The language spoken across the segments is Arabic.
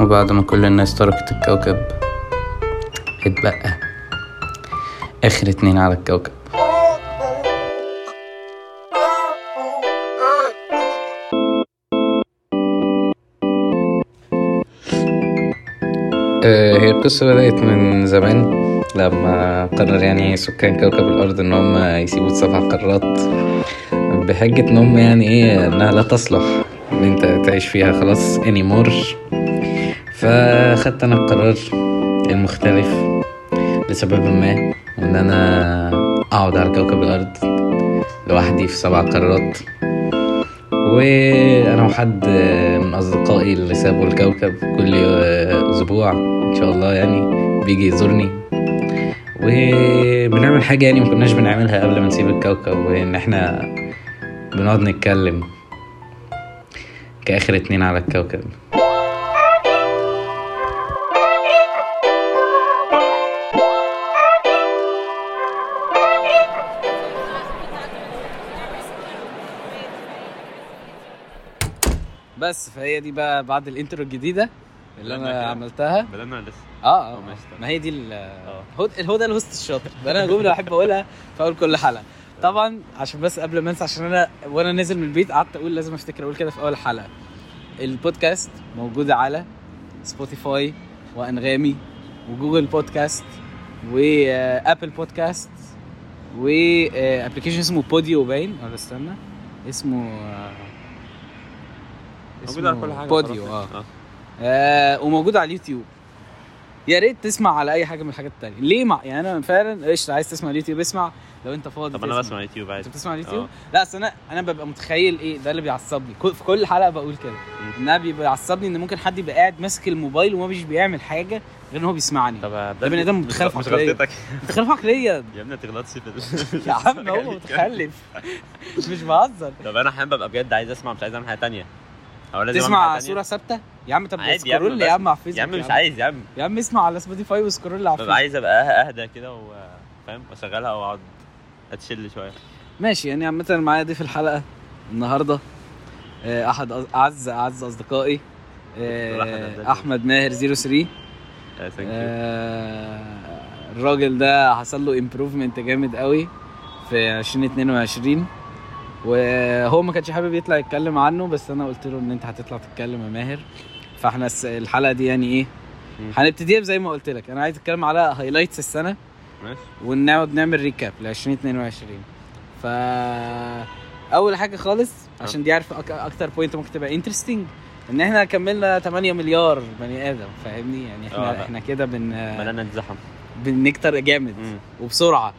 بعد ما كل الناس تركت الكوكب اتبقى آخر اتنين على الكوكب آه، هي القصة بدأت من زمان لما قرر يعني سكان كوكب الأرض إن هم يسيبوا سبع قارات بحجة إن هم يعني إيه إنها لا تصلح إن أنت تعيش فيها خلاص anymore فخدت أنا القرار المختلف لسبب ما إن أنا أقعد على كوكب الأرض لوحدي في سبع قارات وانا وحد من اصدقائي اللي سابوا الكوكب كل اسبوع ان شاء الله يعني بيجي يزورني وبنعمل حاجه يعني ما كناش بنعملها قبل ما نسيب الكوكب وان احنا بنقعد نتكلم كاخر اتنين على الكوكب بس فهي دي بقى بعد الانترو الجديدة اللي بدأنا انا كده؟ عملتها بدأنا لسه اه آه، ماشي، طيب. ما هي دي الهود الهدى الهوست الشاطر ده انا جمله بحب اقولها في اول كل حلقه طبعا عشان بس قبل ما انسى عشان انا وانا نازل من البيت قعدت اقول لازم افتكر اقول كده في اول حلقه البودكاست موجود على سبوتيفاي وانغامي وجوجل آه، بودكاست وابل بودكاست وابلكيشن آه، اسمه بوديو باين ولا استنى اسمه آه، موجود على كل حاجه بوديو اه خلاص. آه. آه وموجود على اليوتيوب يا ريت تسمع على اي حاجه من الحاجات التانية ليه مع يعني انا فعلا قشطه عايز تسمع على اليوتيوب اسمع لو انت فاضي طب انا تسمع. بسمع يوتيوب انت عادي بتسمع على اليوتيوب آه. لا اصل انا انا ببقى متخيل ايه ده اللي بيعصبني كل- في كل حلقه بقول كده ان انا بيعصبني ان ممكن حد يبقى قاعد ماسك الموبايل وما مش بيعمل حاجه غير ان هو بيسمعني طب ده بني آدم متخلف مش عقليا. غلطتك انت خلف عقليا يا ابني ما تغلطش في يا عم هو متخلف مش بهزر طب انا احيانا ببقى بجد عايز اسمع مش عايز اعمل حاجه تانية او لازم أعمل تسمع حاجة تانية. صوره ثابته يا عم طب عادي يا عم، سكرول يا عم على بس- فيسبوك يا عم مش عايز يا عم يا عم اسمع على سبوتيفاي وسكرول على ببقى فيسبوك عايز ابقى اهدى كده و- فاهم واشغلها واقعد اتشل شويه ماشي يعني عامة أنا معايا ضيف الحلقة النهاردة آه، أحد أص- أعز أعز أصدقائي آه، دكتور أحمد عبد أحمد ماهر 03 آه، thank you. آه، الراجل ده حصل له امبروفمنت جامد قوي في 2022 وهو ما كانش حابب يطلع يتكلم عنه بس انا قلت له ان انت هتطلع تتكلم يا ماهر فاحنا الس- الحلقه دي يعني ايه مم. هنبتديها زي ما قلت لك انا عايز اتكلم على هايلايتس السنه ماشي ونقعد نعمل ريكاب ل 2022 ف اول حاجه خالص آه. عشان دي عارف أك... اكتر بوينت ممكن تبقى انترستنج ان احنا كملنا 8 مليار بني ادم فاهمني يعني احنا آه، لا. احنا كده بن ملنا نتزحم بنكتر جامد مم. وبسرعه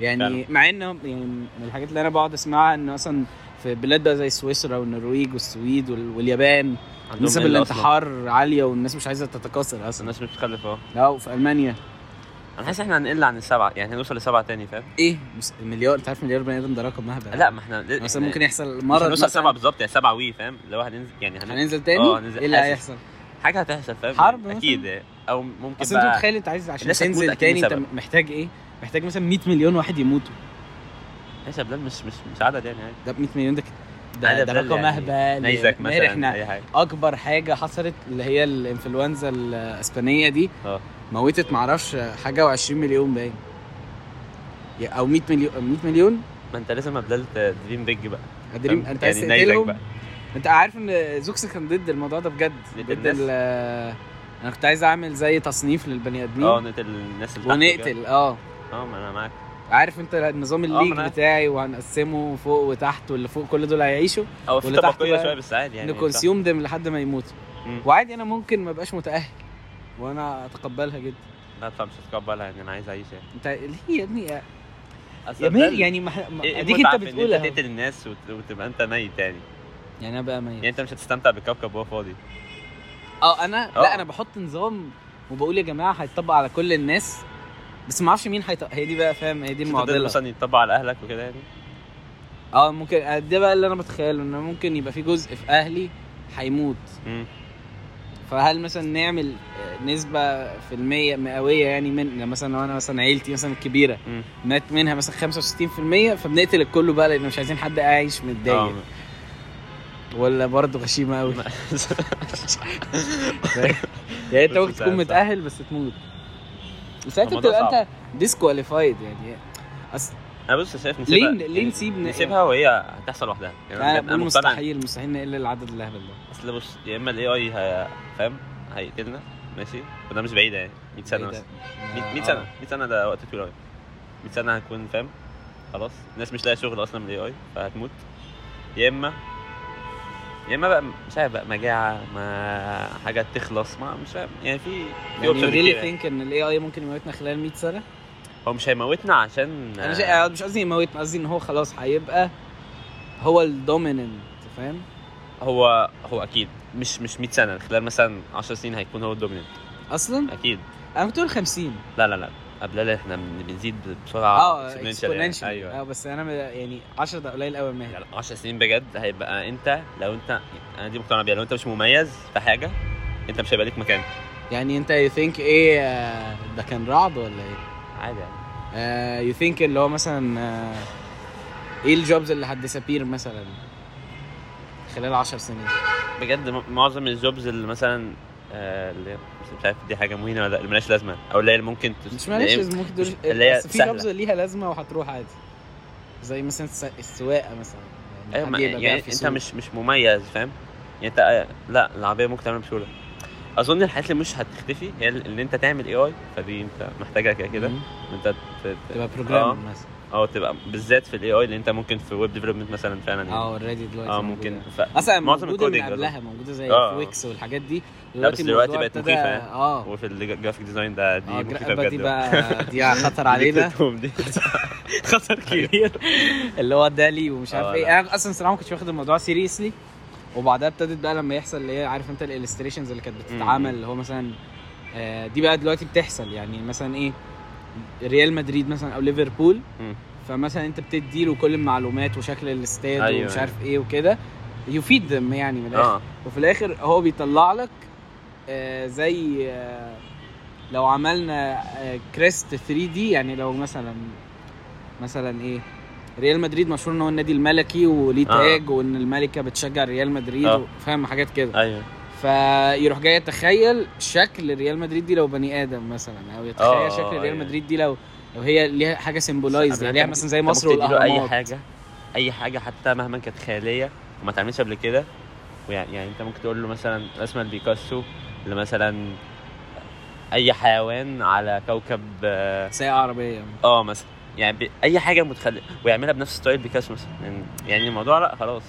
يعني فعلا. مع ان يعني من الحاجات اللي انا بقعد اسمعها ان مثلا في بلاد بقى زي سويسرا والنرويج والسويد وال... واليابان عندهم نسب إلا أصلاً. الانتحار عاليه والناس مش عايزه تتكاثر اصلا الناس مش بتخلف اهو لا وفي المانيا انا حاسس احنا هنقل عن السبعه يعني هنوصل لسبعه تاني فاهم ايه مس- مليار انت عارف مليار بني ادم ده رقم مهبل لا ما احنا يعني مثلا إحنا- ممكن يحصل إيه. مش مرض هنوصل مثلاً. سبعه بالظبط يعني سبعه وي فاهم اللي هو هننزل يعني هننزل هننزل تاني آه، ايه هننزل- اللي حاسس. هيحصل حاجه هتحصل فاهم حرب اكيد يعني. او ممكن اصل انت بقى متخيل انت عايز عشان الناس هتموت تنزل أكيد تاني انت بسبب. محتاج ايه محتاج مثلا 100 مليون واحد يموتوا ماشي بلاد مش مش مش عدد يعني عادي ده 100 مليون ده ده, عدد ده بلاد رقم يعني اهبل نيزك يعني. ماهر مثلا احنا اي حاجه اكبر حاجه حصلت اللي هي الانفلونزا الاسبانيه دي اه موتت معرفش حاجه و20 مليون باين يا- او 100 مليون 100 مليون ما انت لازم بلاد دريم بيج بقى قادرين فاهم؟ انت عايز يعني نيزك تقتلهم بقى انت عارف ان زوكس كان ضد الموضوع ده بجد ضد ضد الناس؟ ال- انا كنت عايز اعمل زي تصنيف للبني ادمين اه نقتل الناس اللي تحت كده. ونقتل اه اه ما انا معاك عارف انت نظام آه، ما الليج أنا عارف. بتاعي وهنقسمه فوق وتحت واللي فوق كل دول هيعيشوا او في واللي تحت طبقيه بقى شويه بس عادي يعني نكونسيوم دم لحد ما يموتوا مم. وعادي انا ممكن ما ابقاش متاهل وانا اتقبلها جدا صح. لا طبعا مش هتقبلها يعني انا عايز اعيش يعني انت ليه يا ابني يا أصل يا ده ماهر ال- يعني ما إحنا- ما- إيه- اديك المتعة انت في إن بتقولها تقتل الناس وت- وتبقى انت ميت يعني يعني انا بقى يعني ميت انت مش هتستمتع بالكوكب وهو فاضي اه انا لا آه. انا بحط نظام وبقول يا جماعه هيتطبق على كل الناس بس ما اعرفش مين هيطبق هي دي بقى فاهم هي دي مش هتقدر المعضله مثلا يتطبق على اهلك وكده يعني اه ممكن ده بقى اللي انا بتخيله ان ممكن يبقى في جزء في اهلي هيموت مم. فهل مثلا نعمل نسبة في المية مئوية يعني من مثلا لو انا مثلا عيلتي مثلا الكبيرة مم. مات منها أه، مثلا 65% فبنقتل الكل بقى لان مش عايزين حد عايش متضايق آه. ولا برضه غشيمه قوي يعني انت بس ممكن مش تكون عارف. متاهل بس تموت ساعتها طب ما ده بتبقى صعب. انت ديسكواليفايد يعني أص... انا بص شايف ليه نسيبها يعني ليه نسيب ن- نسيبها وهي هتحصل لوحدها يعني انا بجد بقول مقتنع. مستحيل مستحيل نقل العدد الاهبل ده اصل بص يا اما الاي اي فاهم هيقتلنا ماشي وده مش بعيد يعني 100 سنه إيه ده؟ مثلا 100 آه. مية سنه 100 سنه ده وقت طويل قوي 100 سنه هتكون فاهم خلاص الناس مش لاقيه شغل اصلا من الاي اي فهتموت يا اما يا اما بقى مش عارف بقى مجاعه ما حاجه تخلص ما مش فاهم يعني في في يعني options you كتير really يعني. think ان الاي اي ممكن يموتنا خلال 100 سنه؟ هو مش هيموتنا عشان انا شا... آه، مش قصدي يموتنا قصدي ان هو خلاص هيبقى هو الدوميننت فاهم؟ هو هو اكيد مش مش 100 سنه خلال مثلا 10 سنين هيكون هو الدوميننت اصلا اكيد انا كنت بقول 50 لا لا لا قبلها احنا بن- بنزيد بسرعه اه exponential يعني. اكسبوننشال ايوه اه بس انا م- يعني 10 ده قليل قوي ما يعني 10 سنين بجد هيبقى انت لو انت انا دي مقتنع بيها لو انت مش مميز في حاجه انت مش هيبقى ليك مكان يعني انت يو ثينك ايه آه، ده كان رعد ولا ايه؟ عادي يعني يو ثينك اللي هو مثلا آه، ايه الجوبز اللي هتديسابير مثلا خلال 10 سنين؟ بجد م- معظم الجوبز اللي مثلا آه، اللي بس مش عارف دي حاجه مهمه ولا لا، اللي ملهاش لازمه او اللي هي اللي ممكن تس- إيه، مش معلش اللي هي- لازم ممكن تقول مش- اللي هي أصل في سهلة. لفظه ليها لازمه وهتروح عادي زي مثلا الس- السواقه مثلا يعني ايوه حد ما- يبقى يعني بيعرف انت يسوق. مش مش مميز فاهم يعني انت آه، لا العربيه ممكن تعملها بسهوله اظن الحاجات اللي مش هتختفي هي اللي انت تعمل اي اي فدي انت محتاجها كده كده مم. انت ت- ت- تبقى آه. بروجرام مثلا اه تبقى بالذات في الاي اي اللي انت ممكن في ويب ديفلوبمنت مثلا فعلا يعني. اه اوريدي دلوقتي اه موجودة. ممكن ف... اصلا معظم موجوده من الcoding أظن. قبلها موجوده زي آه. في ويكس والحاجات دي بس دلوقتي الموضوع بقت ابتدى- مخيفة يعني. اه وفي الجرافيك ديزاين ده دي اه مخيفه جرا- بجد دي بقى دي خطر علينا أيوه. الكتوم دي خطر كبير اللي هو دالي ومش عارف آه، ايه لا. انا اصلا صراحه ما كنتش واخد الموضوع سيريسلي وبعدها ابتدت بقى لما يحصل اللي هي عارف انت الالستريشنز اللي كانت مم. بتتعمل اللي هو مثلا آه، دي بقى دلوقتي بتحصل يعني مثلا ايه ريال مدريد مثلا او ليفربول مم. فمثلا انت بتدي له كل المعلومات وشكل الاستاد أيوة، ومش أيوة. عارف ايه وكده يفيد them يعني من الاخر اه وفي الاخر هو بيطلع لك آه، زي آه، لو عملنا آه، كريست 3 دي يعني لو مثلا مثلا ايه ريال مدريد مشهور ان هو النادي الملكي وليه آه. تاج وان الملكه بتشجع ريال مدريد آه. و- فاهم حاجات كده ايوه فيروح جاي يتخيل شكل ريال مدريد دي لو بني ادم مثلا او يتخيل آه، آه، شكل ريال يعني. مدريد دي لو لو هي ليها حاجه سيمبولايز أنت ليها ممكن- مثلا يعني زي أنت مصر ممكن تديله والاهرامات اي حاجه اي حاجه حتى مهما كانت خياليه وما اتعملتش قبل كده ويعني يعني انت ممكن تقول له مثلا رسمه لبيكاسو لمثلا اي حيوان على كوكب آه، ساعه عربيه اه مثلا يعني ب... اي حاجه متخلفه ويعملها بنفس ستايل بيكاسو مثلا يعني- يعني الموضوع لا خلاص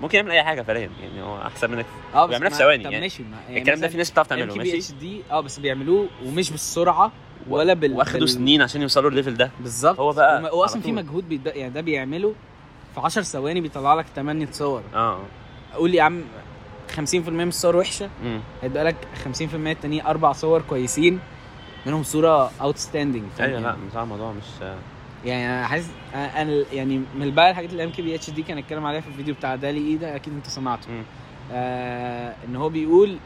ممكن يعمل اي حاجه فعليا يعني هو احسن منك اه بس ويعملها في ما- ثواني طب يعني. ماشي ما- يعني الكلام ده مثلاً في ناس بتعرف تعمله ام بي ماشي اتش دي اه بس بيعملوه ومش بالسرعه ولا بال واخدوا بال- سنين عشان يوصلوا الليفل ده بالظبط هو بقى وما- هو على اصلا في طول. مجهود بيد... يعني ده بيعمله في 10 ثواني بيطلع لك 8 صور اه قول لي يا عم 50% من الصور وحشه امم هيبقى لك 50% التانيين اربع صور كويسين منهم صوره اوتستاندينج ايوه لا مش الموضوع مش يعني انا حاسس انا أنا يعني من الباقي الحاجات اللي ام كي بي اتش دي كان اتكلم عليها في الفيديو بتاع دالي ايه ده اكيد انت سمعته مم. آه ان هو بيقول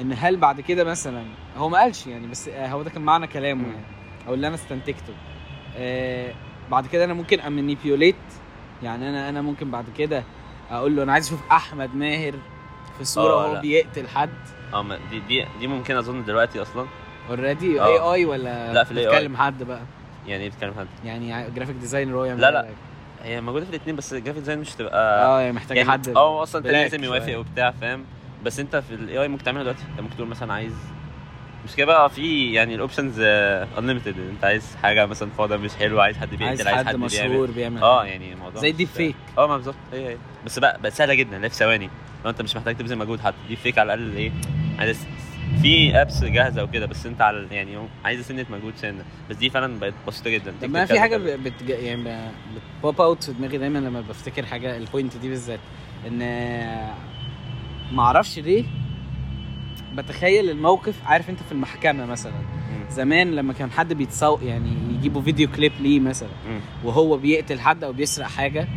ان هل بعد كده مثلا هو ما قالش يعني بس آه هو ده كان معنى كلامه مم. يعني او اللي انا استنتجته آه بعد كده انا ممكن امانيبيوليت يعني انا انا ممكن بعد كده اقول له انا عايز اشوف احمد ماهر في صوره آه، وهو لا. بيقتل حد اه ما- دي دي دي ممكن اظن دلوقتي اصلا اوريدي اي آه. اي ولا لا، في ال AI. بتكلم حد بقى يعني ايه بتتكلم حد يعني جرافيك ديزاينر هو يعمل لا، لا. لك. هي موجوده في الاثنين بس الجرافيك ديزاين مش تبقى اه يعني محتاجه يعني- حد اه اصلا انت بلاك لازم يوافق شوية. وبتاع فاهم بس انت في الاي اي ممكن تعملها دلوقتي انت ممكن تقول مثلا عايز مش كده بقى في يعني الاوبشنز انليمتد انت عايز حاجه مثلا فاضيه مش حلوه عايز حد عايز بيقتل حد, عايز حد بيعمل مشهور بيعمل اه يعني الموضوع زي مش- الديب فيك اه ما بالظبط هي هي بس بقى بقى سهله جدا لا في ثواني لو انت مش محتاج تبذل مجهود حتى دي فيك على الاقل ايه عايز في ابس جاهزه وكده بس انت على يعني عايز سنه مجهود سنه بس دي فعلا بقت بسيطه جدا طب تكتب ما في كذا حاجه كذا. ب- بتج... يعني بوب اوت في دماغي دايما لما بفتكر حاجه البوينت دي بالذات ان ما اعرفش ليه بتخيل الموقف عارف انت في المحكمه مثلا مم. زمان لما كان حد بيتصور يعني يجيبوا فيديو كليب ليه مثلا مم. وهو بيقتل حد او بيسرق حاجه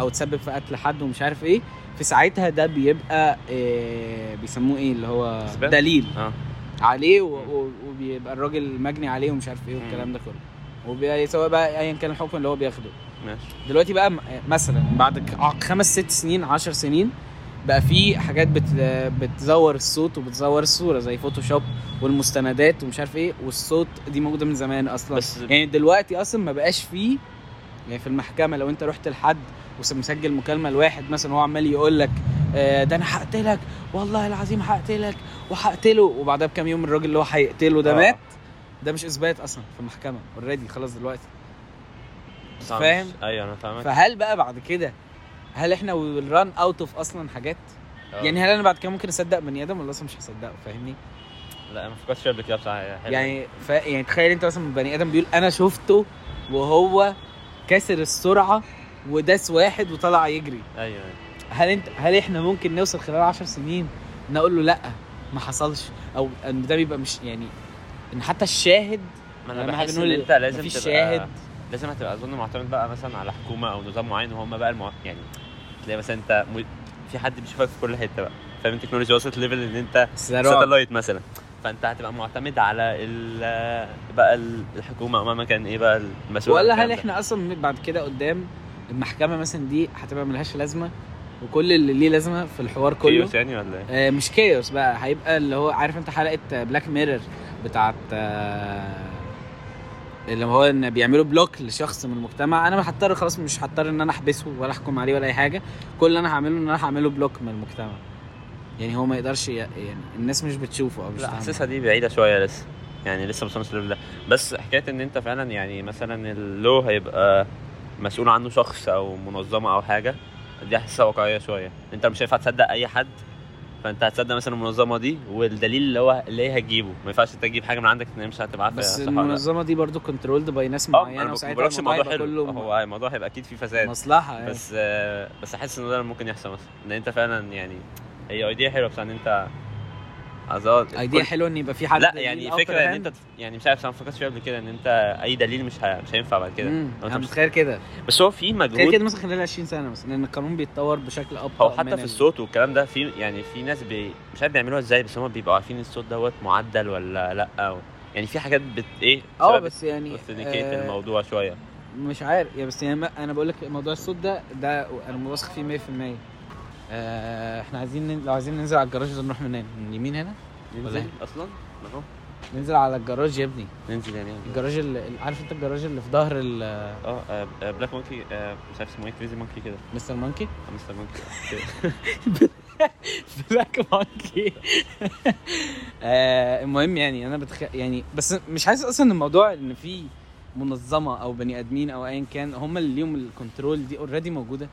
او تسبب في قتل حد ومش عارف ايه في ساعتها ده بيبقى إيه بيسموه ايه اللي هو إثبات؟ دليل اه عليه و- و- وبيبقى الراجل مجني عليه ومش عارف ايه والكلام ده كله وبي- سواء بقى ايا كان الحكم اللي هو بياخده ماشي دلوقتي بقى م- مثلا بعد ك- ع- خمس ست سنين عشر سنين بقى في حاجات بت... بتزور الصوت وبتزور الصوره زي فوتوشوب والمستندات ومش عارف ايه والصوت دي موجوده من زمان اصلا بس- يعني دلوقتي اصلا ما بقاش فيه يعني في المحكمه لو انت رحت لحد ومسجل مكالمه لواحد مثلا وهو عمال يقول لك آه، ده انا هقتلك والله العظيم هقتلك وهقتله وبعدها بكام يوم الراجل اللي هو هيقتله ده آه. مات ده مش اثبات اصلا في المحكمه اوريدي خلاص دلوقتي طبعاً فاهم؟ مش- ايوه انا فاهمك فهل بقى بعد كده هل احنا ويل ران اوت اوف اصلا حاجات آه. يعني هل انا بعد كده ممكن اصدق بني ادم ولا اصلا مش هصدقه فاهمني لا ما فكرتش فيها قبل كده بصراحه حلوة. يعني ف... يعني تخيل انت مثلا بني ادم بيقول انا شفته وهو كسر السرعه وداس واحد وطلع يجري ايوه أيوة. هل انت هل احنا ممكن نوصل خلال 10 سنين نقول له لا ما حصلش او ان ده بيبقى مش يعني ان حتى الشاهد ما انا لما بحس ان بنقول انت لازم مفيش تبقى شاهد. لازم هتبقى اظن معتمد بقى مثلا على حكومه او نظام معين وهم بقى المع... يعني تلاقي مثلا انت م... في حد بيشوفك في كل حته بقى فاهم التكنولوجيا وصلت ليفل ان انت بس ده رعب. ساتلايت مثلا فانت هتبقى معتمد على ال... بقى ال- الحكومه او مهما كان ايه بقى المسؤول عن ولا الكلام هل ده. احنا اصلا بعد كده قدام المحكمه مثلا دي هتبقى ملهاش لازمه وكل اللي ليه لازمه في الحوار كله كيوس يعني ولا ايه؟ آه، مش كيوس بقى هيبقى اللي هو عارف انت حلقه بلاك ميرور بتاعت آه، اللي هو ان بيعملوا بلوك لشخص من المجتمع انا ما هضطر خلاص مش هضطر ان انا احبسه ولا احكم عليه ولا اي حاجه كل اللي انا هعمله ان انا هعمله بلوك من المجتمع يعني هو ما يقدرش ي- يعني الناس مش بتشوفه او مش لا فاهمة. حاسسها دي بعيده شويه لسه يعني لسه ما وصلناش للليفل ده بس حكايه ان انت فعلا يعني مثلا اللو هيبقى مسؤول عنه شخص او منظمه او حاجه دي حاسسها واقعيه شويه انت مش هينفع تصدق اي حد فانت هتصدق مثلا المنظمه دي والدليل اللي هو اللي هي هتجيبه ما ينفعش انت تجيب حاجه من عندك ان هي مش هتبعتها بس صح ولا لا. المنظمه دي برضو كنترولد باي ناس اه انا معينه ما وساعتها بقولكش الموضوع الموضوع هيبقى حلو كله هو الموضوع هيبقى اكيد فيه فساد مصلحه يعني. بس آه، بس احس ان ده ممكن يحصل مثلا ان انت فعلا يعني هي ايديا حلوه بس ان انت عايز ايديا حلوه ان يبقى في حد لا ليه يعني الأوبر فكره ان هاند. انت يعني مش عارف انا ما فكرتش فيها قبل كده ان انت اي دليل مش ه... مش هينفع بعد كده مم. لو انت انا مش- متخيل كده بس هو في تخيل مجهود كده مثلا خلال 20 سنه مثلا لان القانون بيتطور بشكل ابطا هو حتى من في ال- الصوت والكلام ده في يعني في ناس بي... مش عارف بيعملوها ازاي بس هم بيبقوا عارفين الصوت دوت معدل ولا لا أو... يعني في حاجات بت ايه اه بس يعني اوثنتيكيت آه، الموضوع شويه مش عارف يعني بس يعني ما- انا بقول لك موضوع الصوت ده ده انا واثق فيه 100% آه، احنا عايزين نن- لو عايزين ننزل على الجراج ده نروح منين؟ من اليمين هنا؟ ننزل اصلا نروح ننزل على الجراج يا ابني، إيه؟ ننزل يعني الجراج اللي عارف انت الجراج اللي في ظهر ال- اه آه، آه، بلاك مونكي آه، مش عارف اسمه ايه كريزي مونكي كده مستر مونكي؟ آه، مستر مونكي بلاك مونكي آه، المهم يعني انا بتخ... يعني بس مش حاسس اصلا ان الموضوع ان في منظمه او بني ادمين او ايا كان هم اللي ليهم الكنترول دي اوريدي موجوده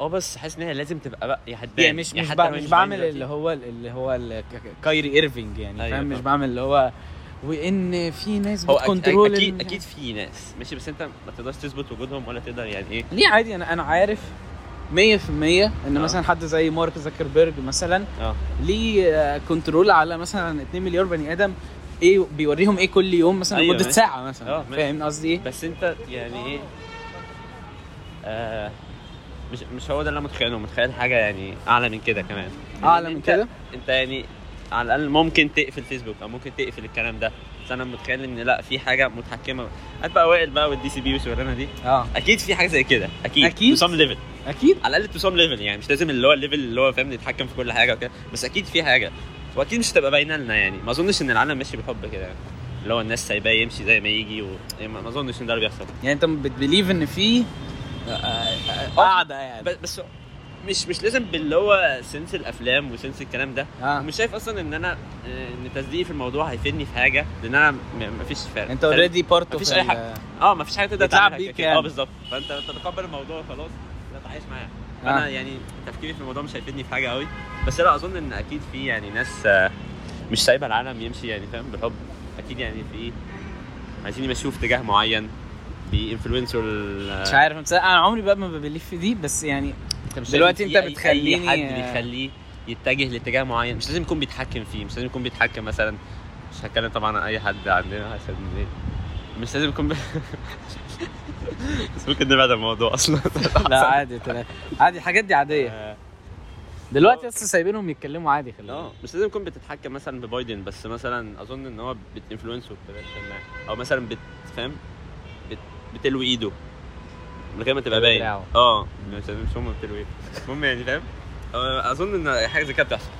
اه بس حاسس ان هي لازم تبقى بقى يا هتبان يعني مش يا مش, حتى بع... لو مش هي باينة بعمل دلوقتي. اللي هو اللي هو ال- ك- ك- كايري ايرفينج يعني أيوة فاهم مش فاهم. بعمل اللي هو وان في ناس هو أك- بتكنترول أك- اكيد ال- يعني اكيد في ناس ماشي بس انت ما تقدرش تثبت وجودهم ولا تقدر يعني ايه ليه عادي انا انا عارف 100% ان آه. مثلا حد زي مارك زكربيرج مثلا اه ليه كنترول على مثلا 2 مليار بني ادم ايه بيوريهم ايه كل يوم مثلا أيوة لمده ماشي. ساعه آه، مثلا ماشي. فاهم قصدي ايه؟ بس انت يعني ايه آه مش مش هو ده اللي انا متخيله متخيل حاجه يعني اعلى من كده كمان اعلى يعني من أنت- كده انت يعني على الاقل ممكن تقفل فيسبوك او ممكن تقفل الكلام ده بس انا متخيل ان لا في حاجه متحكمه هات بقى وائل بقى والدي سي بي والشغلانه دي اه اكيد في حاجه زي كده اكيد أكيد. سام ليفل اكيد على الاقل تو سام ليفل يعني مش لازم اللي هو الليفل اللي هو فاهم نتحكم في كل حاجه وكده بس اكيد في حاجه واكيد مش هتبقى باينه لنا يعني ما اظنش ان العالم ماشي بالحب كده يعني اللي هو الناس سايباه يمشي زي ما يجي و... يعني ما ما اظنش ان ده اللي بيحصل يعني انت بتبليف ان في آه، قاعده يعني ب- بس مش مش لازم باللي هو سنس الافلام وسنس الكلام ده اه ومش شايف اصلا ان انا آه، ان تصديقي في الموضوع هيفيدني في حاجه لان انا م- مفيش فعلا انت اوريدي بارت اوف مفيش أي حاجة. اه مفيش حاجه تقدر بيتلعب تعملها بيك كده. يعني. اه بالظبط فانت تتقبل الموضوع خلاص تتعايش معاه آه. انا يعني تفكيري في الموضوع مش هيفيدني في حاجه قوي بس لا اظن ان اكيد في يعني ناس آه، مش سايبه العالم يمشي يعني فاهم بالحب اكيد يعني في عايزين يمشوه في اتجاه معين بانفلونسر مش عارف بس انا عمري بقى ما ببليف في دي بس يعني دلوقتي انت بتخليني- آه، اي حد بيخليه يتجه لاتجاه معين مش لازم يكون بيتحكم فيه مش لازم يكون بيتحكم مثلا مش هتكلم طبعا عن اي حد عندنا عشان ايه مش لازم يكون بي... بس ممكن نبعد عن الموضوع اصلا لا عادي تمام. عادي الحاجات دي عاديه آه، دلوقتي اصلا سايبينهم يتكلموا عادي خلي بالك. اه مش لازم يكون بتتحكم مثلا ببايدن بس مثلا اظن ان هو بتانفلونسه بطريقة ما. او مثلا بت فاهم بت... بتلوي ايده من غير ما تبقى باين بتاعه. اه مش مش هم بتلو ايه المهم يعني فاهم آه، اظن ان حاجه زي كده بتحصل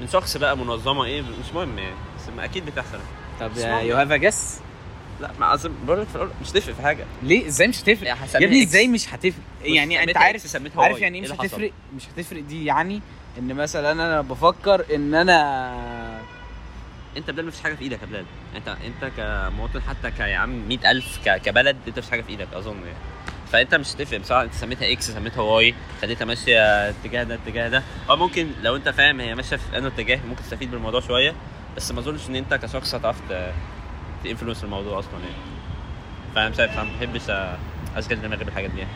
من شخص بقى منظمه ايه مش مهم يعني بس ما اكيد بتحصل طب اسمع. يو هاف جس لا ما اظن بقول لك في الاول مش تفرق في حاجه ليه ازاي مش هتفرق يعني يا هسميها ابني X. ازاي مش هتفرق يعني انت سميتها عارف X، سميتها عارف Y. يعني ايه مش إيه اللي حصل؟ هتفرق مش هتفرق دي يعني ان مثلا انا بفكر ان انا انت بلال مفيش حاجه في ايدك يا بلال انت انت كمواطن حتى كيا عم 100000 ك- كبلد انت مفيش حاجه في ايدك اظن يعني فانت مش هتفرق بصراحه انت سميتها اكس سميتها واي خليتها ماشيه اتجاه ده اتجاه ده او ممكن لو انت فاهم هي ماشيه في انه اتجاه ممكن تستفيد بالموضوع شويه بس ما اظنش ان انت كشخص هتعرف ت- تانفلونس الموضوع اصلا يعني فانا مش عارف ما بحبش أ- اشغل دماغي بالحاجات دي يعني.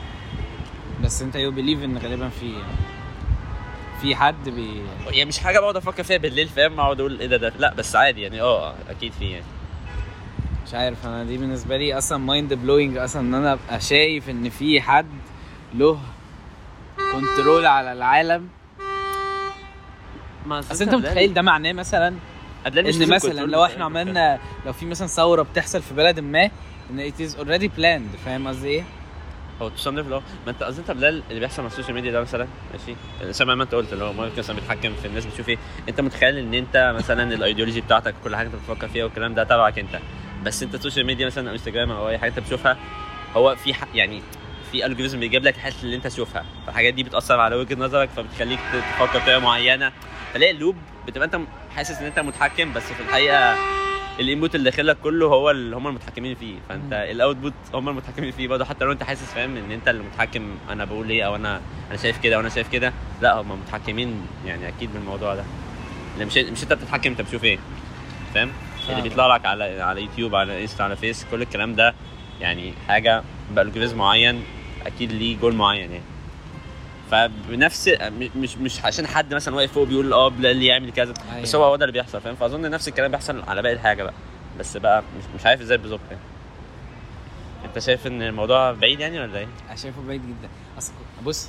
بس انت يو بليف ان غالبا في في حد بي يعني مش حاجه بقعد افكر فيها بالليل فاهم اقعد اقول ايه ده ده لا بس عادي يعني اه اكيد في يعني مش عارف انا دي بالنسبه لي اصلا مايند بلوينج اصلا ان انا ابقى شايف ان في حد له كنترول على العالم ما اصل انت متخيل ده معناه مثلا ان مثلا لو احنا عملنا لو في مثلا ثوره بتحصل في بلد ما ان it is already planned فاهم قصدي ايه؟ هو تو سم ليفل ما انت قصدي انت يا بلال اللي بيحصل على السوشيال ميديا ده مثلا ماشي سامع ما انت قلت اللي هو مارك مثلا بيتحكم في الناس بتشوف ايه انت متخيل ان انت مثلا الايديولوجي بتاعتك كل حاجه انت بتفكر فيها والكلام ده تبعك انت بس انت السوشيال ميديا مثلا او انستجرام او اي حاجه انت بتشوفها هو في حق يعني في الجوريزم بيجيب لك الحاجات اللي انت تشوفها فالحاجات دي بتاثر على وجهه نظرك فبتخليك تفكر بطريقه معينه فلاقي اللوب بتبقى انت حاسس ان انت متحكم بس في الحقيقه الانبوت اللي داخلك كله هو اللي هم المتحكمين فيه فانت مم. الاوتبوت هم المتحكمين فيه برضه حتى لو انت حاسس فاهم ان انت اللي متحكم انا بقول ايه او انا انا شايف كده وانا شايف كده لا هم متحكمين يعني اكيد بالموضوع ده لأن مش مش انت بتتحكم انت بتشوف ايه فاهم اللي فاهمك. بيطلع لك على على يوتيوب على انستا على فيس كل الكلام ده يعني حاجه بالجوريزم معين اكيد ليه جول معين يعني فبنفس م- مش مش عشان حد مثلا واقف فوق بيقول اه بلال يعمل كذا أيوة. بس هو هو ده اللي بيحصل فاهم فاظن نفس الكلام بيحصل على باقي الحاجه بقى بس بقى مش, مش عارف ازاي بالظبط يعني انت شايف ان الموضوع بعيد يعني ولا ايه؟ انا شايفه بعيد جدا اصل بص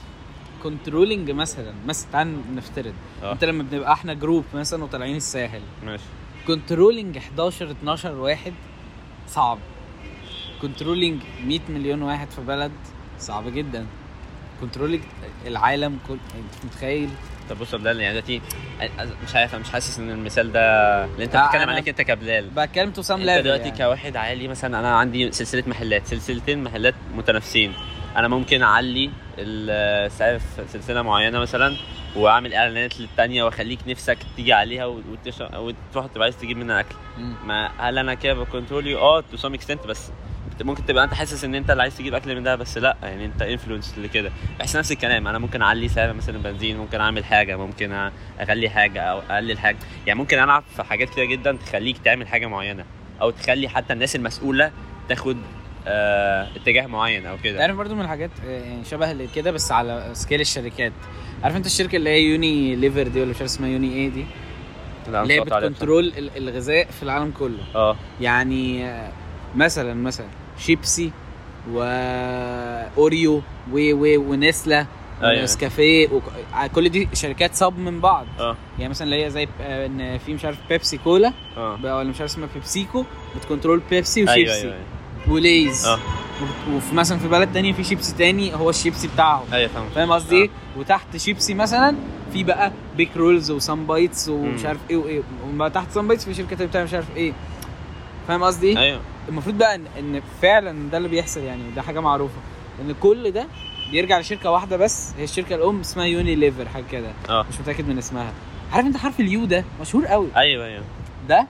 كنترولنج مثلا مثلا تعال نفترض اه. انت لما بنبقى احنا جروب مثلا وطالعين الساحل ماشي كنترولنج 11 12 واحد صعب كنترولنج 100 مليون واحد في بلد صعب جدا كنترولنج العالم كل انت متخيل طب بص يا بلال يعني دلوقتي مش عارف انا مش حاسس ان المثال ده اللي انت لا، بتتكلم أنا- عليك انت كبلال بتكلم تو سام انت ليفل دلوقتي يعني. كواحد عالي مثلا انا عندي سلسله محلات سلسلتين محلات متنافسين انا ممكن اعلي السعر في سلسله معينه مثلا واعمل اعلانات للتانيه واخليك نفسك تيجي عليها وت- وتش- وتروح تبقى عايز تجيب منها اكل مم. ما هل انا كده بكنترول يو اه تو سام اكستنت بس بت- ممكن تبقى انت حاسس ان انت اللي عايز تجيب اكل من ده بس لا يعني انت انفلونس لكده بحس نفس الكلام انا ممكن اعلي سعر مثلا بنزين ممكن اعمل حاجه ممكن أ- اغلي حاجه او اقلل حاجه يعني ممكن العب في حاجات كتير جدا تخليك تعمل حاجه معينه او تخلي حتى الناس المسؤوله تاخد آه اتجاه معين او كده تعرف برضو من الحاجات آه، يعني شبه اللي كده بس على سكيل الشركات عارف انت الشركه اللي هي يوني ليفر دي ولا مش عارف اسمها يوني ايه دي لا، اللي هي مش قاطع عليها بصراحة. بتكنترول ال- الغذاء في العالم كله اه يعني آه، مثلا مثلا شيبسي و اوريو و و ونسلا أيوة. ونسكافيه وك... كل دي شركات صب من بعض اه يعني مثلا اللي هي زي ب- آه، ان في مش عارف بيبسي كولا اه بقى ولا مش عارف اسمها بيبسيكو بتكنترول بيبسي ايوه وشيبسي ايوه وليز اه وبت- وفي مثلا في بلد تانية في شيبسي تاني هو الشيبسي بتاعهم ايوه فاهم فاهم قصدي ايه؟ وتحت شيبسي مثلا في بقى بيك رولز وسان بايتس ومش مم. عارف ايه وايه وما تحت سان بايتس في شركه تانية بتاع مش عارف ايه فاهم قصدي ايه؟ ايوه المفروض بقى ان, إن فعلا ده اللي بيحصل يعني ده حاجه معروفه ان كل ده بيرجع لشركه واحده بس هي الشركه الام اسمها يوني ليفر حاجه كده اه مش متاكد من اسمها عارف انت حرف اليو ده مشهور قوي ايوه ايوه ده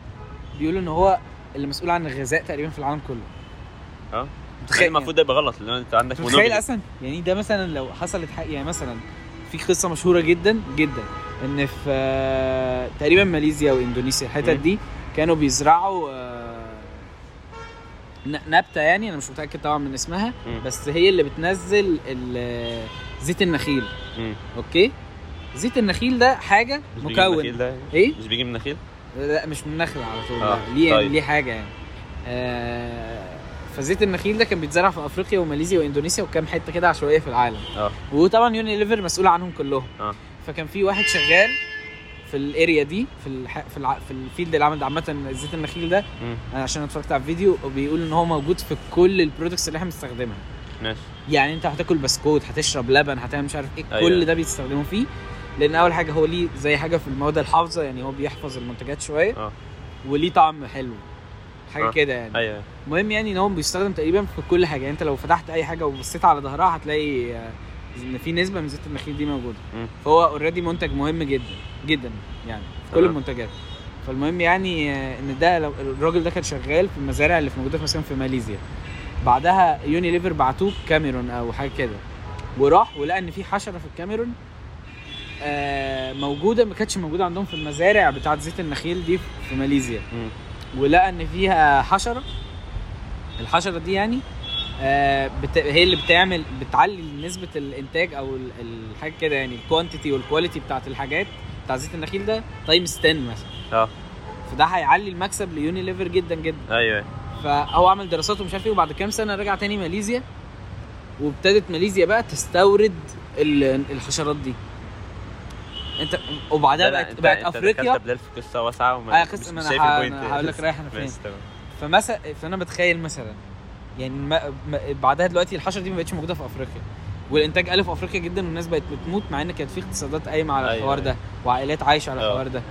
بيقولوا ان هو اللي مسؤول عن الغذاء تقريبا في العالم كله اه متخيل- المفروض ده يبقى غلط لان انت عندك انت monopoly. متخيل اصلا يعني ده مثلا لو حصلت حق يعني مثلا في قصه مشهوره جدا جدا ان في آه، تقريبا ماليزيا واندونيسيا الحتت مم. دي كانوا بيزرعوا آه، ن- نبته يعني انا مش متاكد طبعا من اسمها مم. بس هي اللي بتنزل ال- زيت النخيل مم. اوكي زيت النخيل ده حاجه مش بيجي من النخيل مكون ده يعني؟ ايه مش بيجي من النخيل لا مش من نخل على طول آه، لا. ليه يعني طيب. ليه حاجه يعني آه فزيت النخيل ده كان بيتزرع في افريقيا وماليزيا واندونيسيا وكام حته كده عشوائيه في العالم اه وطبعا يوني ليفر مسؤول عنهم كلهم آه. فكان في واحد شغال في الاريا دي في الح... في, الع... في الفيلد اللي عمل ده عامه زيت النخيل ده مم. انا عشان اتفرجت على الفيديو بيقول ان هو موجود في كل البرودكتس اللي احنا بنستخدمها ماشي يعني انت هتاكل بسكوت هتشرب لبن هتعمل مش عارف ايه أيوة. أيوة. كل ده بيستخدموا فيه لان اول حاجه هو ليه زي حاجه في المواد الحافظه يعني هو بيحفظ المنتجات شويه اه. وليه طعم حلو حاجه اه. كده يعني ايوه المهم يعني ان هو بيستخدم تقريبا في كل حاجه يعني انت لو فتحت اي حاجه وبصيت على ظهرها هتلاقي آه، ان في نسبه من زيت النخيل دي موجوده مم. فهو اوريدي منتج مهم جدا جدا يعني في كل تمام. المنتجات فالمهم يعني آه، ان ده لو- الراجل ده كان شغال في المزارع اللي في موجوده في مثلا في ماليزيا بعدها يونيليفر بعتوه كاميرون او حاجه كده وراح ولقى ان في حشره في الكاميرون آه، موجوده ما كانتش موجوده عندهم في المزارع بتاعه زيت النخيل دي في ماليزيا مم. ولقى ان فيها حشره الحشره دي يعني آه، بت... هي اللي بتعمل بتعلي نسبه الانتاج او ال- الحاجه كده يعني الكوانتيتي والكواليتي بتاعت الحاجات بتاع زيت النخيل ده تايمز 10 مثلا اه فده هيعلي المكسب ليونيليفر جدا جدا ايوه فهو عمل دراسات ومش عارف ايه وبعد كام سنه رجع تاني ماليزيا وابتدت ماليزيا بقى تستورد ال- الحشرات دي انت وبعدها لا، لا، بقت انت- بقت انت دخلت افريقيا بليل في قصه واسعه آه، وما قصة- مش ما شايف أنا ه- البوينت أنا هقول لك رايح أنا فين. ماشي، تمام. فمثلا فانا بتخيل مثلا يعني ما ما- بعدها دلوقتي الحشره دي ما بقتش موجوده في افريقيا والانتاج قل في افريقيا جدا والناس بقت بتموت مع ان كانت في اقتصادات قايمه على أيوة، الحوار ده أيوة. وعائلات عايشه على آه. الحوار ده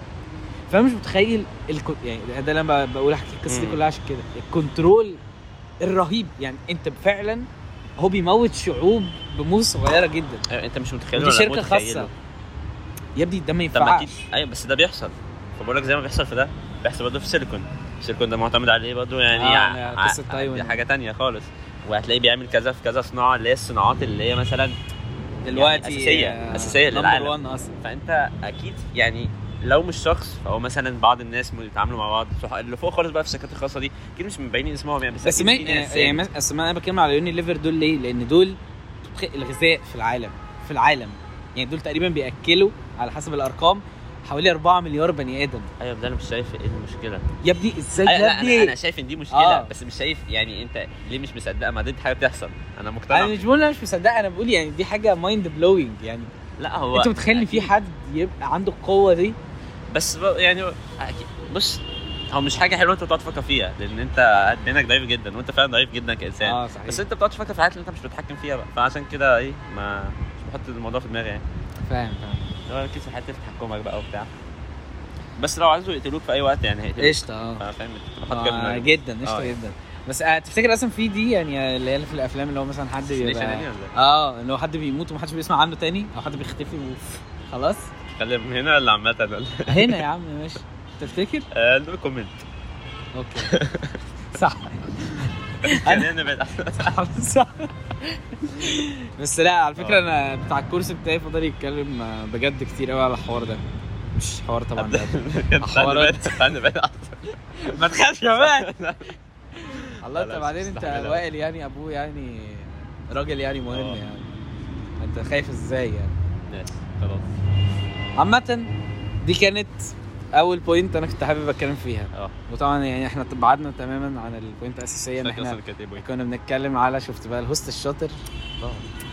فانا مش متخيل الكو... يعني ده- ده اللي انا ب- بقول احكي القصه دي مم. كلها عشان كده الكنترول الرهيب يعني انت فعلا هو بيموت شعوب بموس صغيره جدا ايوه انت مش متخيل ودي شركه خاصه يا ابني ده ما طب ما اكيد ينفعش ايوه بس ده بيحصل فبقول لك زي ما بيحصل في ده بيحصل برضه في سيليكون السيليكون ده معتمد عليه برضه يعني آه، ع- يعني ع- قصة تايوان. دي حاجه تانية خالص وهتلاقيه بيعمل كذا في كذا صناعه اللي هي الصناعات اللي هي مثلا دلوقتي أساسية، آه، أساسية يعني number للعالم. one اصلا فانت اكيد يعني لو مش شخص فهو مثلا بعض الناس بيتعاملوا مع بعض صح- اللي فوق خالص بقى في الشركات الخاصه دي اكيد مش مبينين اسمهم يعني بس بس أكيد ما في ناس يعني مس- بس ما انا بتكلم على يوني ليفر دول ليه؟ لان دول الغذاء في العالم في العالم يعني دول تقريبا بياكلوا على حسب الارقام حوالي 4 مليار بني ادم ايوه ده انا مش شايف ايه المشكله يا ابني ازاي أيوة يا لا انا انا ابني شايف ان دي مشكله آه. بس مش شايف يعني انت ليه مش مصدقه ما دي حاجه بتحصل انا مقتنع انا مش بقول انا مش مصدقه انا بقول يعني دي حاجه مايند بلوينج يعني لا هو انت متخيل ان في أكيد. حد يبقى عنده القوه دي بس ب- يعني أكيد- بص هو مش حاجه حلوه انت بتقعد تفكر فيها لان انت بينك ضعيف جدا وانت فعلا ضعيف جدا كانسان اه صحيح بس انت بتقعد تفكر في حاجات اللي انت مش بتتحكم فيها بقى فعشان كده ايه ما مش بحط الموضوع في دماغي يعني فاهم فاهم لو ركز في حته تحكمك بقى وبتاع بس لو عايزوا يقتلوك في اي وقت يعني هيقتلوك قشطه اه فاهم كنت بحط كده في آه، دماغي جدا قشطه آه. جدا بس آه، تفتكر اصلا في دي يعني اللي هي في الافلام اللي هو مثلا حد Assassination بيبقى يعني ولا إيه؟ اه ان هو حد بيموت ومحدش بيسمع عنه تاني او حد بيختفي و... خلاص خلي من هنا ولا عامه ولا هنا يا عم ماشي تفتكر آه، نو كومنت اوكي صح أنا- خلينا نبعد عن- صح بس لا على فكره آه. انا بتاع الكورس بتاعي فضل يتكلم آه، بجد كتير قوي على الحوار ده مش حوار طبعا ده كان تعال حوارات. نبعد تعال نبعد عن- ما تخافش يا مان الله لا، انت لا، بعدين انت مستحمل أوي. وائل يعني ابوه يعني راجل يعني مهم آه. يعني انت خايف ازاي يعني ماشي، خلاص عامة دي كانت أول بوينت أنا كنت حابب أتكلم فيها اه وطبعا يعني احنا بعدنا تماما عن البوينت الأساسية إن فاكر احنا اصلا كانت ايه بوينت؟ كنا بنتكلم على شفت بقى الهوست الشاطر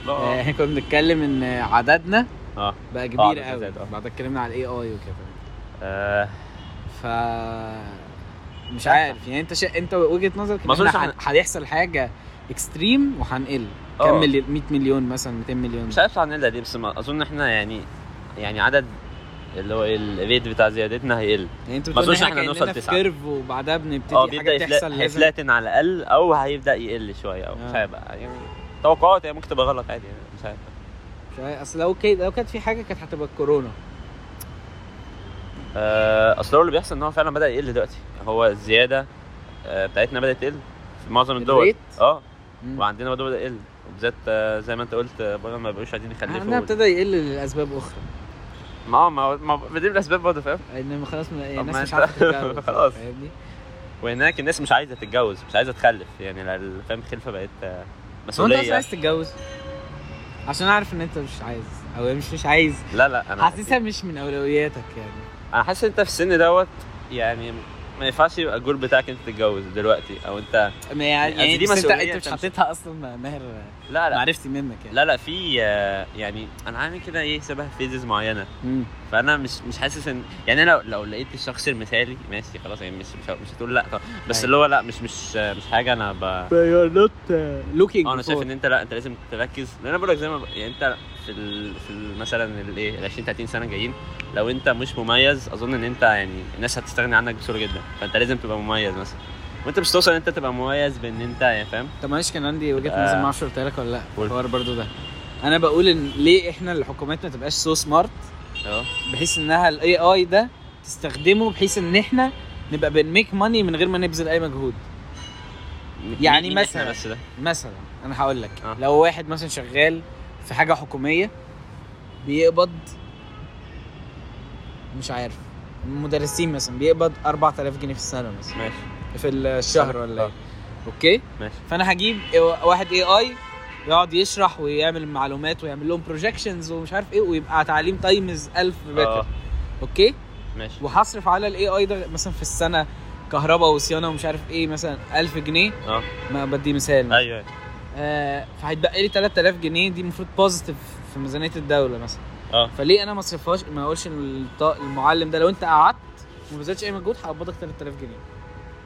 لا، آه، اه احنا كنا بنتكلم إن عددنا اه بقى عدد كبير قوي زاد، اه. بعد اتكلمنا على الاي اي وكده آه، ف مش عارف يعني انت شا... انت وجهه نظرك ما ان أظنش احنا هن- هيحصل حاجه اكستريم وهنقل كم اه. ملي... 100 مليون مثلا 200 مليون مش عارف هنقلها دي بس ما اظن احنا يعني يعني عدد اللي هو الريت بتاع زيادتنا هيقل يعني انت ما بتقول ان أظنش احنا احنا كأننا هنوصل في تسعة. كيرف وبعدها بنبتدي اه حاجه بيبدا تحصل يفلا- لازم هيفلاتن على الاقل او هيبدا يقل شويه او آه. مش عارف بقى، يعني توقعات هي ممكن تبقى غلط عادي يعني مش عارف مش عارف اصل لو كده لو كانت في حاجه كانت هتبقى الكورونا آه، اصل هو اللي بيحصل ان هو فعلا بدا يقل دلوقتي هو الزياده آه، بتاعتنا بدات تقل في معظم الدول الريت؟ اه مم. وعندنا برضه بدا يقل وبالذات آه، زي ما انت قلت آه، برضه ما بقوش عايزين عندنا يخلفوا ابتدى يقل لاسباب اخرى ما هو- ما هو- ما هو- دي الاسباب برضه فاهم ان خلاص ما- إيه، الناس ما مش أنت- عارفه تتجوز خلاص. فاهمني وهناك الناس مش عايزه تتجوز مش عايزه تخلف يعني لا- ال- فاهم الخلفه بقت آه، هو انت اصلا مسؤوليه عايز تتجوز عشان اعرف ان انت مش عايز او مش مش عايز لا لا انا حاسسها مش من اولوياتك يعني انا حاسس إن انت في السن دوت يعني ما ينفعش يبقى الجول بتاعك انت تتجوز دلوقتي او انت ما يعني, أصل يعني دي بس انت مسؤولية انت مش أنت مش- حاططها اصلا ماهر لا لا معرفتي منك يعني لا لا في آه، يعني انا عامل كده ايه شبه فيزز معينه مم. فانا مش مش حاسس ان يعني انا لو, لو لقيت الشخص المثالي ماشي خلاص يعني مش مش, مش هتقول لا طبعا. بس أيوة. اللي هو لا مش مش مش حاجه انا ب... لوكينج اه انا شايف ان انت لا انت لازم تركز لان انا بقول لك زي ما ب- يعني انت في ال... في ال... مثلا الايه ال إيه، 20 30 سنه جايين لو انت مش مميز اظن ان انت يعني الناس هتستغني عنك بسهوله جدا فانت لازم تبقى مميز مثلا وانت مش توصل ان انت تبقى مميز بان انت يعني فاهم طب معلش كان عندي وجهه نظر آه. ما اعرفش قلت لك ولا لا قول. الحوار برضو ده انا بقول ان ليه احنا الحكومات ما تبقاش سو سمارت اه بحيث انها الاي اي ده تستخدمه بحيث ان احنا نبقى بنميك ماني من غير ما نبذل اي مجهود يعني مين- مين مثلا. احنا بس ده مثلا انا هقول لك آه. لو واحد مثلا شغال في حاجه حكوميه بيقبض مش عارف مدرسين مثلا بيقبض 4000 جنيه في السنه مثلا ماشي في الشهر ولا ايه اوكي آه. ماشي فانا هجيب واحد اي اي يقعد يشرح ويعمل معلومات ويعمل لهم بروجكشنز ومش عارف ايه ويبقى تعليم تايمز 1000 اه بيتر اوكي ماشي وهصرف على الاي اي ده مثلا في السنه كهرباء وصيانه ومش عارف ايه مثلا 1000 جنيه اه ما بدي مثال مثلاً. ايوه آه، فهيتبقى لي 3000 جنيه دي المفروض بوزيتيف في ميزانيه الدوله مثلا اه فليه انا ما اصرفهاش ما اقولش للط- المعلم ده لو انت قعدت وما بذلتش اي مجهود هقبضك 3000 جنيه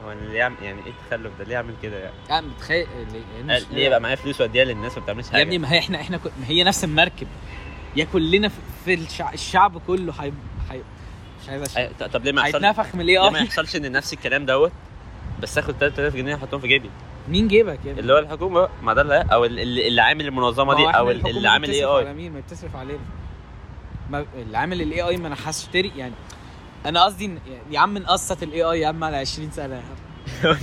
هو أنا ليه يعمل يعني ايه التخلف ده ليه يعمل كده يعني يعني متخيل ليه, قال آه، ليه يبقى معايا فلوس واديها للناس وما بتعملش حاجه يا ابني ما هي احنا احنا كو- ما هي نفس المركب يا كلنا في- في الشع... الشعب كله حي... حي... مش عايز اشرح أي- أيوه، ط- طب ليه ما يحصلش ليه هيتنفخ من آه، الاي ما اي يحصلش ان نفس الكلام دوت بس اخد 3000 جنيه احطهم في جيبي مين جيبك يا ابني اللي هو الحكومه بقى، ما ده اللي او ال- ال- اللي عامل المنظمه دي ما هو احنا او ال- الحكومة اللي عامل اي بتصرف اي على مين ما بتصرف علينا ما اللي عامل الاي اي ما انا هشتري يعني انا قصدي إن- يا عم نقسط الاي اي يا عم على 20 سنه يا عم.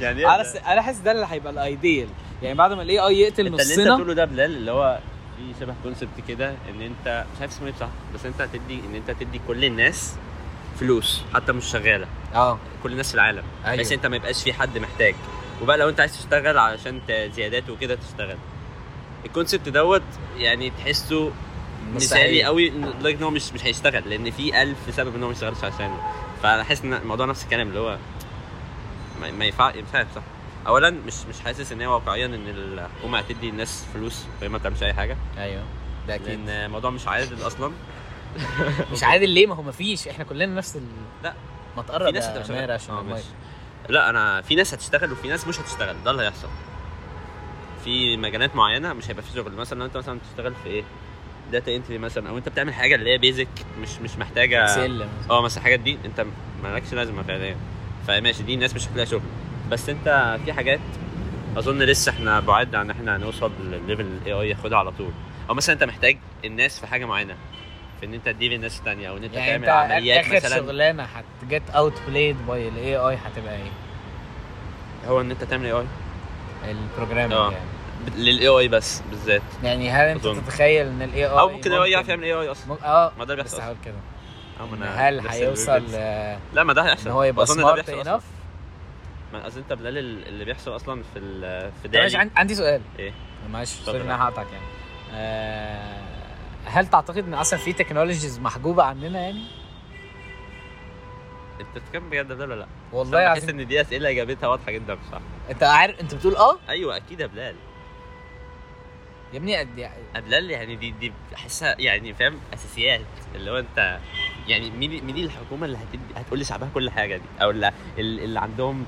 يعني إيه على ده؟ س... انا حاسس ده اللي هيبقى الايديال يعني بعد ما الاي اي يقتل انت اللي انت نصنا بتقوله ده بلال اللي هو في شبه كونسبت كده ان انت مش عارف اسمه ايه بصراحه بس انت هتدي ان انت هتدي كل الناس فلوس حتى مش شغاله اه كل الناس في العالم أيوة. بحيث انت ما يبقاش في حد محتاج وبقى لو انت عايز تشتغل علشان ت- زيادات وكده تشتغل الكونسبت دوت يعني تحسه مثالي مستحيل. قوي لدرجه ان هو مش مش هيشتغل لان في ألف سبب ان هو ما يشتغلش عشانه فانا حاسس ان الموضوع نفس الكلام اللي هو ما, ما ينفع مش عارف صح اولا مش مش حاسس ان هي واقعيا ان الحكومه هتدي الناس فلوس وهي ما بتعملش اي حاجه ايوه ده لان الموضوع مش عادل اصلا مش عادل ليه ما هو ما فيش احنا كلنا نفس ال... لا. ما في تقرب ناس يا ماهر هتبقى شغاله عشان اه المايك. ماشي لا انا في ناس هتشتغل وفي ناس مش هتشتغل ده اللي هيحصل في مجالات معينه مش هيبقى في شغل مثلا لو انت مثلا بتشتغل في ايه داتا انتري مثلا او انت بتعمل حاجه اللي هي بيزك مش مش محتاجه سلم اه مثلا الحاجات دي انت مالكش لازمه فعليا فماشي دي الناس مش هتلاقي شغل بس انت في حاجات اظن لسه احنا بعاد عن احنا هنوصل للليفل الاي اي ياخدها على طول او مثلا انت محتاج الناس في حاجه معينه في ان انت تدير الناس الثانيه او ان انت يعني تعمل انت عمليات اخر مثلا شغلانه هتجيت اوت بلايد باي الاي اي هتبقى ايه؟ هو ان انت تعمل اي اي البروجرامينج اه. يعني للاي اي بس بالذات يعني هل انت أظن. تتخيل ان الاي اي او ممكن الاي اي يعرف يعمل اي اي اصلا اه ما ده اللي طيب، بس بيحصل هقول كده أو ما إن أنا هل لسه هيوصل بيقول- آه، لا ما ده ان هيحصل هو يبقى أظن ده سمارت بيحصل أصلاً. انف ما اصل انت بلال ال- اللي بيحصل اصلا في ال في معلش دالي عن- عندي سؤال ايه؟ معلش يعني اتفضل. سوري ان انا هقطعك يعني آه، هل تعتقد ان اصلا في تكنولوجيز محجوبه عننا يعني؟ انت بتتكلم بجد ده ولا لا؟ والله أنا بحس العظيم ان دي اسئله اجابتها واضحه جدا بصراحه انت عارف انت بتقول اه ايوه اكيد يا بلال يا ابني قد- يعني يا بلال يعني دي دي بحسها يعني فاهم اساسيات اللي هو انت يعني مين مين الحكومه اللي هتدي هتقول لشعبها كل حاجه دي او اللي, اللي عندهم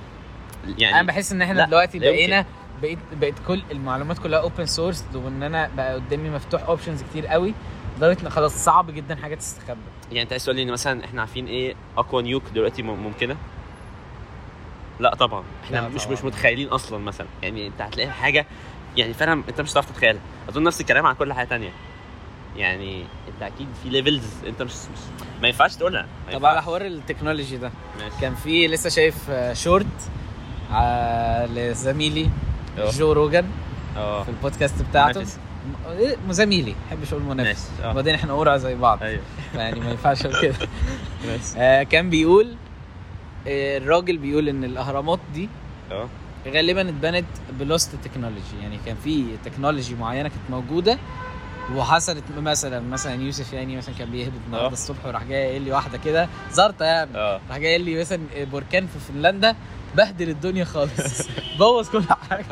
يعني انا بحس ان احنا لا، دلوقتي لا يمكن. بقينا بقيت بقيت كل المعلومات كلها اوبن سورس وان انا بقى قدامي مفتوح اوبشنز كتير قوي لدرجه ان خلاص صعب جدا حاجه تستخبى يعني انت عايز تقول لي ان مثلا احنا عارفين ايه اقوى نيوك دلوقتي مم- ممكنه؟ لا طبعا احنا لا مش طبعاً. مش متخيلين اصلا مثلا يعني انت هتلاقي حاجه يعني فعلا انت مش هتعرف تتخيلها اظن نفس الكلام عن كل حاجه تانية يعني انت اكيد في ليفلز انت مش, مش ما ينفعش تقولها ما طب على ينفعش. حوار التكنولوجي ده ماشي. كان في لسه شايف آه، شورت آه، لزميلي اه. جو روجان اه في البودكاست بتاعته منافس. م- إيه، م- زميلي ما بحبش اقول ماشي منافس اه وبعدين احنا قرع زي بعض ايوه يعني ما ينفعش أقول كده ماشي آه، كان بيقول آه، الراجل بيقول ان الاهرامات دي اه غالبا اتبنت بلوست تكنولوجي يعني كان في تكنولوجي معينه كانت موجوده وحصلت مثلا مثلا يوسف يعني مثلا كان بيهبط النهارده آه. الصبح وراح جاي قايل لي واحده كده زارطه يعني اه راح جاي قال لي مثلا بركان في فنلندا بهدل الدنيا خالص بوظ كل حاجه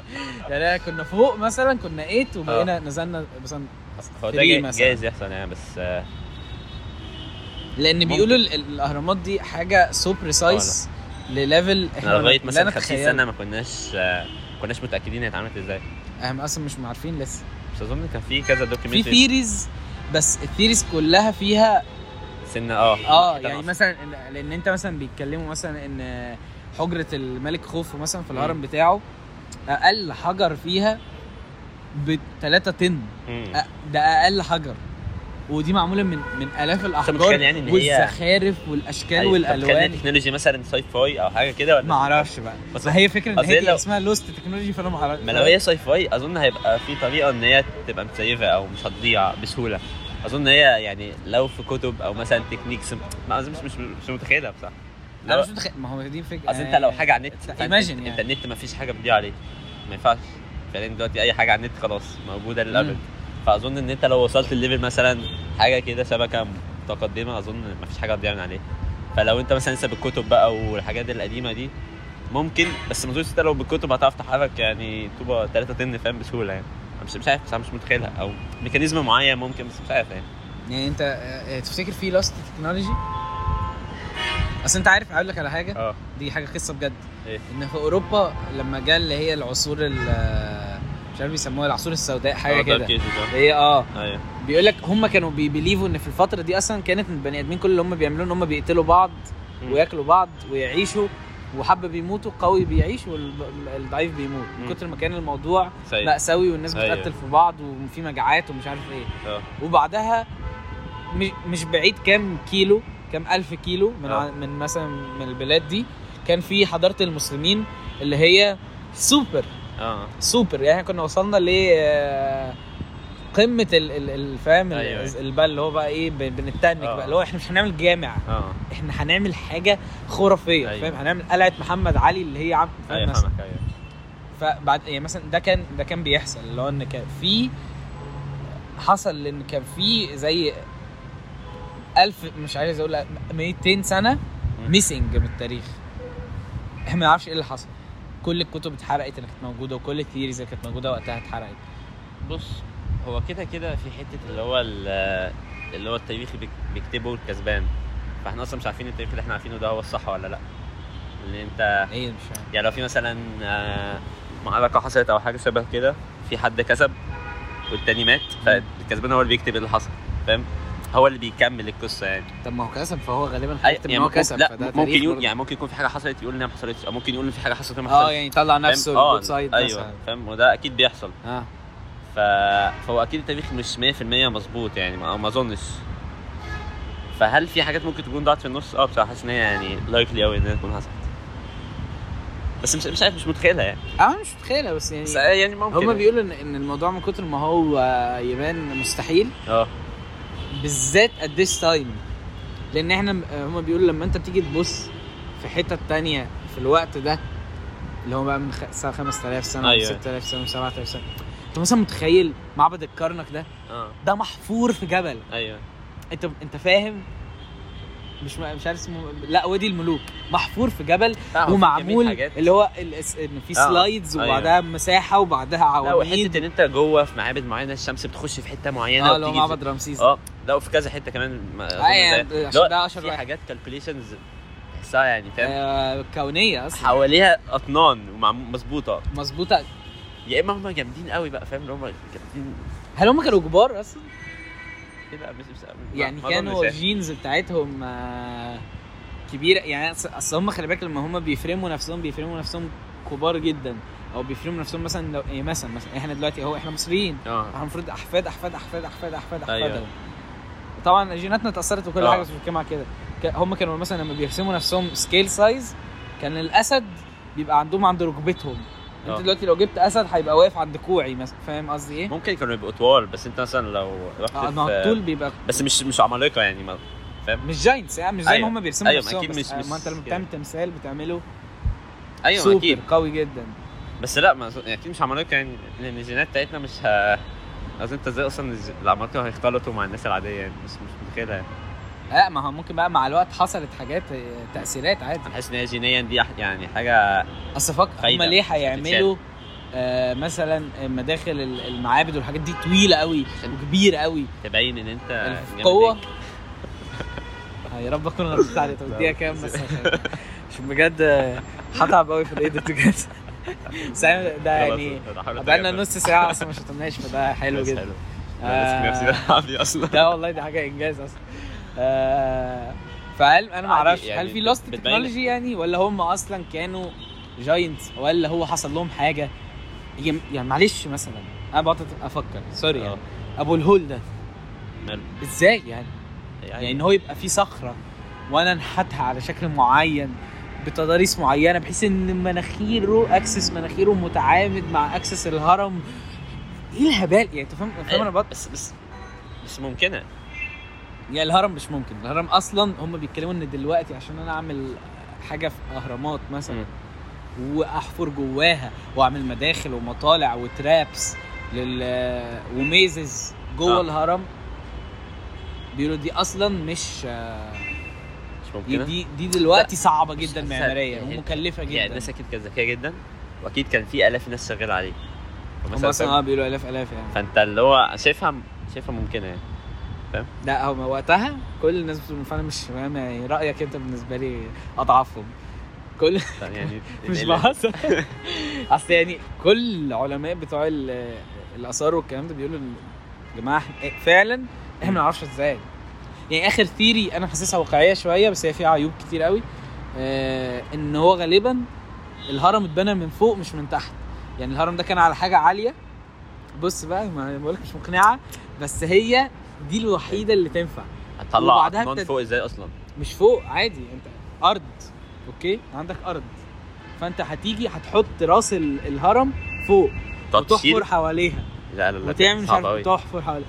يعني أنا كنا فوق مثلا كنا 8 وبقينا نزلنا مثلا آه. هو ده تري جاي- مثلا. جايز يحصل يعني بس آه، لان بيقولوا ال- ال- الاهرامات دي حاجه سو بريسايز آه، لليفل احنا ما- لغايه لا مثلا 50 نتخيله. سنه ما كناش آه، ما كناش متاكدين هي اتعملت ازاي احنا اصلا مش عارفين لسه بس اظن كان في كذا في دوكيومنتري ثيريز بس الثيريز كلها فيها سن اه اه كان يعني أصلاً. مثلا إن- لان انت مثلا بيتكلموا مثلا ان حجره الملك خوفو مثلا في الهرم بتاعه اقل حجر فيها ب 3 طن مم. أ- ده اقل حجر ودي معموله من من الاف الاحجار متخيل يعني إن هي- والزخارف والاشكال أيوة، طب كان والالوان تكنولوجي مثلا ساي فاي او حاجه كده ولا ما اعرفش بقى بس- بس هي فكره ان أصل هي هي لو- لو... اسمها لوست تكنولوجي فانا ما اعرفش ما لو هي ساي فاي اظن هيبقى في طريقه ان هي تبقى متسيفه او مش هتضيع بسهوله اظن هي يعني لو في كتب او مثلا تكنيكس ما أظن مش مش مش متخيلها بصراحه انا لو مش متخيل ما هو دي آه، فكره اصل انت لو حاجه على النت فأنت- imagine انت يعني. النت ما فيش حاجه بتضيع عليه ما ينفعش فعلا دلوقتي اي حاجه على النت خلاص موجوده للابد مم. فاظن ان انت لو وصلت الليفل مثلا حاجه كده شبكه متقدمه اظن ما فيش حاجه هتضيع من عليه فلو انت مثلا لسه بالكتب بقى والحاجات القديمه دي ممكن بس ما اظنش انت لو بالكتب هتعرف تحرك يعني طوبه 3 طن فاهم بسهوله يعني أنا مش مش عارف بس أنا مش متخيلها او ميكانيزم معين ممكن بس مش عارف يعني يعني انت آه، آه، تفتكر في لوست تكنولوجي اصل انت عارف اقول لك على حاجه اه دي حاجه قصه بجد ايه ان في اوروبا لما جه اللي هي العصور ال- مش عارف بيسموها العصور السوداء آه، حاجه كده هي اه ايوه بيقول لك هم كانوا بيبيليفوا ان في الفتره دي اصلا كانت البني ادمين كل اللي هم بيعملوه ان هم بيقتلوا بعض مم. وياكلوا بعض ويعيشوا وحبه بيموتوا قوي بيعيش والضعيف بيموت مم. من كتر ما كان الموضوع سيء مأساوي والناس أيوة. بتقتل في بعض وفي مجاعات ومش عارف ايه اه وبعدها مش مش بعيد كام كيلو كام ألف كيلو من آه. ع- من مثلا من البلاد دي كان في حضارة المسلمين اللي هي سوبر اه سوبر يعني إحنا كنا وصلنا ل آه، قمة ال- ال- الفهم ال- أيوة، أيوة. البال اللي هو بقى ايه بن- بنتنك آه. بقى اللي هو احنا مش هنعمل جامع اه احنا هنعمل حاجة خرافية أيوة. أيوة. فاهم هنعمل قلعة محمد علي اللي هي عم فاهم ايوه مثلا. فاهمك ايوه فبعد يعني مثلا ده كان ده كان بيحصل اللي هو ان كان في حصل ان كان في زي ألف مش عايز اقول 200 سنه مم. ميسنج من التاريخ احنا ما نعرفش ايه اللي حصل كل الكتب اتحرقت اللي كانت موجوده وكل الثيريز اللي كانت موجوده وقتها اتحرقت بص هو كده كده في حته اللي هو ال- اللي هو التاريخ بيك- بيكتبه الكسبان فاحنا اصلا مش عارفين التاريخ اللي احنا عارفينه ده هو الصح ولا لا اللي انت ايه مش عارف يعني لو في مثلا آه، معركه حصلت او حاجه شبه كده في حد كسب والتاني مات فالكسبان هو اللي بيكتب اللي حصل فاهم هو اللي بيكمل القصه يعني طب ما هو كسب فهو غالبا أي- هيكتب ان يعني هو ممكن- كسب لا فده ممكن تاريخ يقول برضه. يعني ممكن يكون في حاجه حصلت يقول انها ما حصلتش او ممكن يقول ان في حاجه حصلت وما حصلتش اه يعني يطلع فاهم؟ نفسه آه، الجود سايد ايوه مثلا فاهم وده اكيد بيحصل اه ف... فهو اكيد التاريخ مش 100% مظبوط يعني ما ما اظنش فهل في حاجات ممكن تكون ضاعت في النص اه بصراحه حاسس ان هي يعني لايكلي قوي ان هي تكون حصلت بس مش مش عارف مش متخيلها يعني انا مش متخيله بس يعني بس يعني ممكن هما بيقولوا ان ان الموضوع من كتر ما هو يبان مستحيل اه بالذات at this time لان احنا هما بيقولوا لما انت بتيجي تبص في حتة تانية في الوقت ده اللي هو بقى من خ- سنة 5000 سنة أيوة. أيوة. 6000 سنة 7000 سنة انت مثلا متخيل معبد الكرنك ده اه ده محفور في جبل ايوه انت انت فاهم مش مش عارف اسمه لا وادي الملوك محفور في جبل لا، هو آه، في كمية ومعمول حاجات. اللي هو ال- ان في آه، سلايدز أيوة. وبعدها مساحه وبعدها لا عواميد وحته ان انت جوه في معابد معينه الشمس بتخش في حته معينه اه اللي هو وبتيجي معبد رمسيس في... اه لا وفي كذا حته كمان ما أظن يعني زي- عشان لا، ده أشهر في واحد. حاجات كالكوليشنز تحسها يعني فاهم آه كونيه اصلا حواليها اطنان ومعمو- مظبوطه مظبوطه يا اما هم جامدين قوي بقى فاهم اللي هم جامدين إيه هل هم كانوا كبار اصلا؟ كده مش مش ما- يعني ما كانوا أظنش يعني. الجينز بتاعتهم آه، كبيره يعني أص- اصل هم خلي بالك لما هم بيفرموا نفسهم بيفرموا نفسهم كبار جدا او بيفرموا نفسهم مثلا لو إيه مثلا مثلا احنا دلوقتي اهو احنا مصريين اه احنا المفروض احفاد احفاد احفاد احفاد احفاد أيوة. احفادهم طبعا جيناتنا اتاثرت وكل آه. حاجه بس مش بتكلم على كده ك- هم كانوا مثلا لما بيرسموا نفسهم سكيل سايز كان الاسد بيبقى عندهم عند ركبتهم آه. انت دلوقتي لو جبت اسد هيبقى واقف عند كوعي مثلا فاهم قصدي ايه؟ ممكن كانوا يبقوا طوال بس انت مثلا لو رحت اه في- ما هو الطول بيبقى بس مش مش عمالقه يعني ما فاهم مش جاينتس يعني مش زي أيوة. ما هم بيرسموا أيوة، نفسهم أكيد بس مش- آه، مش ما انت لما كده. بتعمل تمثال بتعمله ايوه سوبر اكيد قوي جدا بس لا ما أظن- يعني اكيد مش عمالقه يعني لان الجينات بتاعتنا مش ه... اصل انت ازاي اصلا الز- العمالقه هيختلطوا مع الناس العاديه يعني بس مش متخيلها يعني لا ما هو ممكن بقى مع الوقت حصلت حاجات آه، تاثيرات عادي انا حاسس ان هي جينيا دي أح- يعني حاجه اصل فكر هم فايدة ليه مش هيعملوا آه مثلا مداخل ال- المعابد والحاجات دي طويله قوي وكبيره قوي تبين ان انت جامد القوه هيك. آه، يا رب اكون غلطت عليه طب اديها كام بس عشان عشان بجد آه، هتعب قوي في الايديت بجد بس أنا- ده خلاص، يعني أنا هحاول بقالنا أتجنب. نص ساعه اصلا ما شطبناش فده حلو بس جدا حلو آه. انا ماسك نفسي بالعافيه اصلا ده والله دي حاجه انجاز اصلا آه فهل انا ما عادي اعرفش يعني هل في بت- لوست بتبين. تكنولوجي يعني ولا هم اصلا كانوا جاينتس ولا هو حصل لهم حاجه يم- يعني معلش مثلا انا بقعد افكر سوري آه. أيوه. يعني ابو الهول ده ماله؟ ازاي يعني يعني ان هو يبقى في صخره وانا انحتها على شكل معين بتضاريس معينه بحيث ان مناخيره اكسس مناخيره متعامد مع اكسس الهرم ايه الهبال يعني انت فاهم فاهم انا بط... بس بس بس ممكنه يعني الهرم مش ممكن الهرم اصلا هم بيتكلموا ان دلوقتي عشان انا اعمل حاجه في اهرامات مثلا مم. واحفر جواها واعمل مداخل ومطالع وترابس لل وميزز جوه آه. آه. الهرم بيقولوا دي اصلا مش مش دي ممكنه دي, دي دلوقتي صعبه جدا حاسة- معماريا يعني- ومكلفه يعني جدا الناس اكيد كانت ذكيه جدا واكيد كان في الاف ناس شغاله عليه هم اصلا اه بيقولوا الاف الاف يعني فانت اللي هو شايفها شايفها ممكنه يعني لا هم وقتها كل الناس بتقول فانا مش فاهم يعني رايك انت بالنسبه لي اضعفهم كل يعني مش ال- بهزر اصل يعني كل العلماء بتوع ال- الاثار والكلام ده بيقولوا إن يا جماعه إحنا- فعلا احنا ما نعرفش ازاي يعني اخر ثيري انا حاسسها واقعيه شويه بس هي فيها عيوب كتير قوي آه ان هو غالبا الهرم اتبنى من فوق مش من تحت يعني الهرم ده كان على حاجه عاليه بص بقى ما بقولك مش مقنعه بس هي دي الوحيده اللي تنفع هتطلع وبعدها عضمان بتد- فوق ازاي اصلا مش فوق عادي انت ارض اوكي عندك ارض فانت هتيجي هتحط راس ال- الهرم فوق تقعد تشيل وتحفر حواليها لا لا لا وتعمل مش صعبه عارف قوي تحفر حواليها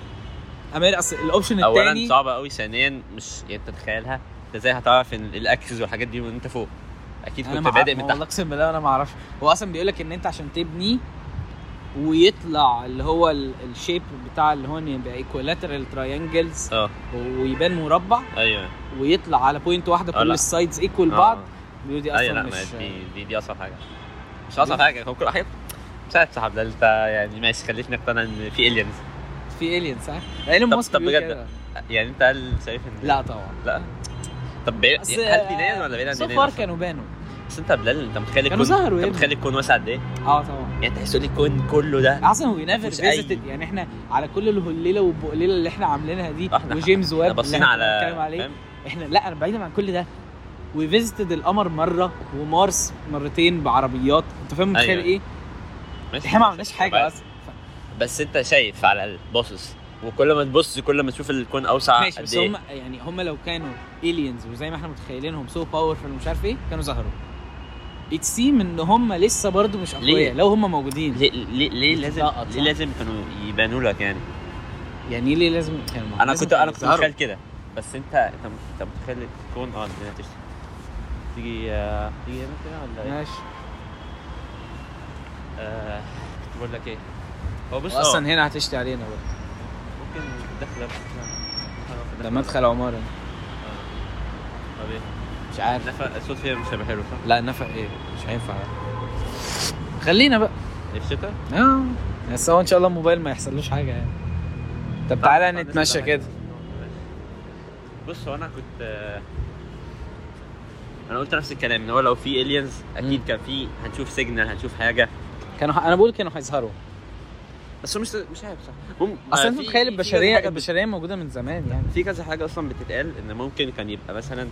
امير اصل الاوبشن اولا الثاني صعبه قوي ثانيا مش يعني انت تتخيلها انت ازاي هتعرف ان الاكسس والحاجات دي وانت فوق اكيد انا كنت ما بادئ بادئ من والله تحت اقسم بالله انا ما اعرفش هو اصلا بيقول لك ان انت عشان تبني ويطلع اللي هو الشيب بتاع اللي هون يبقى ايكولاترال تراينجلز اه ويبان مربع ايوه ويطلع على بوينت واحده اه، كل لا. السايدز ايكوال بعض آه. بيقولوا دي ايوه لا اصلا ما مش دي دي, دي اصعب حاجه مش اصعب حاجه هو كل حاجه مش عارف صاحب ده انت يعني ماشي خليتني اقتنع ان في الينز في الين صح؟ ايلون طب- ماسك طب بيقول بجد. كده. يعني انت هل شايف ان لا طبعا لا طب بعيد بس- يعني آه، هل دينيا ولا بعيد عن so دينيا؟ far أصلاً؟ كانوا بانوا بس انت يا بلال انت متخيل كانوا الكون ظهروا انت يا متخيل الكون واسع قد ايه؟ اه طبعا يعني تحس لي الكون كله ده اصلا وي نيفر مفيش أي- فيزيتد يعني احنا على كل الهليله والبقليله اللي احنا عاملينها دي آه، احنا وجيمس واب اللي احنا باصين احنا على بنتكلم عليه فاهم؟ احنا لا انا بعيدا عن كل ده وي فيزيتد القمر مره ومارس مرتين بعربيات انت فاهم متخيل أيوة. ايه؟ ماشي. احنا ما عملناش حاجه طبعاً. اصلا ف- بس انت شايف على الاقل باصص وكل ما تبص كل ما تشوف الكون اوسع ماشي قد بس ايه هم يعني هم لو كانوا الينز وزي ما احنا متخيلينهم سو باورفل ومش عارف ايه كانوا ظهروا ات سيم ان هم لسه برضو مش ليه؟ اقوياء لو هم موجودين ليه ليه, ليه لازم بتتلقط، ليه صح؟ لازم كانوا يبانوا لك يعني يعني ليه لازم كانوا انا لازم يعني كنت انا كانوا كنت يظهروا. متخيل كده بس انت انت انت متخيل الكون اه الدنيا تشتي تيجي آه، تيجي هنا كده ولا ايه؟ ماشي آه، كنت بقول لك ايه؟ هو بص اه، اصلا هنا هتشتي علينا بقى ممكن داخله ده مدخل عماره طب ايه؟ مش عارف نفق الصوت فيها مش هيبقى حلو صح؟ لا نفق ايه مش هينفع خلينا بقى في الشتاء؟ اه بس هو ان شاء الله الموبايل ما يحصلوش حاجه يعني طب تعالى نتمشى كده بص هو انا كنت آه، انا قلت نفس الكلام ان هو لو في الينز اكيد مم. كان في هنشوف سيجنال هنشوف حاجه كانوا ح- انا بقول كانوا هيظهروا بس هو مش مش عارف صح مم... اصلا آه، انت في- متخيل في- في كذا البشريه حاجة بت- البشريه موجوده من زمان يعني في كذا حاجه اصلا بتتقال ان ممكن كان يبقى مثلا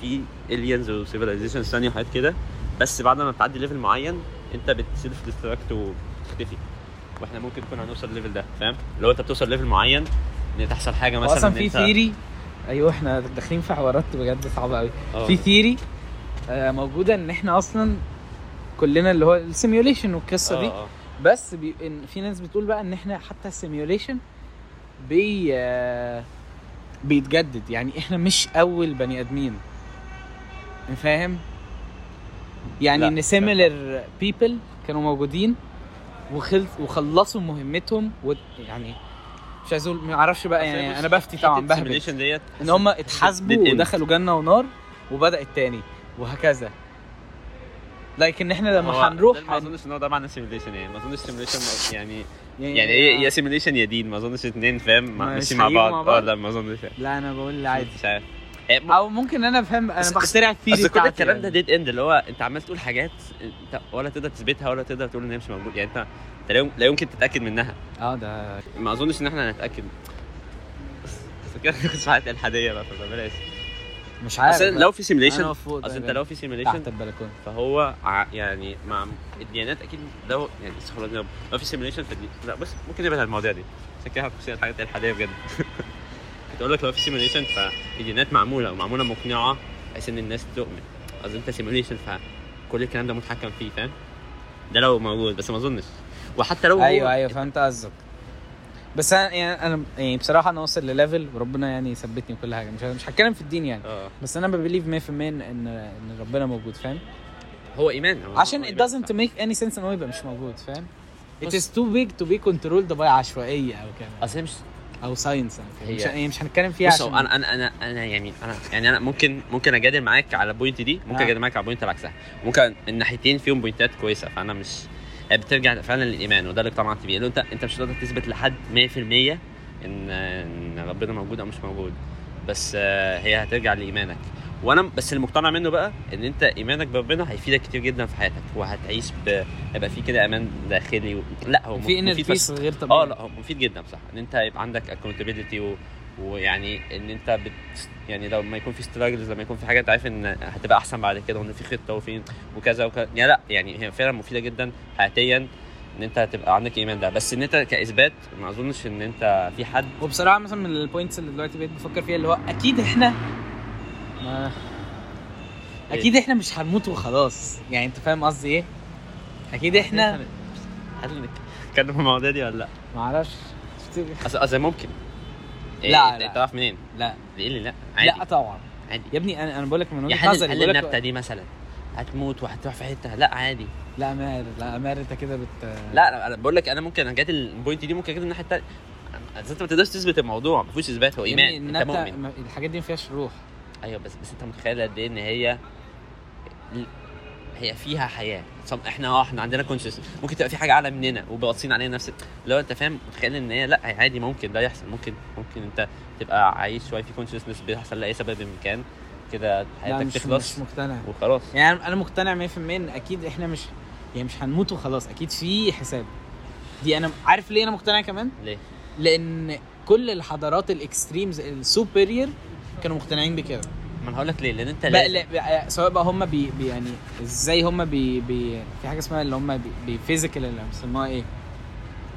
في الينز وسيفيلايزيشن ثانيه وحاجات كده بس بعد ما بتعدي ليفل معين انت بتسيلف ديستراكت وبتختفي واحنا ممكن نكون هنوصل الليفل ده فاهم لو انت بتوصل ليفل معين ان تحصل حاجه مثلا اصلا إن في انت- ثيري ايوه احنا داخلين في حوارات بجد صعبه قوي آه. في آه، ثيري موجوده ان احنا اصلا كلنا اللي هو السيميوليشن والقصه دي آه، آه. بس بي... إن في ناس بتقول بقى ان احنا حتى السيميوليشن بي آه، بيتجدد يعني احنا مش اول بني ادمين فاهم يعني لا، ان مش سيميلر بيبل كانوا موجودين وخلص وخلصوا مهمتهم و... يعني مش عايز اقول ما اعرفش آه. بقى يعني انا بفتي طبعا بهبل السيميليشن ديت ان هم Dead اتحاسبوا end. ودخلوا جنه ونار وبدا التاني وهكذا لكن احنا هو لما هنروح ده ما هن- اظنش ان هو ده معنى السيميليشن يعني ما اظنش السيميليشن يعني يعني, يعني هي يا سيميليشن يا دين ما اظنش اتنين فاهم ما ماشيين مش مع هيجوا بعض مع اه بعض. لا ما اظنش يعني. لا انا بقول عادي مش عارف إيه، م- او ممكن انا افهم انا بس- بخترع الثيري اصل كل بتاعتي الكلام ده يعني. ديد اند اللي هو انت عمال تقول حاجات انت ولا تقدر تثبتها ولا تقدر تقول ان هي مش موجوده يعني انت أنت لا يم- لا يمكن تتاكد منها اه ده ما اظنش ان احنا هنتاكد بس بس كده مش هتلاقي الحاديه بقى فبلاش مش عارف اصل لو في أنا سيميليشن فوق اصل انت ده. لو في سيميليشن تحت البلكونه فهو ع- يعني مع الديانات اكيد لو يعني استغفر الله العظيم، لو في سيميليشن فدي لا بس ممكن نبعد عن المواضيع دي عشان كده هتخش الحاجات الحاديه بجد كنت اقول لك لو في سيميليشن فالديانات معموله ومعموله مقنعه بحيث ان الناس تؤمن قصدي انت سيميليشن فكل الكلام ده متحكم فيه فاهم ده لو موجود بس ما اظنش وحتى لو هو- ايوه ايوه فهمت قصدك بس انا يعني انا يعني بصراحه انا واصل لليفل وربنا يعني يثبتني وكل حاجه مش مش هتكلم في الدين يعني اه بس انا ببليف 100% ان ان ربنا موجود فاهم هو ايمان هو- عشان هو it إيمان. doesn't make any sense ان هو يبقى مش موجود فاهم It بص. is too big to be controlled by عشوائية أو كده اصل هي مش أو ساينس هي- مش يعني مش هنتكلم فيها بص عشان هو انا انا انا انا يعني انا يعني انا ممكن ممكن اجادل معاك على البوينت دي ممكن آه. اجادل معاك على البوينت اللي عكسها ممكن الناحيتين فيهم بوينتات كويسه فانا مش هي بترجع فعلا للايمان وده اللي اقتنعت بيه لو انت انت مش هتقدر تثبت لحد 100% ان ان ربنا موجود او مش موجود بس آه، هي هترجع لايمانك وانا بس اللي مقتنع منه بقى ان انت ايمانك بربنا هيفيدك كتير جدا في حياتك وهتعيش ب... هيبقى في كده امان داخلي و... لا هو في مفيد انر بس بيس غير طبيعي اه لا هو مفيد جدا بصح ان انت يبقى عندك اكونتابيلتي و... ويعني ان انت بت... يعني لما يكون في ستراجلز لما يكون في حاجه انت عارف ان هتبقى احسن بعد كده وان في خطه وفين وكذا وكذا يعني لا يعني هي فعلا مفيده جدا حياتيا ان انت هتبقى عندك ايمان ده بس ان انت كاثبات ما اظنش ان انت في حد وبصراحه مثلا من البوينتس اللي دلوقتي بقيت بفكر فيها اللي هو اكيد احنا ما إيه؟ اكيد احنا مش هنموت وخلاص يعني انت فاهم قصدي ايه اكيد احنا هل نتكلم في المواضيع دي ولا لا؟ ما اعرفش شفت- اصل اصل ممكن إيه، لا، انت لا. انت تعرف منين؟ لا ليه اللي لا عادي لا طبعا يا عادي ابني انا انا بقول لك من يا وجهه حد نظري قال بقول النبته لك دي مثلا هتموت وهتروح في حته لا عادي لا ماهر لا ماهر انت كده بت لا أنا- انا بقول لك انا ممكن انا جات البوينت دي ممكن اجيب الناحيه الثانيه انت ما تقدرش تثبت الموضوع ما فيهوش اثبات هو يا ايمان ابني انت النبتة- مؤمن ما- الحاجات دي ما فيهاش روح ايوه بس بس انت متخيل قد ايه ان هي هي فيها حياه صم- احنا اه احنا عندنا كونشس ممكن تبقى في حاجه اعلى مننا وباصين علينا نفس لو انت فاهم متخيل ان هي لا عادي ممكن ده يحصل ممكن ممكن انت تبقى عايش شويه في كونشسنس بيحصل لاي سبب من كان كده لا حياتك مش مش تخلص مقتنع وخلاص يعني أنا- انا مقتنع 100% ان اكيد احنا مش يعني مش هنموت وخلاص اكيد في حساب دي انا عارف ليه انا مقتنع كمان ليه؟ لان كل الحضارات الاكستريمز السوبريور كانوا مقتنعين بكده ما انا هقول لك ليه لان انت بقى لازم- لا- بقى سواء بقى هم بي, بي يعني ازاي هم بي, بي في حاجه اسمها اللي هم بفيزيكال اللي بيسموها ايه؟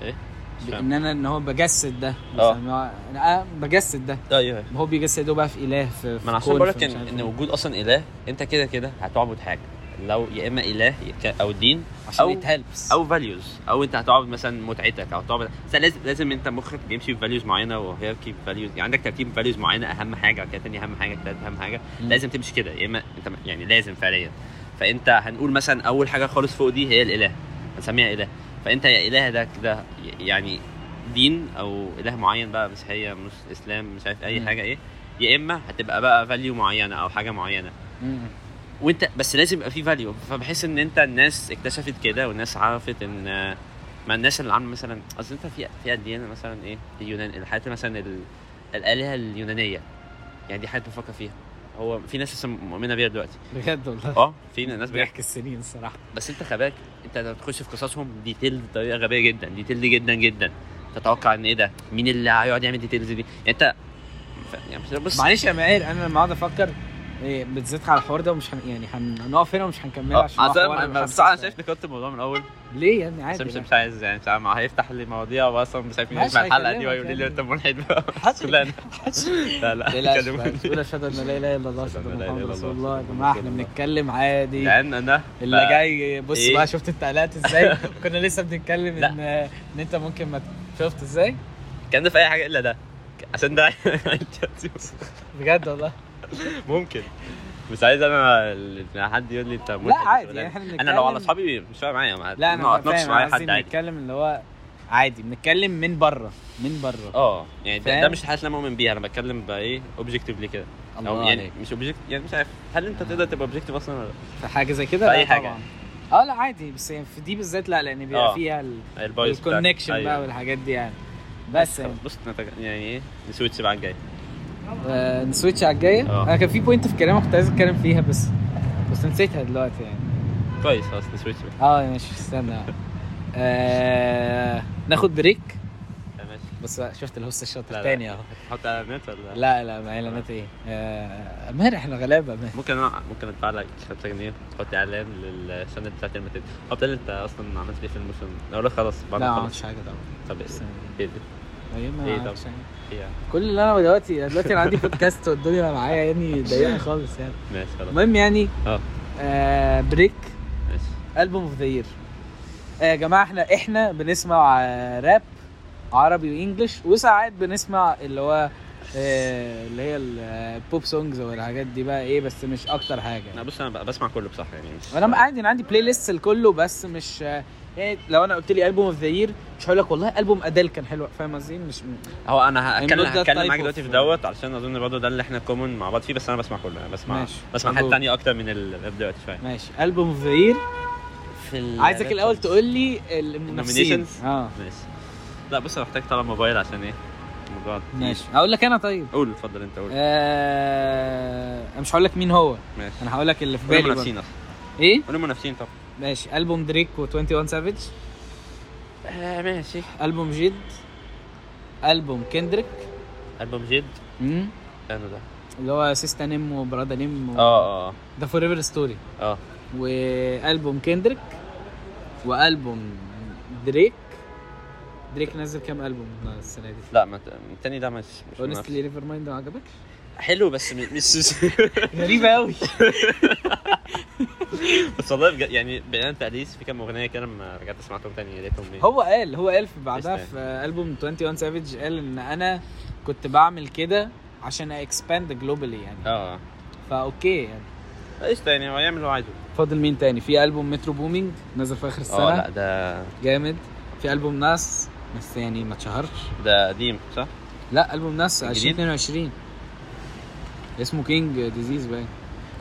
ايه؟ مش ب- فاهم. ان انا ان هو بجسد ده اه. بيسموها- انا آه، بجسد ده ايوه هو بيجسده بقى في اله في إيه. ما انا عشان بقول لك ان ان وجود اصلا اله انت كده كده هتعبد حاجه لو يا اما اله يا ك- او دين او أو- او فاليوز او انت هتعبد مثلا متعتك او هتعبد بس لازم لازم انت مخك بيمشي في فاليوز معينه وهيركي فاليوز يعني عندك ترتيب فاليوز معينه اهم حاجه كده تاني اهم حاجه تالت اهم حاجه لازم تمشي كده يا اما انت يعني لازم فعليا فانت هنقول مثلا اول حاجه خالص فوق دي هي الاله هنسميها اله فانت يا اله ده كده يعني دين او اله معين بقى مسيحيه مش اسلام مش عارف اي مم. حاجه ايه يا اما هتبقى بقى فاليو معينه او حاجه معينه وانت بس لازم يبقى في فاليو فبحس ان انت الناس اكتشفت كده والناس عرفت ان آه، ما الناس اللي عامله مثلا اصل انت في في اديان مثلا ايه اليونان الحاجات مثلا ال- الالهه اليونانيه يعني دي حاجه بفكر فيها هو في ناس لسه مؤمنه بيها دلوقتي بجد والله اه في ناس بجد بيحكي السنين الصراحه بس انت خباك انت لو تخش في قصصهم ديتيل بطريقه غبيه جدا ديتيل جدا جدا تتوقع ان ايه ده مين اللي هيقعد يعمل ديتيلز دي يعني انت ف- يعني بس- بص معلش يا ماهر انا لما اقعد افكر إيه، بتزيد على الحوار ده ومش هن... يعني هنقف هنا ومش هنكملها اه، عشان هو اصل حوار انا- بيبقى بس انا خمسة شايف نكت الموضوع من الاول وسبعين. ليه يا ابني بس عادي مش يعني. مش عايز يعني مش عارف هيفتح لي مواضيع واصلا مش عارف مين ماشي، يسمع الحلقه دي هيكلمك ويقول لي يعني. انت ملحد بقى حصل. كلنا لا لا لا كلموني. بقول اشهد ان لا اله الا الله أشهد اشهد أن لا ان إله محمد إلا رسول الله الله، يا أشهد أن جماعه احنا محمد رسول الله. بنتكلم عادي لان انا اللي ف- جاي بص إيه؟ بقى شفت التقلات ازاي كنا لسه بنتكلم لا. ان ان انت ممكن ما ت- شفت ازاي كان ده في اي حاجه الا ده عشان ده بجد والله ممكن مش عايز انا ال- حد يقول لي انت ملحد عادي، ولا- يعني احنا انا لو على بنتكلم- اصحابي مش فارق معايا ما- لا ما انا اتناقش فاهم معايا انا حد قصدي عادي بنتكلم اللي هو عادي بنتكلم من بره من بره اه يعني ده, فاهم؟ ده مش حاجه انا مؤمن بيها انا بتكلم بقى ايه اوبجكتيفلي كده او الله يعني يعني مش اوبجكت يعني مش عارف هل انت تقدر تبقى اوبجكتيف اصلا ولا في حاجه زي كده في أي لا حاجة. طبعا اه لا عادي بس يعني في دي بالذات لا لان بيبقى آه. فيها ال- لا؟ البايظ بتاعك. الكونكشن أيوة. بقى والحاجات دي يعني بس يعني خلاص، بص نتج- يعني ايه نسويتش بقى على الجاي آه، نسويتش على الجايه آه. انا كان في بوينت في كلامك كنت عايز اتكلم فيها بس بس نسيتها دلوقتي يعني كويس خلاص نسويتش بقى اه ماشي استنى آه... ناخد بريك ماشي بس شفت الهوست الشاطر لا، تاني لا. اهو حط على النت ولا لا لا ما اعلانات ايه آه... ماهر احنا غلابه ماهر ممكن انا ممكن ادفع لك 5 جنيه تحط اعلان للشانل بتاعت المتد هو بتقول انت اصلا عملت ايه في الموسم اقول لك خلاص بعد لا ما ما خلص عملتش حاجه طبعا طب بس ايه يعني- ايه ده؟ أيوة، ما إيه طب؟ عملتش حاجة. ايه يعني؟ كل اللي انا دلوقتي دلوقتي انا عندي بودكاست والدنيا معايا يعني ضايقني خالص يعني ماشي خلاص المهم يعني اه آه... بريك ماشي البوم اوف ذا يير آه، يا جماعه احنا احنا بنسمع آه، راب عربي وانجلش وساعات بنسمع اللي هو آه، اللي هي البوب سونجز والحاجات دي بقى ايه بس مش اكتر انا حاجه بص انا ب- بسمع كله بصراحه يعني مش انا عادي انا عندي بلاي ليست لكله بس مش آه، يعني لو انا قلت لي البوم اوف ذا يير مش هقول لك والله البوم اديل كان حلو فاهم قصدي مش هو انا هتكلم not that هتكلم type معاك of- دلوقتي في دوت علشان اظن برضه ده اللي احنا كومن مع بعض فيه بس انا بسمع كله انا بسمع ماشي. بسمع حاجات مبروك. تانية اكتر من الراب دلوقتي شويه ماشي البوم اوف ذا يير في عايزك الاول تقول لي المنافسين Nominations؟ اه ماشي لا بص انا محتاج طلب موبايل عشان ايه الموضوع تقيل. ماشي هقول لك انا طيب قول اتفضل انت قول آه... أنا مش هقول لك مين هو ماشي انا هقول لك اللي في قول بالي بقى. المنافسين اصلا ايه قول المنافسين طب ماشي البوم دريك و21 سافيج آه ماشي البوم جد البوم كندريك البوم جد مم. انا ده اللي هو سيستا نيم وبرادا نيم و... اه اه ده فور ايفر ستوري اه والبوم كندريك والبوم دريك دريك نزل كام البوم السنه دي لا ما ت- التاني ده مش مش اونستلي منافس. ريفر مايند ما عجبكش حلو بس م- مش غريبه قوي بس والله بجد يعني بيان تقليص في كام اغنيه كده لما رجعت سمعتهم تاني يا ريتهم ايه هو قال هو قال في بعدها إيش في البوم 21 سافيج قال ان انا كنت بعمل كده عشان اكسباند جلوبالي يعني اه آه. فاوكي يعني ايش تاني هو يعمل اللي هو عايزه فاضل مين تاني في البوم مترو بومينج نزل في اخر اه السنه لا ده جامد في البوم ناس بس يعني ما اتشهرش ده قديم صح؟ لا البوم ناس الجديد؟ 2022 اسمه كينج ديزيز باين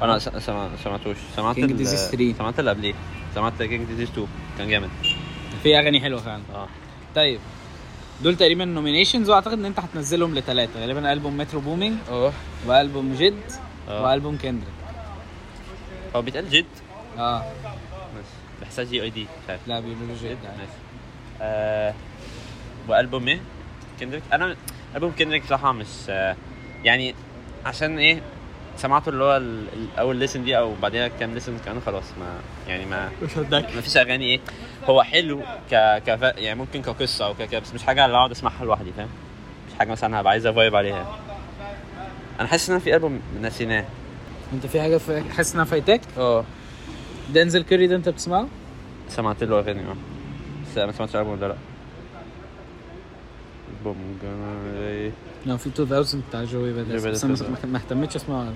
انا س- سمع... سمعتوش سمعت آه. King ال- Disease 3. سمعت اللي قبليه سمعت كينج ديزيز 2 كان جامد في اغاني حلوه فعلا اه طيب دول تقريبا نومينيشنز واعتقد ان انت هتنزلهم لثلاثه غالبا البوم مترو بومينج اه والبوم جد آه. والبوم كندريك هو بيتقال جد اه ماشي بحسها جي اي دي مش عارف لا بيقولوا جد يعني. ماشي آه... والبوم ايه؟ كندريك انا البوم كندريك بصراحه مش آه... يعني عشان ايه سمعته اللي هو ال- الاول ليسن دي او بعدين كام ليسن كمان خلاص ما يعني ما مش هتذاكر ما فيش اغاني ايه هو حلو ك ك يعني ممكن كقصه او كده بس مش حاجه اللي اقعد اسمعها لوحدي فاهم مش حاجه مثلا هبقى عايز افايب عليها انا حاسس ان انا في البوم نسيناه انت في حاجه في... حاسس انها فايتاك اه دنزل كيري ده انت بتسمعه سمعت له اغاني اه بس ما سمعتش الالبوم ده لا البوم جاي- لو في 2000 بتاع جوي بدأ جوي بس بدأ. انا ما- ما اهتمتش اسمعه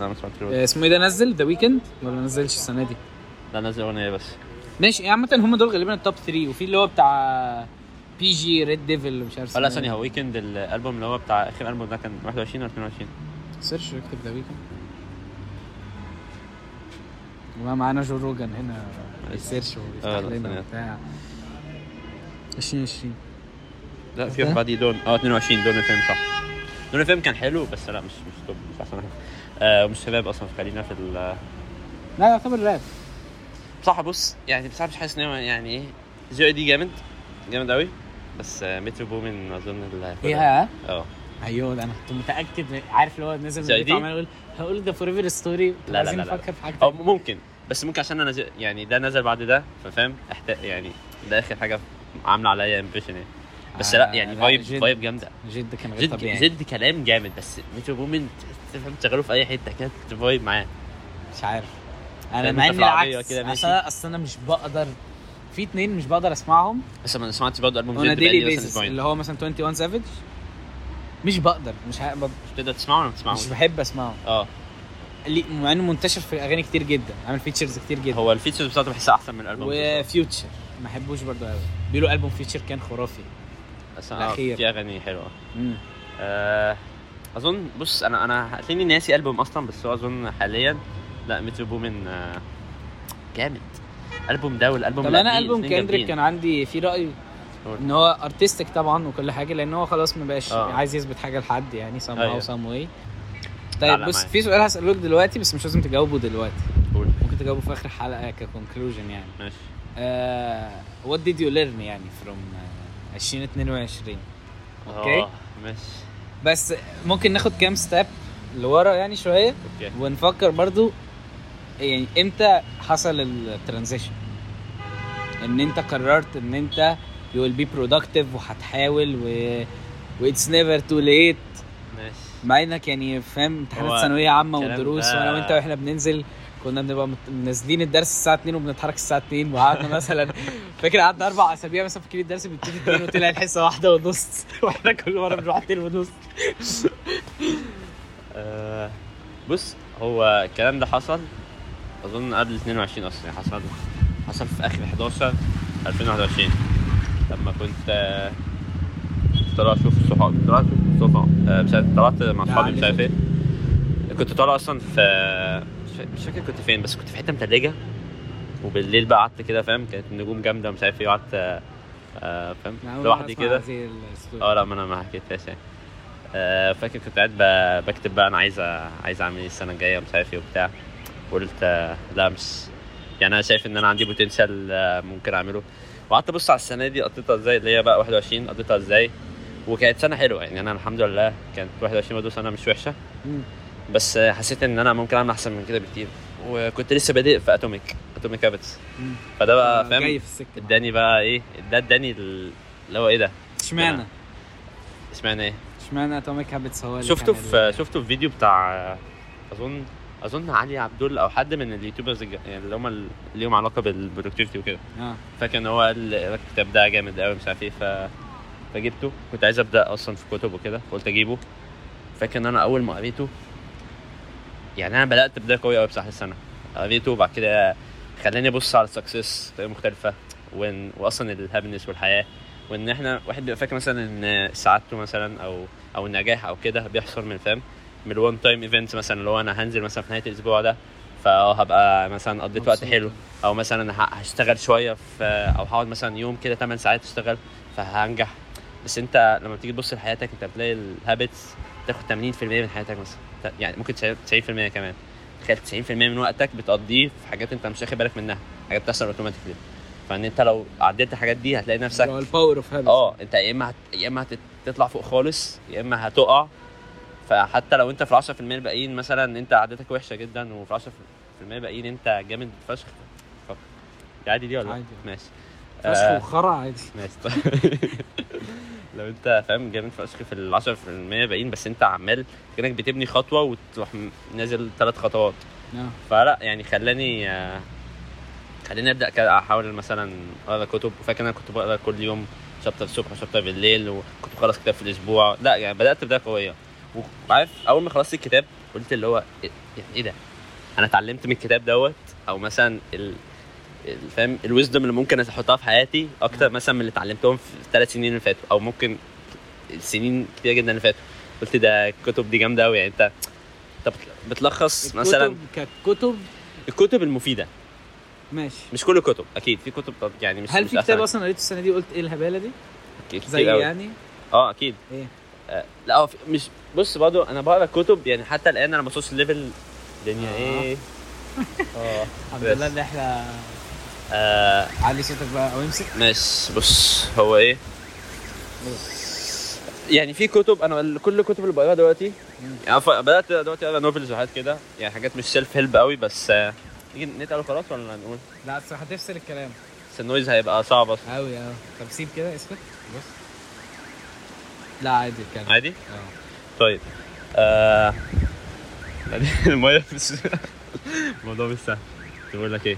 لا ما سمعتش آه، له اسمه ايه ده نزل ذا ويكند ولا ما نزلش السنه دي لا نزل اغنيه بس ماشي يعني عامه هم دول غالبا التوب 3 وفي اللي هو بتاع بي جي ريد ديفل مش عارف إيه. اه لا ثانيه هو ويكند الالبوم اللي هو بتاع اخر البوم ده كان 21 ولا 22 سيرش اكتب ذا ويكند وما معانا جو روجان هنا السيرش آه، ويفتح لا، لنا وبتاع ثانية. 2020 لا في ده؟ واحد بعديه دون اه 22 دون فيلم صح دون فيلم كان حلو بس لا مش مش توب مش احسن حاجه آه ومش شباب اصلا خلينا في ال لا يعتبر راب طيب. بصراحه بص يعني بصراحه مش حاسس ان هو يعني ايه جي دي جامد جامد قوي بس آه مترو بومن اظن اللي هياخدها. ايه اه ايوه ده انا كنت متاكد من- عارف اللي هو نزل من زي البيت دي؟ وعمال يقول هقول ده فور ايفر ستوري لا، لا، لا. نفكر في حاجه او تانية. ممكن بس ممكن عشان انا زي- يعني ده نزل بعد ده ففاهم احتاج يعني ده اخر حاجه عامله عليا امبريشن يعني بس آه، لا يعني لا، فايب جد. فايب جامده جد كان غير جد طبيعي جد كلام جامد بس مترو بومن تفهم تشغله في اي حته كده تفايب معاه مش عارف انا فاهم مع انت اني في العربية العكس كده ماشي. اصل أنا- اصل انا مش بقدر في اتنين مش بقدر اسمعهم بس ما سمعتش برضه البوم اون جد بقالي ديلي مثلا بيزس اسبوعين اللي هو مثلا 21 سافيج مش بقدر مش ه... ب- تقدر تسمعه ولا ما مش تسمعوش؟ بحب اسمعه اه ليه- مع انه منتشر في اغاني كتير جدا عامل فيتشرز كتير جدا هو الفيتشرز بتاعته بحسها احسن من الالبوم وفيوتشر ما احبوش برضه قوي بيقولوا البوم فيتشر كان خرافي عشان آه، الأخير. في اغاني حلوه امم آه، اظن بص انا انا هتلاقيني ناسي البوم اصلا بس هو اظن حاليا لا مترو بومن آه، جامد البوم ده والالبوم طب اللي انا قبليه البوم الاتنين كندريك جامدين. كان عندي في راي قول. ان هو ارتستيك طبعا وكل حاجه لان هو خلاص ما بقاش آه. عايز يثبت حاجه لحد يعني سام أيوة. هاو سام واي لا، طيب لا، بص معاك. في سؤال هساله لك دلوقتي بس مش لازم تجاوبه دلوقتي قول ممكن تجاوبه في اخر حلقه ككونكلوجن يعني ماشي آه what did you learn يعني from آه، 2022 اوكي آه، ماشي بس ممكن ناخد كام ستيب لورا يعني شويه اوكي ونفكر برضو يعني امتى حصل الترانزيشن ان انت قررت ان انت you will be productive وهتحاول و واتس نيفر تو ليت ماشي مع انك يعني فاهم امتحانات هو ثانويه عامه الكلام والدروس ده- وانا وانت واحنا بننزل كنا بنبقى مت- نازلين الدرس الساعه 2 وبنتحرك الساعه 2 وقعدنا مثلا فاكر قعدنا اربع اسابيع مثلا فاكرين الدرس بيبتدي 2 وطلع الحصه واحده ونص واحنا كل مره بنروح 2 ونص آه، بص هو الكلام ده حصل اظن قبل 22 اصلا يعني حصل حصل في اخر 11 2021 لما كنت آه، طالع اشوف صحابي طلعت صدفه آه، مش عارف طلعت مع صحابي مش عارف ايه كنت طالع اصلا في مش فا- مش فاكر كنت فين بس كنت في حته متلجه وبالليل بقى قعدت كده فاهم كانت النجوم جامده ومش عارف ايه قعدت آه، آه، فاهم لوحدي كده زي الستوري. اه لا ما انا ما حكيتهاش يعني آه، فاكر كنت قاعد ب- بكتب بقى انا عايز أ- عايز اعمل ايه السنه الجايه ومش عارف ايه وبتاع قلت آه، لا مش يعني انا شايف ان انا عندي بوتنشال ممكن اعمله وقعدت ابص على السنه دي قضيتها ازاي اللي هي بقى 21 قضيتها ازاي وكانت سنه حلوه يعني انا الحمد لله كانت 21 برضه سنه مش وحشه مم. بس آه، حسيت ان انا ممكن اعمل احسن من كده بكتير وكنت لسه بادئ في اتوميك اتوميك هابتس مم. فده بقى جاي فاهم في السكه اداني بقى ايه ده اداني ال- اللي هو ايه ده اشمعنى اشمعنى ايه اشمعنى اتوميك هابتس هو اللي شفته كان في شفته في فيديو بتاع اظن اظن علي عبدول او حد من اليوتيوبرز الج- يعني اللي هم اللي ليهم علاقه بالبرودكتيفيتي وكده ال- اه فاكر ان هو قال الكتاب ده جامد قوي مش عارف ايه ف فجبته كنت عايز ابدا اصلا في كتب وكده فقلت اجيبه فاكر ان انا اول ما قريته يعني انا بدات بدايه قويه قوي بصراحه السنه قريته وبعد كده خلاني ابص على السكسس بطريقه مختلفه وان واصلا الهابنس والحياه وان احنا واحد بيبقى فاكر مثلا ان سعادته مثلا او او النجاح او كده بيحصل من فاهم من الوان تايم ايفنت مثلا اللي هو انا هنزل مثلا في نهايه الاسبوع ده فهبقى مثلا قضيت وقت مبسوط. حلو او مثلا ه- هشتغل شويه في او هقعد مثلا يوم كده 8 ساعات اشتغل فهنجح بس انت لما بتيجي تبص لحياتك انت بتلاقي الهابتس تاخد 80% من حياتك مثلا ت- يعني ممكن 90% كمان تخيل 90% من وقتك بتقضيه في حاجات انت مش واخد بالك منها حاجات بتحصل اوتوماتيكلي فان انت لو عديت الحاجات دي هتلاقي نفسك هو الباور اوف هابتس اه انت يا اما هت... يا اما هتطلع فوق خالص يا اما هتقع فحتى لو انت في 10% الباقيين مثلا انت عادتك وحشه جدا وفي 10% الباقيين انت جامد فشخ ف- دي عادي دي ولا عادي. ماشي آه. فشخ وخرع عادي ماشي طيب. لو انت فاهم جامد فشخ في ال 10% الباقيين بس انت عمال كانك بتبني خطوه وتروح م- نازل ثلاث خطوات اه فلا يعني خلاني آه، خلاني ابدا كده احاول مثلا اقرا كتب وفاكر إن انا كنت بقرا كل يوم شابتر الصبح وشابتر بالليل وكنت بخلص كتاب في الاسبوع لا يعني بدات بدايه قويه وعارف اول ما خلصت الكتاب قلت اللي هو إيه- يعني ايه ده انا اتعلمت من الكتاب دوت او مثلا ال ال- فاهم الويزدم اللي ممكن احطها في حياتي اكتر مثلا من اللي اتعلمتهم في الثلاث سنين اللي فاتوا او ممكن السنين كتير جدا اللي فاتوا قلت ده الكتب دي جامده قوي يعني انت طب بتلخص مثلا الكتب ككتب الكتب المفيده ماشي مش كل الكتب اكيد في كتب طب يعني مش هل مش في كتاب أحسن اصلا قريته السنه دي قلت ايه الهباله دي كتير زي أوي. يعني اه اكيد ايه آه لا هو في- مش بص برضو انا بقرا كتب يعني حتى الان انا ما وصلتش ليفل دنيا آه. ايه اه الحمد بس. لله ان احنا آه علي صوتك بقى او امسك ماشي بص هو ايه يعني في كتب انا ال- كل الكتب اللي بقراها دلوقتي مم. يعني ف- بدات دلوقتي اقرا نوفلز وحاجات كده يعني حاجات مش سيلف هيلب قوي بس آه، نيجي نتقل خلاص ولا نقول لا اصل هتفصل الكلام بس النويز هيبقى صعب اصلا قوي قوي طب سيب كده اسكت بص لا عادي الكلام عادي اه طيب آه... إيه؟ المية مش الموضوع مش سهل بقول لك ايه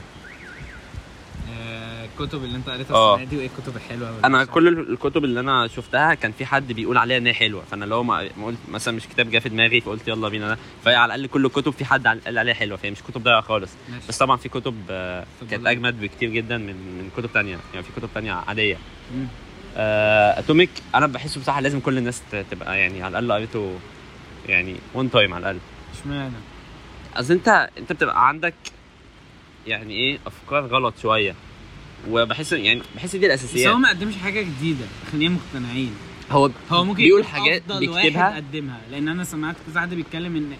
آه، الكتب اللي انت قريتها آه. السنه دي وايه الكتب الحلوه واللي انا مش عارف. كل الكتب اللي انا شفتها كان في حد بيقول عليها ان هي حلوه فانا لو ما ما قلت مثلا مش كتاب جه في دماغي فقلت يلا بينا ده فهي على الاقل كل الكتب في حد قال عليها حلوه فهي مش كتب ضايعه خالص ماشي. بس طبعا في كتب آه، طب كانت والله. اجمد بكتير جدا من من كتب تانية يعني في كتب تانية عاديه مم. اتوميك انا بحسه بصراحه لازم كل الناس ت- تبقى يعني على الاقل قريته يعني وان تايم على الاقل اشمعنى اصل انت انت بتبقى عندك يعني ايه افكار غلط شويه وبحس يعني بحس دي بس هو الاساسيات ما قدمش حاجه جديده خلينا مقتنعين هو هو ممكن بيقول يكون حاجات أفضل بيكتبها واحد قدمها لان انا سمعت كذا حد بيتكلم ان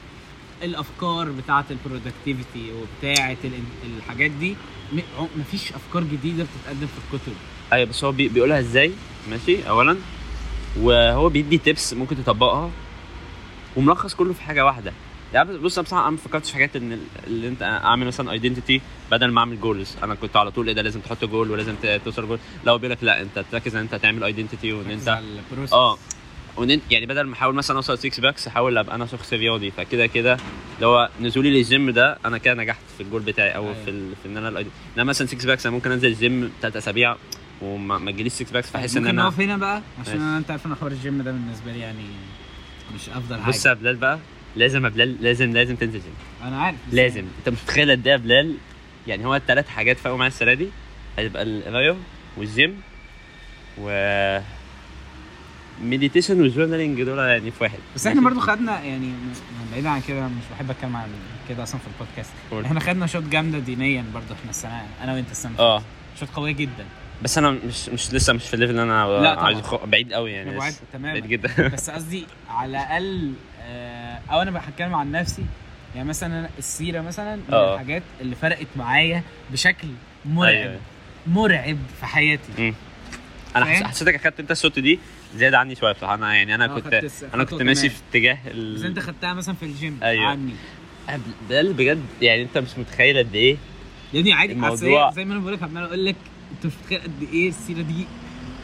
الافكار بتاعه البرودكتيفيتي وبتاعه ال- الحاجات دي م- عم- مفيش افكار جديده بتتقدم في الكتب ايوه بس هو بي- بيقولها ازاي ماشي اولا وهو بيدي تيبس ممكن تطبقها وملخص كله في حاجه واحده يعني بص انا بصراحه انا ما فكرتش في حاجات ان ال- اللي انت اعمل مثلا ايدنتيتي بدل ما اعمل جولز انا كنت على طول ايه ده لازم تحط جول ولازم ت- توصل جول لا هو بيقول لك لا انت تركز ان انت تعمل ايدنتيتي وان ركز انت على البروسيس اه وان انت يعني بدل ما احاول مثلا اوصل 6 باكس احاول ابقى انا شخص رياضي فكده كده اللي هو نزولي للجيم ده انا كده نجحت في الجول بتاعي او أيوة. في ال... في ان انا الأيد- انا مثلا 6 باكس انا ممكن انزل الجيم ثلاث اسابيع وما ما تجيليش 6 باكس فاحس ان ممكن انا نقف هنا بقى عشان ماشي. انا انت عارف انا حوار الجيم ده بالنسبه لي يعني مش افضل حاجه بص يا بلال بقى لازم يا بلال لازم لازم تنزل جيم انا عارف بس لازم انت مش متخيل قد ايه يا بلال يعني هو الثلاث حاجات فاقوا معايا السنه دي هتبقى الرايو والجيم و مديتيشن والجورنالينج دول يعني في واحد بس احنا ماشي؟ برضو خدنا يعني م- بعيد عن كده مش بحب اتكلم عن كده اصلا في البودكاست قول. احنا خدنا شوط جامده دينيا برضو احنا السنه انا وانت السنه اللي اه فاتت. شوط قويه جدا بس انا مش مش لسه مش في الليفل اللي انا لا طبعا. عايز أخ- بعيد قوي يعني احنا بعاد لسه. بعيد تماما جدا بس قصدي على الاقل آه، او انا بتكلم عن نفسي يعني مثلا أنا السيره مثلا من آه. الحاجات اللي فرقت معايا بشكل أيوة. مرعب مرعب في حياتي انا حس- فاهم؟ حسيتك اخدت انت الصوت دي زياده عني شويه بصراحه انا يعني انا آه، كنت خدت الس- انا خدته كنت ماشي تمام. في اتجاه بس انت خدتها مثلا في الجيم أيوة. عني بلال بجد يعني انت مش متخيل قد ايه يا ابني عادي الموضوع- الموضوع... زي ما انا بقول لك عمال اقول لك انت مش متخيل قد ايه السيره دي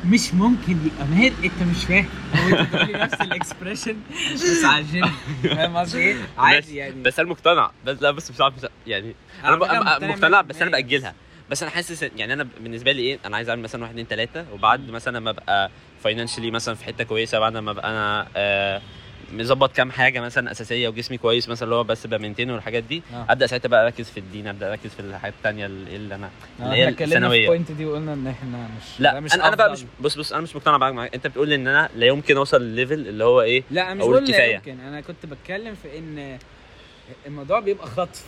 مش ممكن يبقى مهر انت مش فاهم هو انت بتقولي نفس الاكسبريشن بس على الجيم فاهم قصدي ايه؟ عادي يعني بس انا مقتنع بس لا بس مش عارف مش- يعني انا ب- فكرة أنا مقتنع بس انا 100%. باجلها بس انا حاسس إن- يعني انا بالنسبه لي ايه انا عايز اعمل مثلا واحد اتنين تلاته وبعد مثلا ما ابقى فاينانشلي مثلا في حته كويسه بعد ما ابقى انا آه، مظبط كام حاجه مثلا اساسيه وجسمي كويس مثلا اللي هو بس بمنتين والحاجات دي آه. ابدا ساعتها بقى اركز في الدين ابدا اركز في الحاجات التانيه اللي اللي انا اللي هي احنا آه، اتكلمنا في الثانويه البوينت دي وقلنا ان احنا مش لا ده مش انا انا بقى أفضل. مش بص بص انا مش مقتنع معاك معاك انت بتقول لي ان انا لا يمكن اوصل لليفل اللي هو ايه لا أنا مش أقول بقول لا كفاية. يمكن انا كنت بتكلم في ان الموضوع بيبقى خطف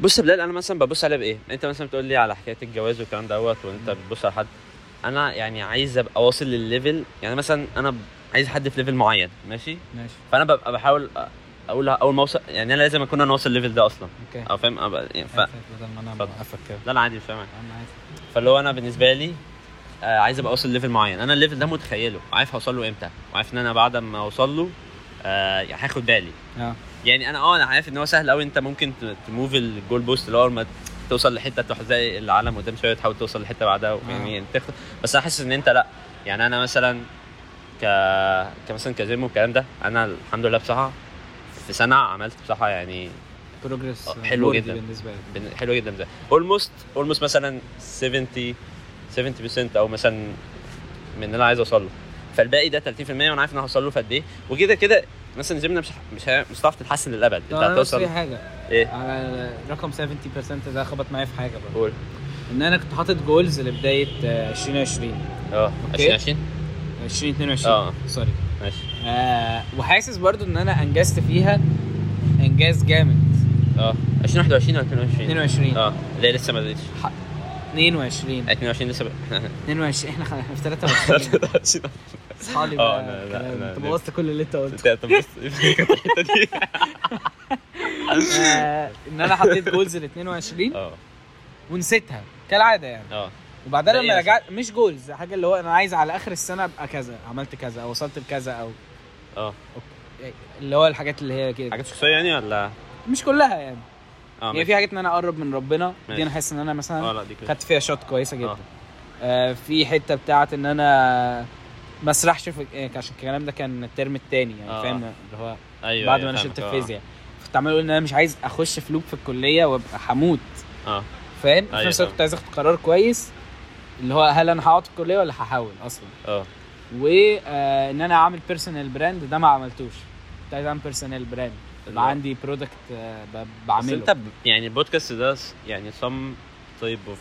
بص يا بلال انا مثلا ببص عليها بايه انت مثلا بتقول لي على حكايه الجواز والكلام دوت وانت بتبص على حد انا يعني عايز ابقى واصل للليفل يعني مثلا انا ب- عايز حد في ليفل معين ماشي ماشي فانا ببقى بحاول أ- اقول اول ما اوصل يعني انا لازم اكون انا واصل للليفل ده اصلا اوكي او فاهم أبقى يعني ف... آسف بدل ما انا اتفضل. موقفك كده لا انا عادي مش فاهم انا اسف فاللي هو انا بالنسبه لي آه، عايز ابقى اوصل ليفل معين انا الليفل ده متخيله عارف هوصل له امتى وعارف ان انا بعد ما اوصل له آه، يعني هاخد بالي اه يعني انا اه انا عارف ان هو سهل قوي انت ممكن ت- تموف الجول بوست اللي هو اول ما توصل لحته تروح زي العالم قدام شويه تحاول توصل لحته بعدها يعني تاخد بس انا حاسس ان انت لا يعني انا مثلا ك كمثلا كجيم والكلام ده انا الحمد لله بصراحه في سنه عملت بصراحه يعني بروجرس آه، حلو جدا. بالنسبه لي بن- حلو جدا ده اولموست اولموست مثلا 70 70% او مثلا من اللي انا عايز اوصل له فالباقي ده 30% وانا عارف ان انا هوصل له في قد ايه وكده كده مثلا جيمنا مش ه- مش ه- مش هتعرف تتحسن للابد انت طب انا بس هتوصل في حاجه ايه على رقم 70% ده خبط معايا في حاجه برضه قول ان انا كنت حاطط جولز لبدايه آه، 2020 اه أوكي. 2020 2022 آه. سوري ماشي آه وحاسس برضو ان انا انجزت فيها انجاز جامد اه 2021 ولا 2022 22 اه ليه لسه ما بدأتش 22 22 لسه ب... احنا 22 احنا خ- احنا في 23 اصحابي آه، لا، بقى لا، كلام. لا، انت لا. بوظت كل اللي انت قلته انت طب بص الحتة دي. آه، ان انا حطيت جولز ال 22 اه ونسيتها كالعاده يعني اه وبعدين ده لما إيه رجعت مش جولز حاجه اللي هو انا عايز على اخر السنه ابقى كذا عملت كذا او وصلت لكذا او اه اللي هو الحاجات اللي هي كده حاجات شخصيه يعني ولا مش كلها يعني اه هي ماشي. في حاجات ان انا اقرب من ربنا دي انا ماشي. حاسس ان انا مثلا اه لا دي كده خدت فيها شوت كويسه جدا آه. آه في حته بتاعه ان انا ما اسرحش في آه، عشان الكلام ده كان الترم الثاني يعني آه. فاهم اللي هو ايوه بعد ما يعني. أيوة، انا فاهمك، شلت آه. الفيزياء كنت عمال اقول ان انا مش عايز اخش في لوب في الكليه وابقى حموت اه فاهم في أيوة نفس الوقت فاهم. كنت عايز اخد قرار كويس اللي هو هل انا هقعد في الكليه ولا هحاول آه، اصلا اه وان انا اعمل بيرسونال براند ده ما عملتوش كنت عايز اعمل بيرسونال براند اللي هو- يبقى عندي برودكت بس بعمله انت ب- يعني البودكاست ده س- يعني some type of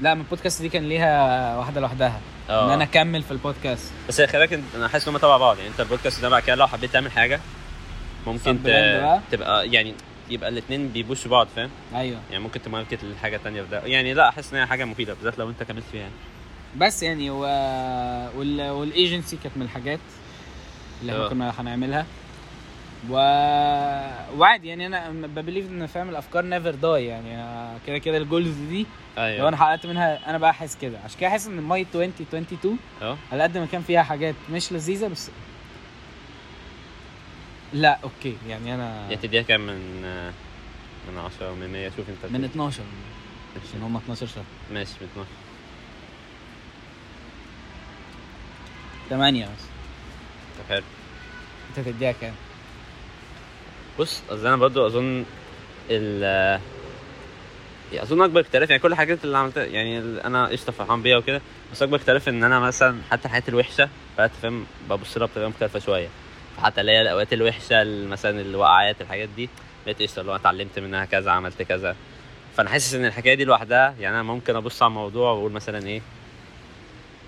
لا من البودكاست دي كان ليها واحده لوحدها ان اه انا اكمل في البودكاست بس هي خلاك انت- انا حاسس ان هم تبع بعض يعني انت البودكاست ده بعد كده لو حبيت تعمل حاجه ممكن sub brand ت... بقى. تبقى يعني يبقى الاثنين بيبوشوا بعض فاهم ايوه يعني ممكن تماركت لحاجه تانية في ده يعني لا احس ان هي حاجه مفيده بالذات لو انت كملت فيها يعني بس يعني و... وال... والايجنسي كانت من الحاجات اللي احنا اه. كنا هنعملها و... وعادي يعني انا ببليف ان فاهم الافكار نيفر داي يعني كده كده الجولز دي أيوة. لو انا حققت منها انا بقى احس كده عشان كده احس ان الماي 2022 اه على قد ما كان فيها حاجات مش لذيذه بس لا اوكي يعني انا يعني تديها كام من آه، من 10 من 100 شوف انت من بت- 12 عشان هم 12 شهر ماشي من 12 8 بس طب حلو انت تديها كام؟ بص اصل انا برضو اظن ال يعني اظن اكبر اختلاف يعني كل الحاجات اللي عملتها يعني ال- انا قشطه فرحان بيها وكده بس اكبر اختلاف ان انا مثلا حتى الحاجات الوحشه بقت فاهم ببص لها بطريقه مختلفه شويه حتى اللي هي الاوقات الوحشه ال- مثلا الوقعات الحاجات دي بقيت قشطه اللي هو اتعلمت منها كذا عملت كذا فانا حاسس ان الحكايه دي لوحدها يعني انا ممكن ابص على الموضوع واقول مثلا ايه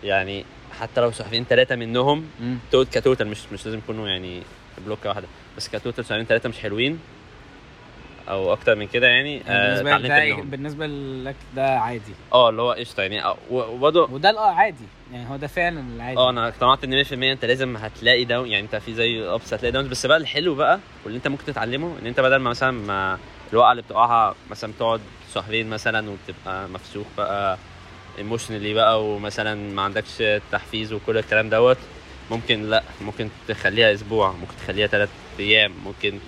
يعني حتى لو صحفيين ثلاثه منهم مم. توت كتوتال مش مش لازم يكونوا يعني بلوكه واحده بس كتوتال شهرين ثلاثه مش حلوين او اكتر من كده يعني آه، بالنسبه لك اتعلمت ده منهم بالنسبه لك ده عادي اه اللي هو قشطه يعني آه، و- وبرضه وده الاه عادي يعني هو ده فعلا العادي اه انا اقتنعت ان 100% انت لازم هتلاقي داون يعني انت في زي ابس هتلاقي داونز بس بقى الحلو بقى واللي انت ممكن تتعلمه ان انت بدل ما مثلا ما الوقعه اللي بتقعها مثلا بتقعد شهرين مثلا وبتبقى مفسوخ بقى ايموشنالي بقى ومثلا ما عندكش تحفيز وكل الكلام دوت ممكن لا ممكن تخليها اسبوع ممكن تخليها ثلاث ايام ممكن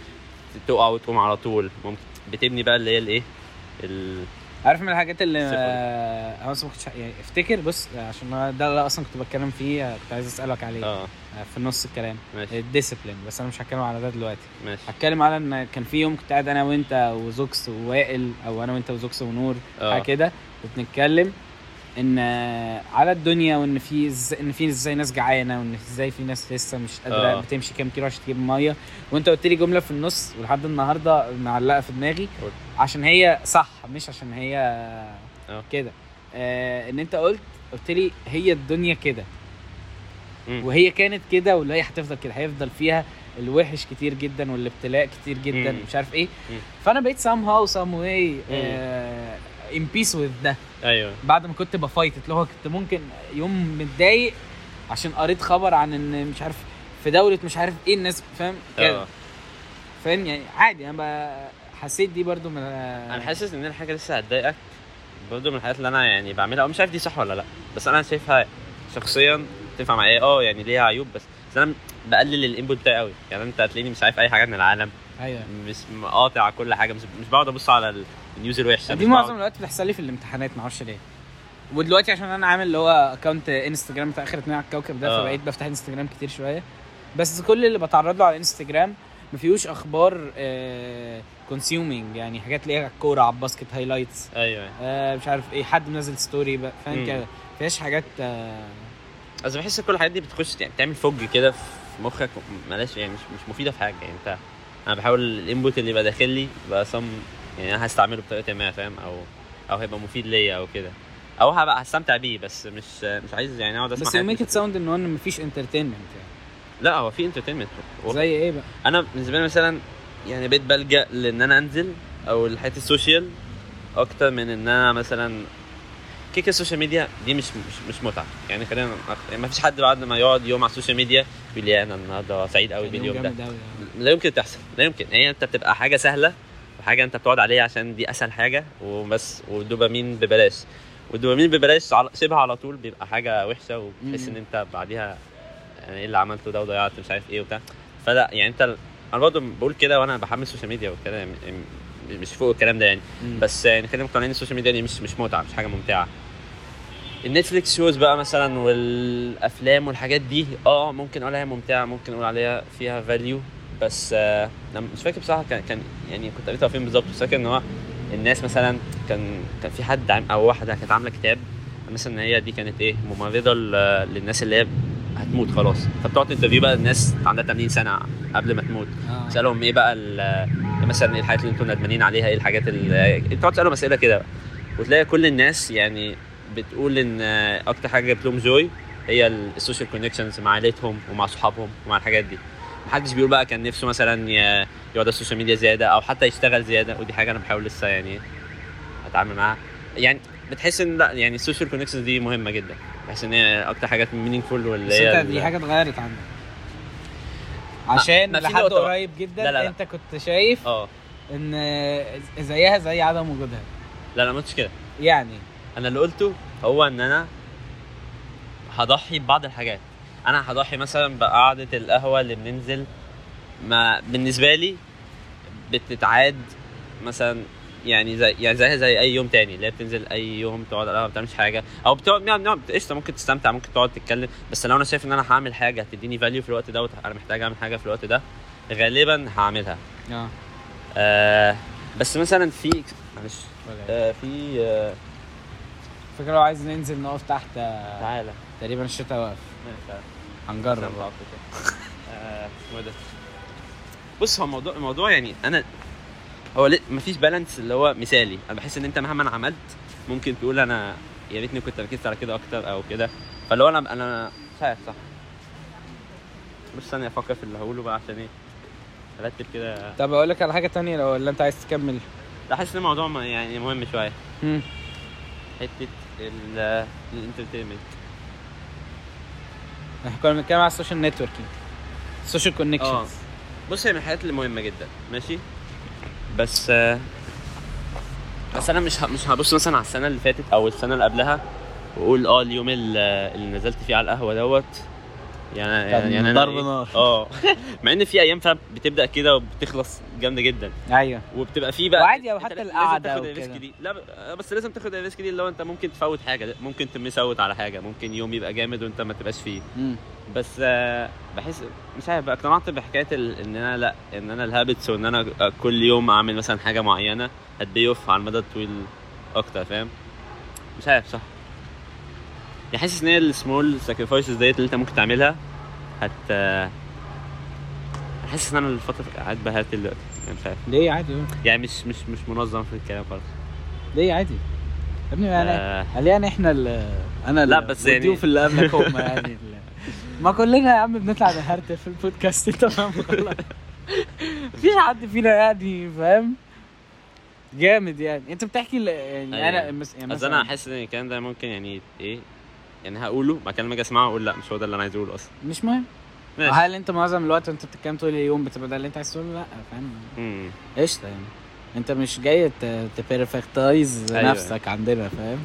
تقع وتقوم على طول ممكن بتبني بقى اللي هي الايه ال- عارف من الحاجات اللي صفر. آه، انا اصلا ما كنتش يعني افتكر بص آه، عشان أنا ده اللي اصلا كنت بتكلم فيه آه، كنت عايز اسالك عليه اه آه، في نص الكلام ماشي الديسيبلين بس انا مش هتكلم على ده دلوقتي ماشي هتكلم على ان كان في يوم كنت قاعد انا وانت وزوكس ووائل او انا وانت وزوكس ونور اه حاجه كده وبنتكلم ان آه، على الدنيا وان في إز- ان في ازاي ناس جعانه وان ازاي في ناس لسه مش قادره آه. بتمشي كام كيلو عشان تجيب ميه وانت قلت لي جمله في النص ولحد النهارده معلقه في دماغي قول. عشان هي صح مش عشان هي آه. كده آه ان انت قلت قلت لي هي الدنيا كده مم. وهي كانت كده واللي هي هتفضل كده هيفضل فيها الوحش كتير جدا والابتلاء كتير جدا مم. مش عارف ايه مم. فانا بقيت somehow some way آه in peace with ده ايوه بعد ما كنت بفايت اللي هو كنت ممكن يوم متضايق عشان قريت خبر عن ان مش عارف في دوله مش عارف ايه الناس فاهم كده اه فاهم يعني عادي انا بقى حسيت دي برضو من انا انا حاسس ان الحاجه لسه هتضايقك برضه من الحاجات اللي انا يعني بعملها او مش عارف دي صح ولا لا بس انا شايفها شخصيا تنفع معايا اه يعني ليها عيوب بس بس انا بقلل الانبوت بتاعي قوي يعني انت هتلاقيني مش عارف اي حاجه من العالم ايوه مش مقاطع على كل حاجه مش, مش بقعد ابص على ال- النيوز الوحشه دي مش معظم بقعد- الوقت بتحصل لي في الامتحانات معرفش ليه ودلوقتي عشان انا عامل اللي هو اكونت انستجرام بتاع اخر اتنين على الكوكب ده آه. فبقيت بفتح انستجرام كتير شويه بس كل اللي بتعرض له على الانستجرام ما فيهوش اخبار كونسيومينج آه، يعني حاجات ليها كوره على الباسكت هايلايتس ايوه آه مش عارف ايه حد منزل ستوري بقى فاهم مم. كده ما فيهاش حاجات آه بس بحس كل الحاجات دي بتخش يعني بتعمل فج كده في مخك مالهاش يعني مش مش مفيده في حاجه يعني انت انا بحاول الانبوت اللي يبقى داخل لي يبقى صم يعني انا هستعمله بطريقه ما فاهم او او هيبقى مفيد ليا او كده او هبقى هستمتع بيه بس مش مش عايز يعني اقعد اسمع بس يو حاجات ميك ات مش- ساوند ان ما فيش انترتينمنت يعني لا هو في انترتينمنت زي ايه بقى؟ انا بالنسبه لي مثلا يعني بقيت بلجا لان انا انزل او الحته السوشيال اكتر من ان انا مثلا كيك السوشيال ميديا دي مش مش, مش متعه يعني خلينا نق- يعني ما فيش حد بعد ما يقعد يوم على السوشيال ميديا يقول لي انا النهارده سعيد قوي كان يوم باليوم ده جامد أوي يعني. لا يمكن تحصل لا يمكن هي انت بتبقى حاجه سهله وحاجه انت بتقعد عليها عشان دي اسهل حاجه وبس والدوبامين ببلاش والدوبامين ببلاش على- شبه على طول بيبقى حاجه وحشه وبتحس مم. ان انت بعديها انا ايه اللي عملته ده وضيعت مش عارف ايه وبتاع فلا يعني انت انا برضه بقول كده وانا بحمل السوشيال ميديا والكلام يعني مش فوق الكلام ده يعني مم. بس يعني خلينا مقتنعين ان السوشيال ميديا دي مش مش متعه مش حاجه ممتعه النتفليكس شوز بقى مثلا والافلام والحاجات دي اه ممكن اقول عليها ممتعه ممكن اقول عليها فيها فاليو بس آه أنا مش فاكر بصراحه كان كان يعني كنت قريتها فين بالظبط بس فاكر ان هو الناس مثلا كان كان في حد عم او واحده كانت عامله كتاب مثلا ان هي دي كانت ايه ممرضه ل- للناس اللي هي هتموت خلاص فبتقعد انترفيو بقى الناس عندها 80 سنه قبل ما تموت آه. اسالهم ايه بقى ال- مثلا ايه الحاجات اللي انتم ندمانين عليها ايه الحاجات اللي بتقعد تسالهم اسئله كده بقى. وتلاقي كل الناس يعني بتقول ان اكتر حاجه جابت لهم جوي هي السوشيال كونكشنز مع عيلتهم ومع صحابهم ومع الحاجات دي محدش بيقول بقى كان نفسه مثلا ي- يقعد على السوشيال ميديا زياده او حتى يشتغل زياده ودي حاجه انا بحاول لسه يعني اتعامل معاها يعني بتحس ان لا يعني السوشيال كونكشنز دي مهمه جدا بحس ان هي اكتر حاجات مينينفول واللي بس هي انت ال- دي حاجه اتغيرت عندك عشان آه، ما في لحد نقطة بقى. قريب جدا لا، لا، لا. انت كنت شايف اه ان زيها زي عدم وجودها لا لا ما قلتش كده يعني انا اللي قلته هو ان انا هضحي ببعض الحاجات انا هضحي مثلا بقعده القهوه اللي بننزل ما بالنسبه لي بتتعاد مثلا يعني زي يعني زيها زي اي يوم تاني اللي هي بتنزل اي يوم تقعد على القهوه ما بتعملش حاجه او بتقعد نعم نعم قشطه ممكن تستمتع ممكن تقعد تتكلم بس لو انا شايف ان انا هعمل حاجه هتديني فاليو في الوقت دوت انا محتاج اعمل حاجه في الوقت ده غالبا هعملها اه آه بس مثلا في معلش آه في آه فكرة لو عايز ننزل نقف تحت آه، تعالى تقريبا الشتاء واقف ماشي هنجرب جرب اسمه إيه ده بص هو الموضوع الموضوع يعني انا هو ليه- مفيش بالانس اللي هو مثالي انا بحس ان انت مهما عملت ممكن تقول انا يا ريتني كنت ركزت على كده اكتر او كده فاللي هو انا انا مش عارف صح بس ثانيه افكر في اللي هقوله بقى عشان ايه ارتب كده طب اقول لك على حاجه تانية لو اللي انت عايز تكمل لا حاسس ان الموضوع ما- يعني مهم شويه مم. حته ال- الانترتينمنت احنا كنا بنتكلم على السوشيال نتوركينج السوشيال اه كونكشنز بص هي من الحاجات اللي مهمه جدا ماشي بس آه، بس انا مش ه- مش هبص مثلا على السنه اللي فاتت او السنه اللي قبلها واقول اه اليوم ال- اللي نزلت فيه على القهوه دوت يعني كان يعني أنا ضرب إيه؟ نار. اه مع ان في ايام فعلا بتبدا كده وبتخلص جامده جدا ايوه وبتبقى في بقى وعادي أو أنت حتى لازم القعدة تاخد أو الريسك كده. دي لا ب- بس لازم تاخد الريسك دي اللي هو انت ممكن تفوت حاجه ممكن تمس اوت على حاجه ممكن يوم يبقى جامد وانت ما تبقاش فيه مم. بس آه، بحس مش عارف بقى اقتنعت بحكايه ال... ان انا لا ان انا الهابتس وان انا كل يوم اعمل مثلا حاجه معينه هتبي اوف على المدى الطويل اكتر فاهم مش عارف صح يعني حاسس ان هي السمول ساكرفايسز ديت اللي انت ممكن تعملها هت آه، حاسس ان انا الفتره قاعد بهات دلوقتي يعني مش عارف ليه عادي يعني مش مش مش منظم في الكلام خالص ليه عادي يا ابني ما انا آه، قال يعني احنا ال انا لا ال- بس يعني- والضيوف اللي قبلك هم يعني ال- ما كلنا يا عم بنطلع نهرتل في البودكاست تمام خلاص مفيش حد فينا يعني فاهم جامد يعني انت بتحكي ل- يعني انا أيوة. مس... يعني بس مثلا- انا حاسس ان الكلام ده ممكن يعني ايه يعني هقوله بعد كده لما اجي اسمعه اقول لا مش هو ده اللي انا عايز اقوله اصلا مش مهم ماشي. هل انت معظم الوقت وانت بتتكلم طول اليوم بتبقى ده اللي انت عايز تقوله لا فاهم مم. قشطه يعني انت مش جاي ت- تبيرفكتايز أيوة. نفسك عندنا فاهم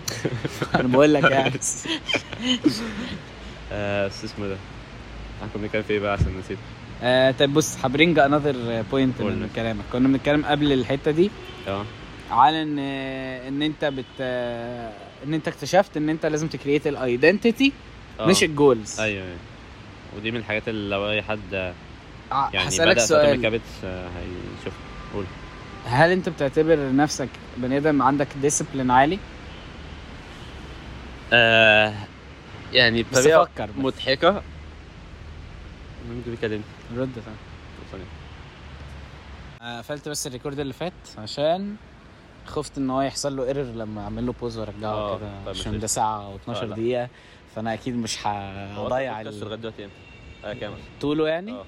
انا بقول لك يعني آه، بس اسمه ده احنا كنا بنتكلم في ايه بقى عشان نسيت آه طيب بص هبرينج انذر بوينت قول. من كلامك كنا بنتكلم قبل الحته دي اه على ان آه، ان انت بت آه، ان انت اكتشفت ان انت لازم تكريت الايدنتيتي آه. مش الجولز ايوه أيوة. ودي من الحاجات اللي لو اي حد يعني يعني هسالك بدأ فترة ما سؤال كابتش آه، هيشوف هل انت بتعتبر نفسك بني ادم عندك ديسيبلين عالي آه يعني بس بطريقه فكر بس. مضحكه مين اللي بيكلمني؟ رد طبعا ثانية. آه، قفلت بس الريكورد اللي فات عشان خفت ان هو يحصل له ايرور لما اعمل له بوز وارجعه آه، كده طيب عشان ماشي. ده ساعه و12 آه، لا. دقيقه فانا اكيد مش هو هضيع البودكاست ال- لغايه دلوقتي امتى؟ اه كام؟ طوله يعني اه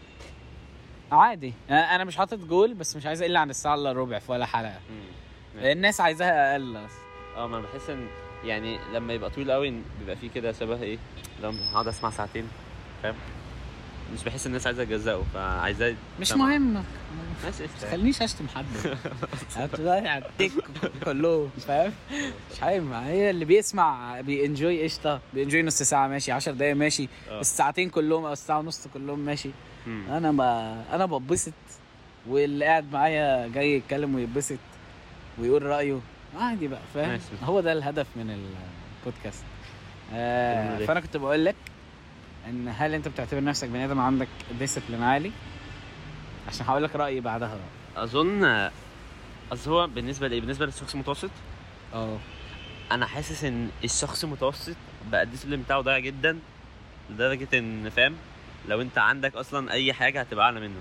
عادي انا أنا مش حاطط جول بس مش عايز اقل عن الساعه الا ربع في ولا حلقه مم. ماشي. الناس عايزاها اقل أصلاً. اه ما انا بحس ان يعني لما يبقى طويل قوي بيبقى فيه كده شبه ايه لما هقعد اسمع ساعتين فاهم مش بحس الناس عايزه تجزأه فعايزاه مش تمام. مهم ماشي قشطة. تخلينيش اشتم حد هتضيع التك كلهم فاهم مش هايم هي اللي بيسمع بينجوي قشطه بينجوي نص ساعه ماشي 10 دقايق ماشي آه. الساعتين كلهم او الساعه ونص كلهم ماشي مم. انا ب... انا ببسط واللي قاعد معايا جاي يتكلم ويتبسط ويقول رايه عادي بقى فاهم ماشي. هو ده الهدف من البودكاست آه كلمة ليه؟ فانا كنت بقول لك ان هل انت بتعتبر نفسك بني ادم عندك ديسيبلين عالي عشان هقول لك رايي بعدها بقى. اظن اصل هو بالنسبه لايه بالنسبه للشخص المتوسط اه انا حاسس ان الشخص المتوسط بقى الديسيبلين بتاعه ضايع جدا لدرجه ان فاهم لو انت عندك اصلا اي حاجه هتبقى اعلى منه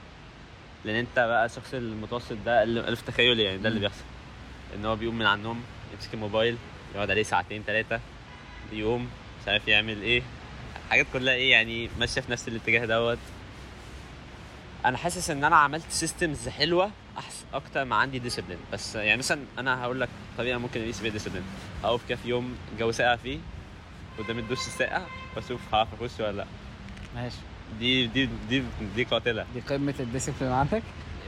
لان انت بقى الشخص المتوسط ده اللي اللي في تخيلي يعني ده اللي مم. بيحصل ان هو بيقوم من على النوم يمسك الموبايل يقعد عليه ساعتين ثلاثه يقوم مش عارف يعمل ايه حاجات كلها ايه يعني ماشيه في نفس الاتجاه دوت انا حاسس ان انا عملت سيستمز حلوه احسن اكتر ما عندي ديسيبلين بس يعني مثلا انا هقول لك طريقه ممكن اقيس بيها ديسيبلين هقف كده في يوم الجو ساقع فيه قدام الدش الساقع واشوف هعرف اخش ولا لا ماشي دي دي دي دي قاتله دي قمه الديسيبلين عندك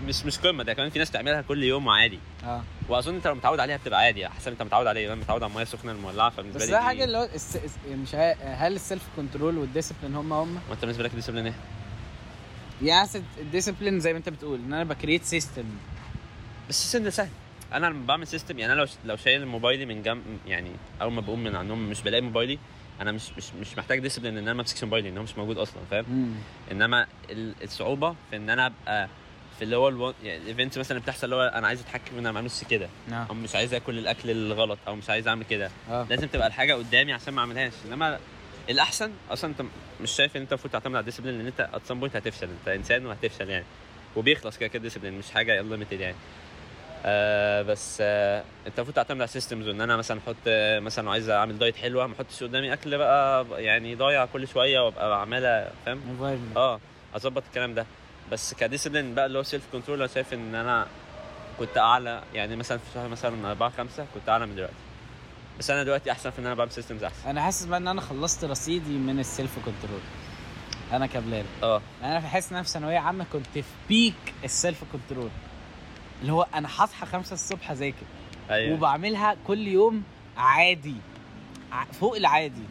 مش مش قمه ده كمان في ناس تعملها كل يوم عادي اه واظن انت لو متعود عليها بتبقى عادي يعني حسب انت متعود عليه انا متعود على الميه السخنه المولعه فبالنسبه بس لي ده دي- حاجه اللي هو الس... الس- مش عا- هل السيلف كنترول والديسيبلين هم هم ما انت بالنسبه لك ديسيبلين ايه؟ يعني أصل الديسيبلين زي ما انت بتقول ان انا بكريت سيستم بس السيستم ده سهل انا لما بعمل سيستم يعني انا لو لو شايل موبايلي من جنب يعني اول ما بقوم من على النوم مش بلاقي موبايلي انا مش مش مش محتاج ديسيبلين ان انا ما امسكش موبايلي ان هو مش موجود اصلا فاهم انما ال- الصعوبه في ان انا ابقى في اللي هو الو... يعني الايفنت مثلا بتحصل اللي هو انا عايز اتحكم ان انا ما اعملش كده اه او مش عايز اكل الاكل الغلط او مش عايز اعمل كده اه لازم تبقى الحاجه قدامي عشان ما اعملهاش انما الاحسن اصلا انت مش شايف ان انت المفروض تعتمد على الديسيبلين لان انت ات سام بوينت هتفشل انت انسان وهتفشل يعني وبيخلص كده كده الديسيبلين مش حاجه انليمتد يعني آه بس آه انت المفروض تعتمد على السيستمز وان انا مثلا احط آه، مثلا عايز اعمل دايت حلوه ما احطش قدامي اكل بقى يعني ضايع كل شويه وابقى عمال فاهم environment. اه اظبط الكلام ده بس كديسيبلين بقى اللي هو سيلف كنترول انا شايف ان انا كنت اعلى يعني مثلا في شهر مثلا 4 5 كنت اعلى من دلوقتي بس انا دلوقتي احسن في ان انا بعمل سيستمز احسن انا حاسس بقى ان انا خلصت رصيدي من السيلف كنترول انا كبلال اه انا حاسس ان انا في ثانويه عامه كنت في بيك السيلف كنترول اللي هو انا هصحى خمسة الصبح اذاكر ايوه وبعملها كل يوم عادي ع- فوق العادي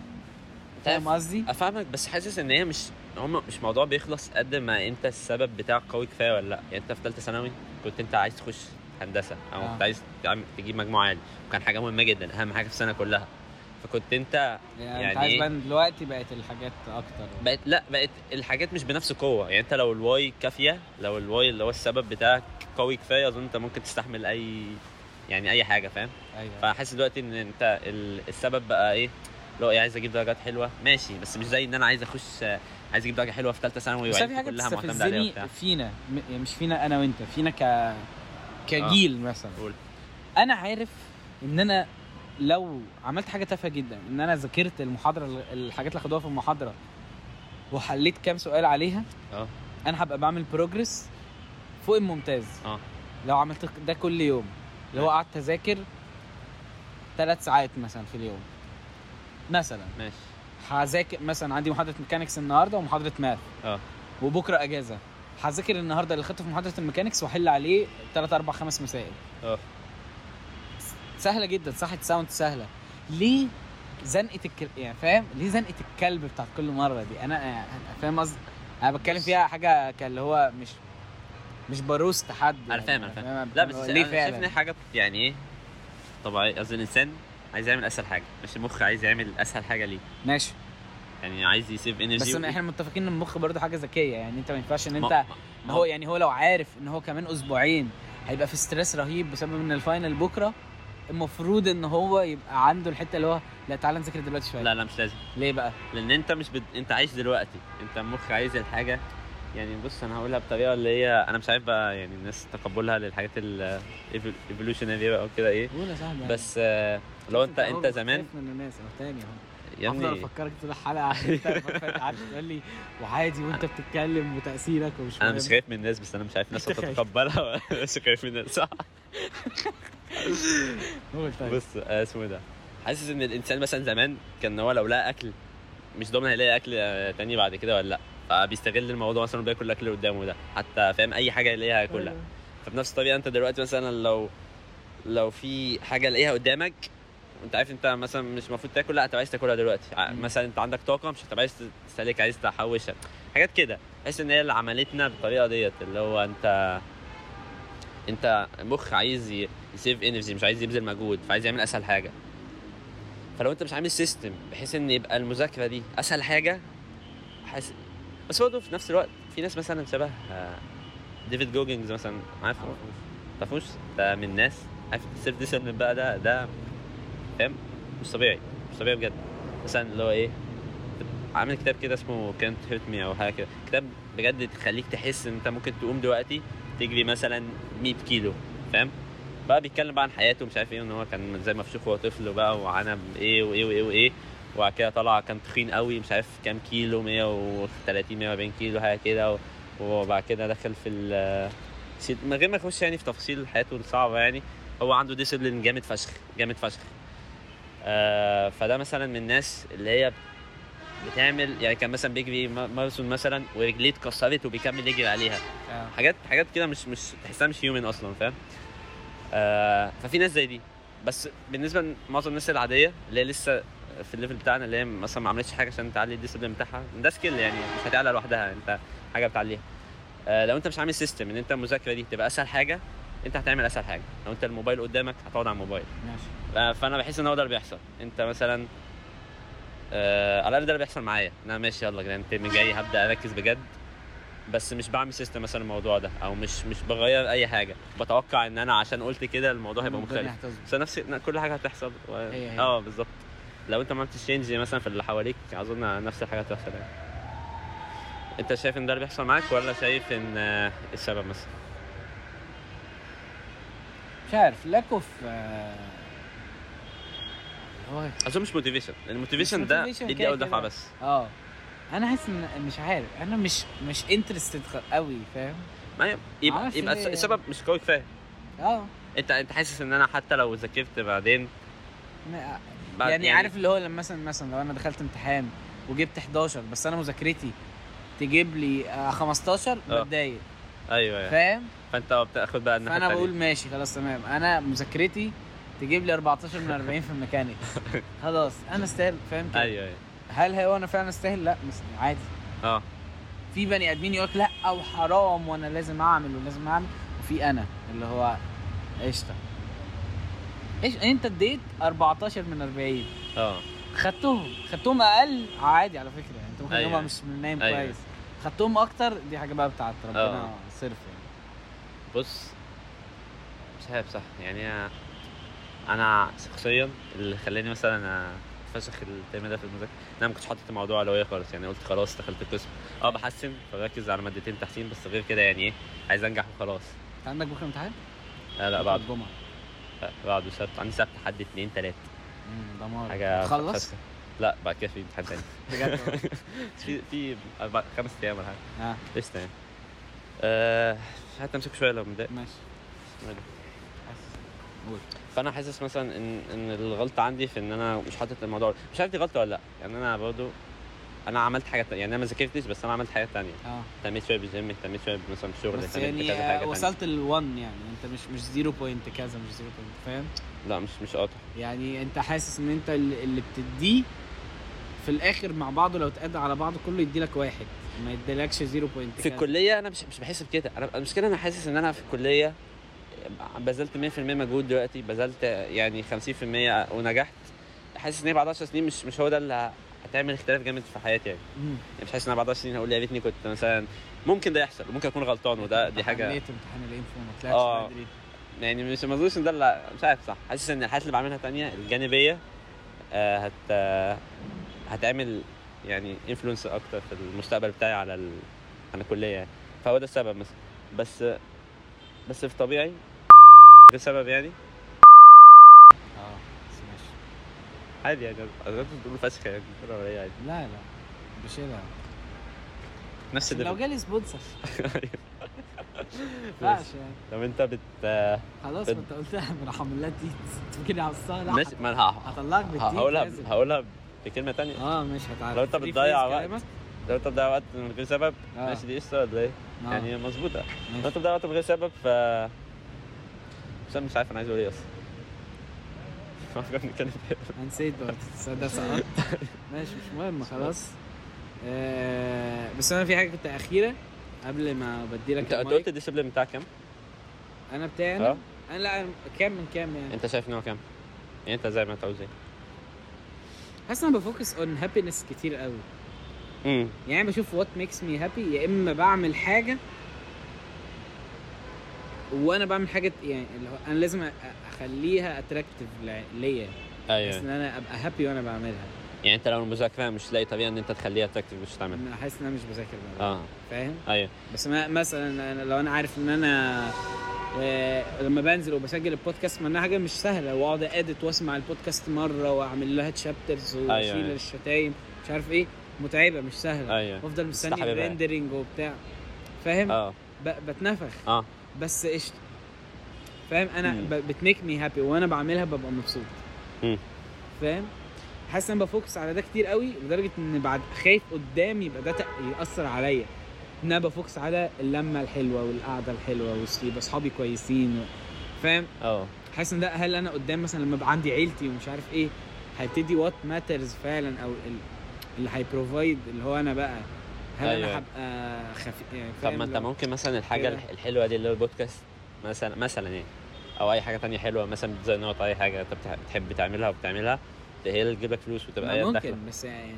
فاهم قصدي؟ افهمك بس حاسس ان هي مش هم مش موضوع بيخلص قد ما انت السبب بتاعك قوي كفايه ولا لا يعني انت في ثالثه ثانوي كنت انت عايز تخش هندسه او آه. كنت عايز تعمل- تجيب مجموع عالي وكان حاجه مهمه جدا اهم حاجه في السنه كلها فكنت انت يعني, يعني انت عايز إيه؟ بقى إن دلوقتي بقت الحاجات اكتر بقت لا بقت الحاجات مش بنفس القوه يعني انت لو الواي كافيه لو الواي اللي هو السبب بتاعك قوي كفايه اظن انت ممكن تستحمل اي يعني اي حاجه فاهم ايوه فحاسس دلوقتي ان انت ال- السبب بقى ايه لو ايه عايز اجيب درجات حلوه ماشي بس مش زي ان انا عايز اخش آه، عايز اجيب درجه حلوه في ثالثه ثانوي بس في وعيلتي حاجه يعني كلها معتمده عليها وبتاع بتستفزني فينا م- يعني مش فينا انا وانت فينا ك كجيل مثلا آه. قول. انا عارف ان انا لو عملت حاجه تافهه جدا ان انا ذاكرت المحاضره ال- الحاجات اللي خدوها في المحاضره وحليت كام سؤال عليها اه. انا هبقى بعمل بروجرس فوق الممتاز اه. لو عملت ده كل يوم اللي هو آه. قعدت اذاكر ثلاث ساعات مثلا في اليوم مثلا ماشي هذاكر مثلا عندي محاضره ميكانكس النهارده ومحاضره ماث اه. وبكره اجازه هذاكر النهارده اللي خدته في محاضره الميكانكس واحل عليه 3 4 5 مسائل اه. س- سهله جدا صحة ساوند سهله ليه زنقه الكل... يعني فاهم ليه زنقه الكلب بتاعت كل مره دي انا أنا فاهم قصدي انا بتكلم بس- فيها حاجه كاللي هو مش مش بروست حد انا فاهم انا يعني فاهم أنا لا بتكلم بس ليه انا شايف ان فعلا هي حاجه يعني ايه طبيعي قصدي الانسان عايز يعمل اسهل حاجه مش المخ عايز يعمل اسهل حاجه ليه ماشي يعني عايز يسيف انرجي بس احنا متفقين ان المخ برضه حاجه ذكيه يعني انت ما ينفعش ان انت ما ما هو يعني هو لو عارف ان هو كمان اسبوعين هيبقى في ستريس رهيب بسبب ان الفاينل بكره المفروض ان هو يبقى عنده الحته اللي هو لا تعالى نذاكر دلوقتي شويه لا لا مش لازم ليه بقى؟ لان انت مش بد... انت عايش دلوقتي انت مخ عايز الحاجه يعني بص انا هقولها بطريقه اللي هي انا مش عارف بقى يعني الناس تقبلها للحاجات الايفولوشنري بقى او كده ايه قول يا صاحبي بس آه، لو انت أهو انت زمان بتخاف من الناس اهو تاني اهو يا افضل ابني افكرك طول الحلقه عشان انت المرة اللي فاتت قعدت تقول لي وعادي وانت بتتكلم وتاثيرك ومش انا مهم. مش خايف من الناس بس انا مش عارف الناس أنت خايف. هتتقبلها ولا مش خايف من الناس صح قول طيب بص آه، اسمه ده حاسس ان الانسان مثلا زمان كان هو لو لقى اكل مش ضامن هيلاقي اكل آه، تاني بعد كده ولا لا فبيستغل الموضوع مثلا وبياكل الاكل اللي قدامه ده حتى فاهم اي حاجه يلاقيها ياكلها أيوة. فبنفس الطريقه انت دلوقتي مثلا لو لو في حاجه لاقيها قدامك وانت عارف انت مثلا مش المفروض تاكل لا انت عايز تاكلها دلوقتي ع- مم. مثلا انت عندك طاقه مش هتبقى عايز تستهلك عايز تحوشها حاجات كده تحس ان هي اللي عملتنا بالطريقه ديت اللي هو انت انت مخ عايز ي- يسيف انرجي مش عايز يبذل مجهود فعايز يعمل اسهل حاجه فلو انت مش عامل سيستم بحيث ان يبقى المذاكره دي اسهل حاجه حاسس بس برضه في نفس الوقت في ناس مثلا شبه آه، ديفيد جوجنز مثلا عارفه تعرفوش ده من ناس عارف السيلف ديسيبلين بقى ده ده فاهم مش طبيعي مش طبيعي بجد مثلا اللي هو ايه عامل كتاب كده اسمه كانت هيرت مي او حاجه كده كتاب بجد تخليك تحس ان انت ممكن تقوم دلوقتي تجري مثلا 100 كيلو فاهم بقى بيتكلم بقى عن حياته ومش عارف ايه ان هو كان زي ما وهو طفل وبقى وعانى بايه وايه وايه وايه وبعد كده طلع كان تخين قوي مش عارف كام كيلو 130 140 كيلو حاجه كده وبعد كده دخل في ال سيد- من غير ما اخش يعني في تفاصيل حياته الصعبه يعني هو عنده ديسيبلين جامد فشخ جامد فشخ آه فده مثلا من الناس اللي هي بتعمل يعني كان مثلا بيجري ما- ماراثون مثلا ورجليه اتكسرت وبيكمل يجري عليها آه. حاجات حاجات كده مش مش تحسها مش هيومن اصلا فاهم آه ففي ناس زي دي بس بالنسبه لمعظم الناس العاديه اللي هي لسه في الليفل بتاعنا اللي هي مثلا ما عملتش حاجه عشان تعلي الديسبلين بتاعها ده سكيل يعني مش هتعلى لوحدها انت حاجه بتعليها آه لو انت مش عامل سيستم ان انت المذاكره دي تبقى اسهل حاجه انت هتعمل اسهل حاجه لو انت الموبايل قدامك هتقعد على الموبايل ماشي آه، فانا بحس ان هو ده اللي بيحصل انت مثلا آه على الاقل ده اللي بيحصل معايا انا ماشي يلا كده انت من جاي هبدا اركز بجد بس مش بعمل سيستم مثلا الموضوع ده او مش مش بغير اي حاجه بتوقع ان انا عشان قلت كده الموضوع هيبقى الدنيا مختلف هتظبط. بس نفس ن- كل حاجه هتحصل و... هي هي. اه بالظبط لو انت ما عملتش تشينج مثلا في اللي حواليك اظن نفس الحاجه هتحصل يعني انت شايف ان ده اللي بيحصل معاك ولا شايف ان آه، السبب مثلا مش عارف لاك اوف اللي هو اظن مش موتيفيشن الموتيفيشن ده motivation بيدي كده اول دفعه كده. بس اه انا حاسس ان مش عارف انا مش مش انترستد قوي فاهم ما هي- يبقى معرفش يبقى ليه يعني. السبب مش قوي كفايه اه انت انت حاسس ان انا حتى لو ذاكرت بعدين ما- بعد يعني, عارف اللي هو لما مثلا مثلا لو انا دخلت امتحان وجبت 11 بس انا مذاكرتي تجيب لي آه، 15 آه. بتضايق ايوه ايوه فاهم فانت بتاخد بقى الناحيه فانا التانية. بقول ماشي خلاص تمام انا مذاكرتي تجيب لي 14 من 40 في الميكانيكس خلاص انا استاهل فاهم كده ايوه ايوه هل هو انا فعلا استاهل لا مس- عادي اه في بني ادمين يقولك لا او حرام وانا لازم اعمل ولازم اعمل وفي انا اللي هو قشطه ايش انت اديت 14 من 40 اه خدتهم خدتهم اقل عادي على فكره يعني انت ممكن أيوة. أيوة. مش من نايم أيوة. أيوة. كويس خدتهم اكتر دي حاجه بقى بتاعت ربنا آه. صرف يعني بص مش عارف صح يعني أنا- انا شخصيا اللي خلاني مثلا فشخ الترم ده في المذاكره إن انا ما كنتش حاطط الموضوع اولويه خالص يعني قلت خلاص دخلت القسم اه بحسن فركز على مادتين تحسين بس غير كده يعني ايه عايز انجح وخلاص انت عندك بكره امتحان؟ آه لا بعد الجمعه بعد سبت عندي سبت حد اتنين تلاته مم، دمار حاجه خلص فشخة. لا بعد كده في امتحان تاني بجد في في أربع- خمس ايام ولا حاجه اه لسه يعني أه حتى امسك شويه لو متضايق ماشي حاسس. قول فانا حاسس مثلا ان ان الغلطه عندي في ان انا مش حاطط الموضوع مش عارف دي غلطه ولا لا يعني انا برضو انا عملت حاجه تانية. يعني انا ما ذاكرتش بس انا عملت حاجه تانية اه اهتميت شويه بالجيم اهتميت شويه مثلا بالشغل بس اهتميت بكذا حاجه يعني تانية. وصلت ل1 يعني انت مش مش 0 بوينت كذا مش 0 بوينت فاهم لا مش مش قاطع يعني انت حاسس ان انت اللي اللي بتديه في الاخر مع بعضه لو اتقاد على بعضه كله يديلك واحد ما يديلكش 0 بوينت في الكليه انا مش مش بحس بكده انا المشكله انا حاسس ان انا في الكليه بذلت 100% مجهود دلوقتي بذلت يعني 50% ونجحت حاسس ان أنا بعد 10 سنين مش مش هو ده اللي هتعمل اختلاف جامد في حياتي يعني يعني مش حاسس ان انا بعد 10 سنين هقول يا ريتني كنت مثلا ممكن ده يحصل وممكن اكون غلطان وده دي حاجه ليت امتحان الانفو ما آه. طلعش بدري يعني مش ما اظنش ان ده اللي مش عارف صح حاسس ان الحاجات اللي بعملها تانية الجانبيه آه، هت آه، هتعمل يعني انفلونس اكتر في المستقبل بتاعي على ال... على الكليه يعني فهو ده السبب مثلا بس بس في طبيعي ده سبب يعني آه. اه بس ماشي عادي يعني اظن بتقول فشخ يعني بتقول ولا إيه عادي لا لا بشيلها نفس لو الدفع جالي سبونسر ينفعش يعني لو انت بت آه، خلاص ما انت قلتها من حملات دي تمكن اعصها لا ماشي ما أنا ه- هطلعك بالديل هقولها لازم. هقولها بكلمه تانية اه مش هتعرف لو انت Free بتضيع freeze وقت. كلامك؟ لو انت بتضيع وقت من غير سبب آه. ماشي دي قشطه ولا ايه؟ آه. يعني مظبوطه لو انت ماشي. بتضيع وقت من غير سبب ف بس انا مش عارف انا عايز اقول ايه اصلا فكرة بنتكلم في إيه. انا نسيت برضه تصدق سقطت ماشي مش مهم خلاص آه بس انا في حاجه كنت اخيره قبل ما بدي لك انت انت المايك. قلت الديسبلين بتاعك كام؟ انا بتاعي اه انا انا لا أنا كام من كام يعني انت شايف ان هو كام؟ يعني انت زي ما انت عاوز ايه؟ حاسس انا بفوكس اون هابينس كتير قوي امم يعني أنا بشوف وات ميكس مي هابي يا اما بعمل حاجه وانا بعمل حاجه يعني اللي هو انا لازم أ- اخليها اتراكتيف ليا بس ان ايوه انا ابقى هابي وانا بعملها يعني انت لو المذاكره مش تلاقي طريقه ان انت تخليها تكتب مش تعمل انا حاسس ان انا مش بذاكر بقى. اه فاهم ايوه بس ما مثلا أنا لو انا عارف ان انا آه، لما بنزل وبسجل البودكاست ما انها حاجه مش سهله واقعد اديت واسمع البودكاست مره واعمل لها تشابترز واشيل أيوة. الشتايم مش عارف ايه متعبه مش سهله أيوة. وافضل مستني مستحببة. الريندرنج وبتاع فاهم اه ب- بتنفخ اه بس قشطه فاهم انا مم. ب- بتميك مي هابي وانا بعملها ببقى مبسوط مم. فاهم حاسس ان انا بفوكس على ده كتير قوي لدرجه ان بعد خايف قدام يبقى ده تق- ياثر عليا ان انا بفوكس على اللمه الحلوه والقعده الحلوه وس- يبقى اصحابي كويسين و... فاهم اه حاسس ان ده هل انا قدام مثلا لما يبقى عندي عيلتي ومش عارف ايه هيبتدي وات ماترز فعلا او ال- اللي هيبروفايد اللي هو انا بقى هل أيوة. انا هبقى خفيف يعني طب فاهم ما انت لو- ممكن مثلا الحاجه كده. الح- الحلوه دي اللي هو البودكاست مثلا مثلا يعني او اي حاجه تانية حلوه مثلا زي نوت اي حاجه انت بتح- بتحب تعملها وبتعملها ده هي اللي تجيب لك فلوس وتبقى هي ما الدخله ممكن بس يعني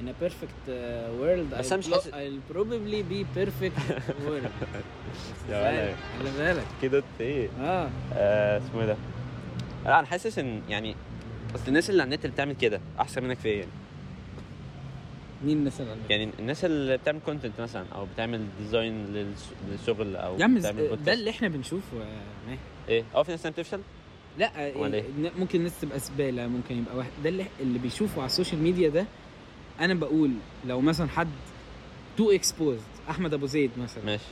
in a perfect uh, world بس I'll أنا مش pro- حاسس- I'll probably be perfect world يا ولد. خلي بالك كده ايه اه آه، اسمه ايه ده؟ لا انا حاسس ان يعني اصل الناس اللي على النت اللي بتعمل كده احسن منك في ايه يعني؟ مين مثلا يعني الناس اللي بتعمل كونتنت مثلا او بتعمل ديزاين للس- للشغل او يا عم بتعمل ز- بودكاست. ده اللي احنا بنشوفه يا ماهر. ايه اه في ناس تانية بتفشل لا آه، أمال إيه؟ ن- ممكن الناس تبقى زباله ممكن يبقى واحد ده اللي, اللي بيشوفه على السوشيال ميديا ده انا بقول لو مثلا حد تو اكسبوزد احمد ابو زيد مثلا ماشي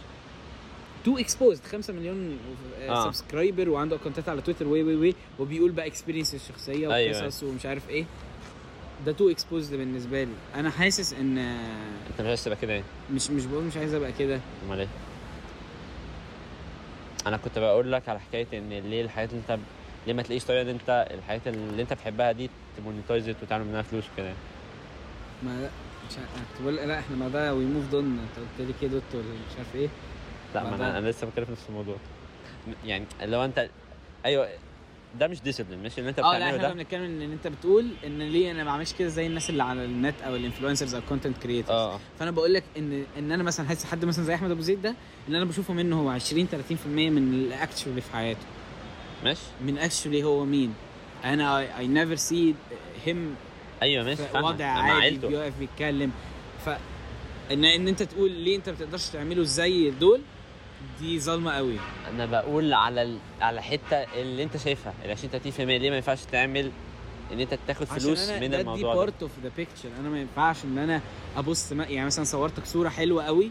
تو اكسبوزد 5 مليون آه. سبسكرايبر وعنده اكونتات على تويتر وي وي وي وبيقول بقى اكسبيرينس الشخصيه أيوة. وقصص ومش عارف ايه ده تو اكسبوزد بالنسبه لي انا حاسس ان آه، انت مش عايز تبقى كده يعني مش مش بقول مش عايز ابقى كده امال ايه؟ انا كنت بقول لك على حكايه ان ليه الحاجات اللي انت ليه ما تلاقيش طريقه ان انت الحاجات اللي انت بتحبها دي تمونيتايزت وتعمل منها فلوس وكده يعني. ما لا مش عارف أنا كنت بقول لا احنا ما ده وي موف دون انت قلت لي كده دوت ولا مش عارف ايه لا ما بعدها. انا, انا لسه بتكلم في نفس الموضوع يعني لو انت ايوه ده مش ديسيبلين مش اللي انت اه لا احنا كنا بتعمله ده بنتكلم ان انت بتقول ان ليه انا ما بعملش كده زي الناس اللي على النت او الانفلونسرز او الكونتنت كريتورز اه فانا بقول لك ان ان انا مثلا حاسس حد مثلا زي احمد ابو زيد ده اللي انا بشوفه منه هو 20 30% من الاكشولي في حياته ماشي من اكشولي هو مين انا اي نيفر سي هيم ايوه ماشي في فاهمك. وضع مع عادي عيلته. بيقف بيتكلم ف ان ان انت تقول ليه انت ما بتقدرش تعمله زي دول دي ظلمه قوي انا بقول على ال... على حته اللي انت شايفها ال 20 30% ليه ما ينفعش تعمل ان انت تاخد فلوس عشان أنا من ده الموضوع دي ده بارت اوف ذا بيكتشر انا ما ينفعش ان انا ابص ما يعني مثلا صورتك صوره حلوه قوي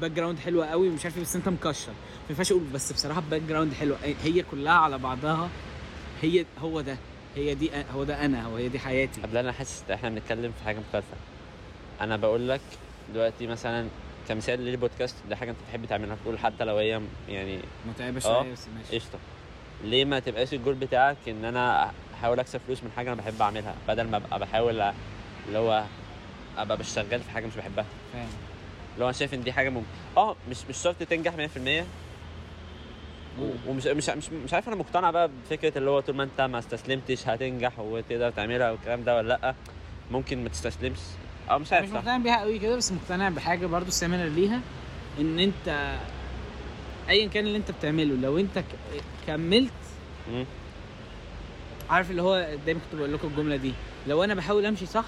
باك جراوند حلوه قوي ومش عارف ايه بس انت مكشر ما ينفعش اقول بس بصراحه باك جراوند حلوه إيه، هي كلها على بعضها هي هو ده هي دي هو ده انا هو هي دي حياتي قبل انا حاسس ان احنا بنتكلم في حاجه مختلفه انا بقول لك دلوقتي مثلا كمثال للبودكاست ده حاجه انت بتحب تعملها بتقول حتى لو هي يعني متعبه آه. شويه بس ماشي قشطه ليه ما تبقاش الجول بتاعك ان انا احاول اكسب فلوس من حاجه انا بحب اعملها بدل ما ابقى بحاول أ- اللي هو ابقى بشتغل في حاجه مش بحبها فاهم اللي هو انا شايف ان دي حاجه ممكن اه مش مش شرط تنجح 100% أوه. ومش مش مش مش عارف انا مقتنع بقى بفكره اللي هو طول ما انت ما استسلمتش هتنجح وتقدر تعملها والكلام ده ولا لا ممكن ما تستسلمش اه مش مش عارف صح مقتنع بيها قوي كده بس مقتنع بحاجه برضو سيميلر ليها ان انت ايا كان اللي انت بتعمله لو انت ك- كملت مم. عارف اللي هو دايما كنت بقول لكم الجمله دي لو انا بحاول امشي صح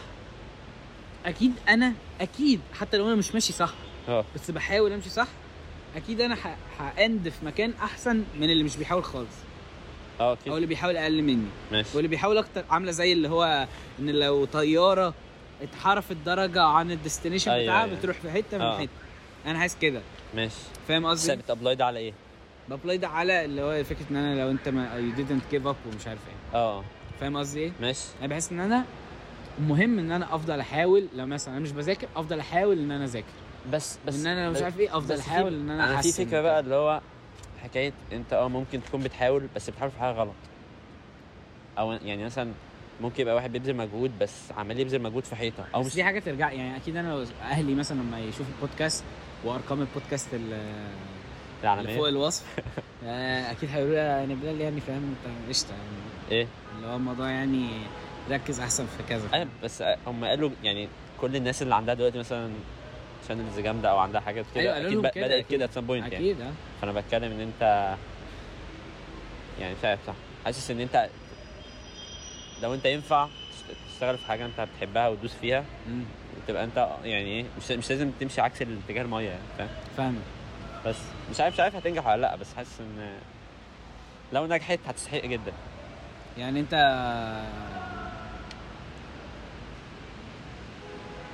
اكيد انا اكيد حتى لو انا مش ماشي صح اه بس بحاول امشي صح اكيد انا ه- هاند في مكان احسن من اللي مش بيحاول خالص اه او اكيد اللي بيحاول اقل مني ماشي واللي بيحاول اكتر عامله زي اللي هو ان لو طياره اتحرفت درجه عن الديستنيشن أيوة، بتاعها أيوة. بتروح في حته من آه. حته انا حاسس كده ماشي فاهم بس قصدي بتابلاي ده على ايه؟ بابلاي ده على اللي هو فكره ان انا لو انت ما يو didn't give up ومش عارف ايه اه فاهم قصدي ايه ماشي انا بحس ان انا مهم ان انا افضل احاول لو مثلا انا مش بذاكر افضل احاول ان انا اذاكر بس بس ان انا لو مش بس- عارف ايه افضل بس في- احاول ان انا انا في احسن فكره بقى اللي هو حكايه انت اه ممكن تكون بتحاول بس بتحاول في حاجه غلط او يعني مثلا ممكن يبقى واحد بيبذل مجهود بس عمال يبذل مجهود في حيطه او او مش دي حاجه ترجع يعني اكيد انا لو اهلي مثلا لما يشوفوا البودكاست وارقام البودكاست ال- اللي فوق العالميه الوصف آه، اكيد هيقولوا لي يعني بلال يعني فاهم انت قشطه يعني ايه اللي هو الموضوع يعني ركز احسن في كذا أيوة، ايوه بس هم قالوا يعني كل الناس اللي عندها دلوقتي مثلا شانلز جامده او عندها حاجات كده أيوة، قالوا اكيد لهم بق- كده، بدات أكيد. كده ات سام بوينت يعني اكيد اه فانا بتكلم ان انت يعني مش عارف صح حاسس ان انت لو انت ينفع تشت- تشتغل في حاجه انت بتحبها وتدوس فيها مم. وتبقى انت يعني ايه مش مش لازم تمشي عكس الاتجاه الميه يعني فاهم فاهمك بس مش عارف مش عارف هتنجح ولا لا بس حاسس ان لو نجحت هتستحق جدا يعني انت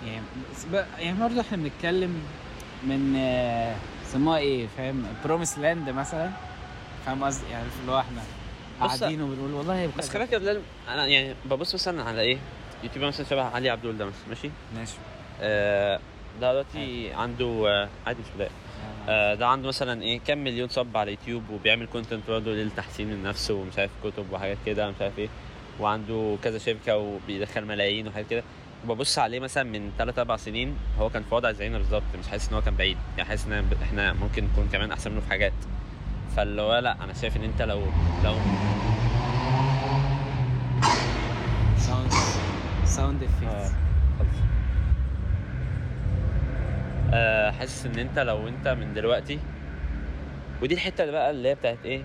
يعني بس ب- يعني برضه احنا بنتكلم من آه، سموها ايه فاهم بروميس لاند مثلا فاهم قصدي يعني اللي هو احنا بص- قاعدين وبنقول والله يبقى بس خلي بالك انا يعني ببص مثلا على ايه يوتيوبر مثلا شبه علي عبدول ده مثلا ماشي ماشي آه، ده دلوقتي عنده آه، عادي مش بلاقي آه، ده عنده مثلا ايه كام مليون صب على اليوتيوب وبيعمل كونتنت برضه للتحسين من نفسه ومش عارف كتب وحاجات كده مش عارف ايه وعنده كذا شركه وبيدخل ملايين وحاجات كده وببص عليه مثلا من 3 4 سنين هو كان في وضع زينا بالظبط مش حاسس ان هو كان بعيد يعني حاسس ان أنا- احنا ممكن نكون كمان احسن منه في حاجات فاللي هو لا انا شايف ان انت لو لو ساوند ساوند آه، افكتس خلاص. آه، حاسس ان انت لو انت من دلوقتي ودي الحته اللي بقى اللي هي بتاعت ايه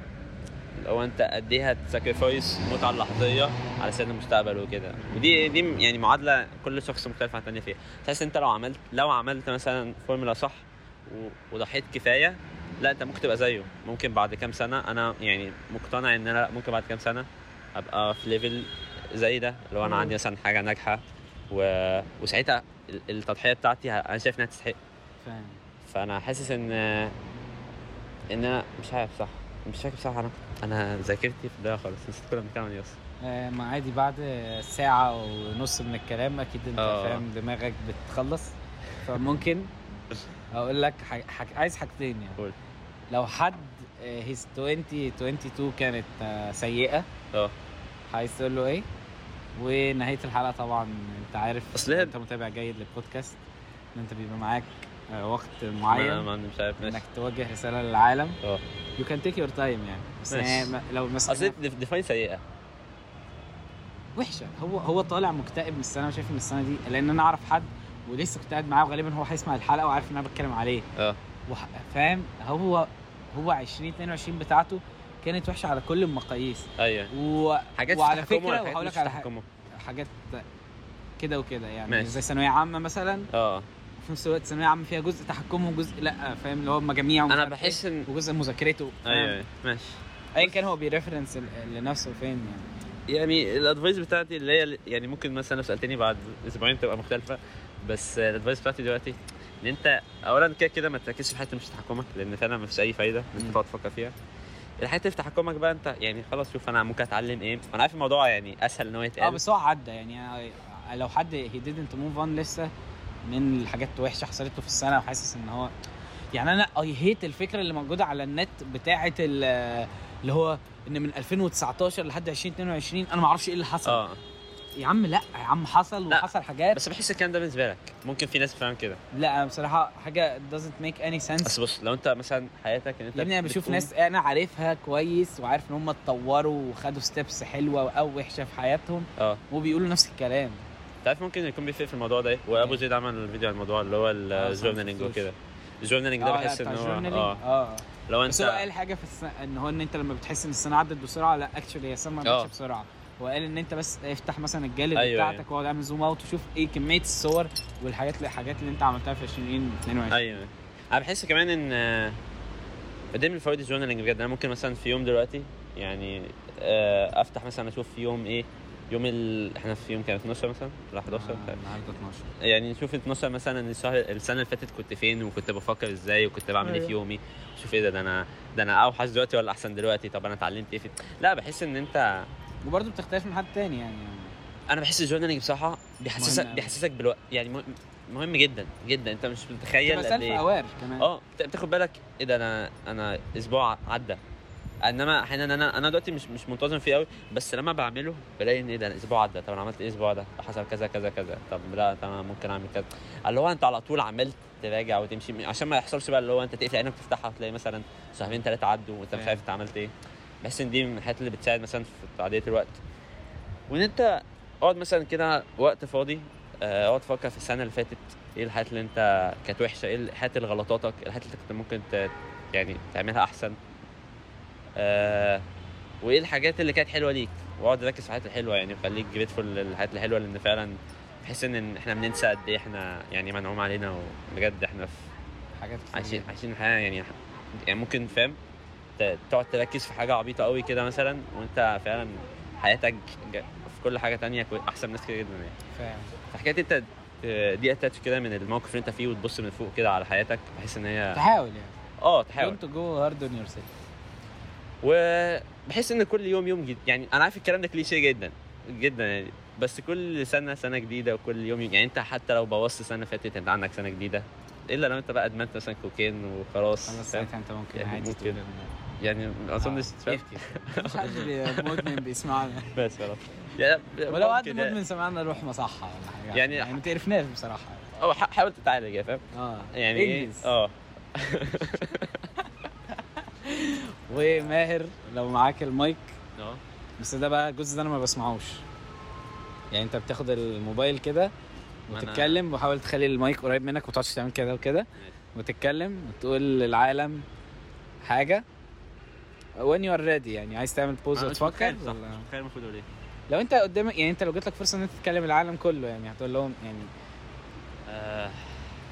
لو انت قد ايه هتساكريفايس المتعه اللحظيه على سبيل المستقبل وكده ودي دي م- يعني معادله كل شخص مختلف عن الثاني فيها تحس انت لو عملت لو عملت مثلا فورمولا صح و- وضحيت كفايه لا انت ممكن تبقى زيه ممكن بعد كام سنه انا يعني مقتنع ان انا ممكن بعد كام سنه ابقى في ليفل زي ده لو انا مم. عندي مثلا حاجه ناجحه و... وساعتها ال- التضحيه بتاعتي ه- انا شايف انها تستحق فاهم فانا حاسس ان ان انا مش عارف صح مش فاكر بصراحه انا انا ذاكرتي في ده خالص نسيت كنا بنتكلم عن ايه اصلا آه، ما عادي بعد ساعة ونص من الكلام أكيد أنت آه. فاهم دماغك بتخلص فممكن أقول لك حاج... حاج... عايز حاجتين يعني قول. لو حد آه، هيز 2022 كانت آه، سيئة اه عايز تقول له إيه؟ ونهاية الحلقة طبعا أنت عارف أصل هي- أنت متابع جيد للبودكاست إن أنت بيبقى معاك آه، وقت ما معين ما مش عارف ماشي إنك توجه رسالة للعالم اه يو كان تيك يور تايم يعني بس ماشي. يعني لو اصل مثلا دي- ديفاين سيئه وحشه هو هو طالع مكتئب من السنه وشايف ان السنه دي لان انا اعرف حد ولسه كنت قاعد معاه وغالبا هو هيسمع الحلقه وعارف ان انا بتكلم عليه اه وح- فاهم هو هو 2022 بتاعته كانت وحشه على كل المقاييس ايوه و... حاجات وعلى تستحكمه فكرة، وحاجات وهقول مش لك على حاجة. تستحكمه. حاجات كده وكده يعني ماشي. زي ثانويه عامه مثلا اه في نفس الوقت ثانويه عامه فيها جزء تحكمه وجزء لا فاهم اللي هو مجاميع ومش انا عارف إيه، بحس ان وجزء مذاكرته فاهم؟ ايوه أيوة، ماشي ايا كان هو بيرفرنس ل- لنفسه فين يعني يعني الادفايس بتاعتي اللي هي يعني ممكن مثلا لو سالتني بعد اسبوعين تبقى مختلفه بس الادفايس بتاعتي دلوقتي ان انت اولا كده كده ما تركزش في حته مش تحكمك لان فعلا ما فيش اي فايده ان انت مم. تقعد تفكر فيها الحته في تحكمك بقى انت يعني خلاص شوف انا ممكن اتعلم ايه انا عارف الموضوع يعني اسهل ان هو اه يتقال بس هو عدى يعني لو حد هي didn't move on لسه من الحاجات الوحشه حصلت له في السنه وحاسس ان هو يعني انا اي هيت الفكره اللي موجوده على النت بتاعه ال- اللي هو ان من 2019 لحد 2022 انا ما اعرفش ايه اللي حصل آه. اه يا عم لا يا عم حصل لا. وحصل حاجات بس بس بحس الكلام ده بالنسبه لك ممكن في ناس بتفهم كده لا انا بصراحه حاجه doesn't make any sense بس بص لو انت مثلا حياتك ان انت يا ابني انا بشوف بتقوم- ناس انا عارفها كويس وعارف ان هم اتطوروا وخدوا ستيبس حلوه او وحشه في حياتهم اه وبيقولوا نفس الكلام انت عارف ممكن يكون بيفرق في الموضوع ده ايه وابو ايه. زيد عمل فيديو عن الموضوع اللي هو اه، الجورنالينج شفتوش. وكده الجورنالينج ده اه، لا، بحس ان بتاع هو journaling. اه اه لو بس هو قال انت حاجه في الس... ان هو ان انت لما بتحس ان السنه عدت بسرعه لا اكشولي هي السنه ما اه. عدتش بسرعه هو قال ان انت بس افتح مثلا الجاليري أيوة، أيوة بتاعتك أيوة. واقعد اعمل زوم اوت وشوف ايه كميه الصور والحاجات الحاجات اللي انت عملتها في 2022 ايوه انا بحس كمان ان آه، ده من فوائد الجورنالينج بجد انا ممكن مثلا في يوم دلوقتي يعني آه، افتح مثلا اشوف في يوم ايه يوم ال... احنا في يوم كان 12 مثلا ولا 11 آه، النهارده 12 يعني نشوف 12 مثلا الشهر السنه اللي فاتت كنت فين وكنت بفكر ازاي وكنت بعمل ايه في أيوة. يومي شوف ايه ده ده انا ده انا اوحش دلوقتي ولا احسن دلوقتي طب انا اتعلمت ايه في... لا بحس ان انت وبرده بتختلف من حد تاني يعني انا بحس الجورنالينج بصراحه بيحسسك مهم أوي. بيحسسك بالوقت يعني مهم- مهم جدا جدا انت مش متخيل بتبقى قد سيلف ايه اوير كمان اه بت- بتاخد بالك ايه ده انا انا اسبوع عدى انما احيانا انا انا دلوقتي مش مش منتظم فيه قوي بس لما بعمله بلاقي ان ايه ده أنا الاسبوع عدى طب انا عملت ايه الاسبوع ده حصل كذا كذا كذا طب لا طب انا ممكن اعمل كذا اللي هو انت على طول عمال تراجع وتمشي عشان ما يحصلش بقى اللي هو انت تقفل عينك وتفتحها وتلاقي مثلا شهرين ثلاثه عدوا وانت مش فاهم. عارف انت عملت ايه بحس ان دي من الحاجات اللي بتساعد مثلا في تعديه الوقت وان انت اقعد مثلا كده وقت فاضي آه، اقعد تفكر في السنه اللي فاتت ايه الحاجات اللي انت كانت وحشه ايه الحاجات اللي غلطاتك إيه الحاجات اللي كنت ممكن ت... يعني تعملها احسن آه وايه الحاجات اللي كانت حلوه ليك واقعد ركز في الحاجات الحلوه يعني وخليك جريتفول للحاجات الحلوه لان فعلا بحس ان احنا بننسى قد ايه احنا يعني منعوم علينا وبجد احنا في حاجات كتير عايشين عايشين حياه يعني يعني ممكن فاهم ت- تقعد تركز في حاجه عبيطه قوي كده مثلا وانت فعلا حياتك ج- في كل حاجه تانية كوي- احسن ناس كده جدا يعني فاهم فحكايه انت ت- دي اتاتش كده من الموقف اللي انت فيه وتبص من فوق كده على حياتك بحس ان هي تحاول يعني اه تحاول دونت جو هارد اون يور سيلف وبحس ان كل يوم يوم جديد يعني انا عارف الكلام ده كليشيه جدا جدا يعني بس كل سنه سنه جديده وكل يوم يوم يعني انت حتى لو بوظت سنه فاتت انت عندك سنه جديده الا لو انت بقى ادمنت مثلا كوكين وخلاص خلاص فاهم؟ ساعتها انت ممكن يعني عادي ممكن. تقول إن- يعني ما اظنش آه، فاهم 50. مش حد بي- مدمن بيسمعنا بس خلاص يعني ولو حد ممكن- مدمن سمعنا روح مصحة ولا حاجة يعني- يعني ما تقرفناش بصراحة اه ح- حاول تتعالج يا فاهم اه يعني ايه انجز. اه وماهر لو معاك المايك اه بس ده بقى الجزء ده انا ما بسمعوش يعني انت بتاخد الموبايل كده ما أنا- وتتكلم وحاول تخلي المايك قريب منك وتقعدش تعمل كده وكده وتتكلم وتقول للعالم حاجة when you are ready يعني عايز تعمل بوز وتفكر صح ولا- مش متخيل المفروض اقول ايه لو انت قدامك يعني انت لو جاتلك فرصة ان انت تتكلم العالم كله يعني هتقول لهم يعني آه،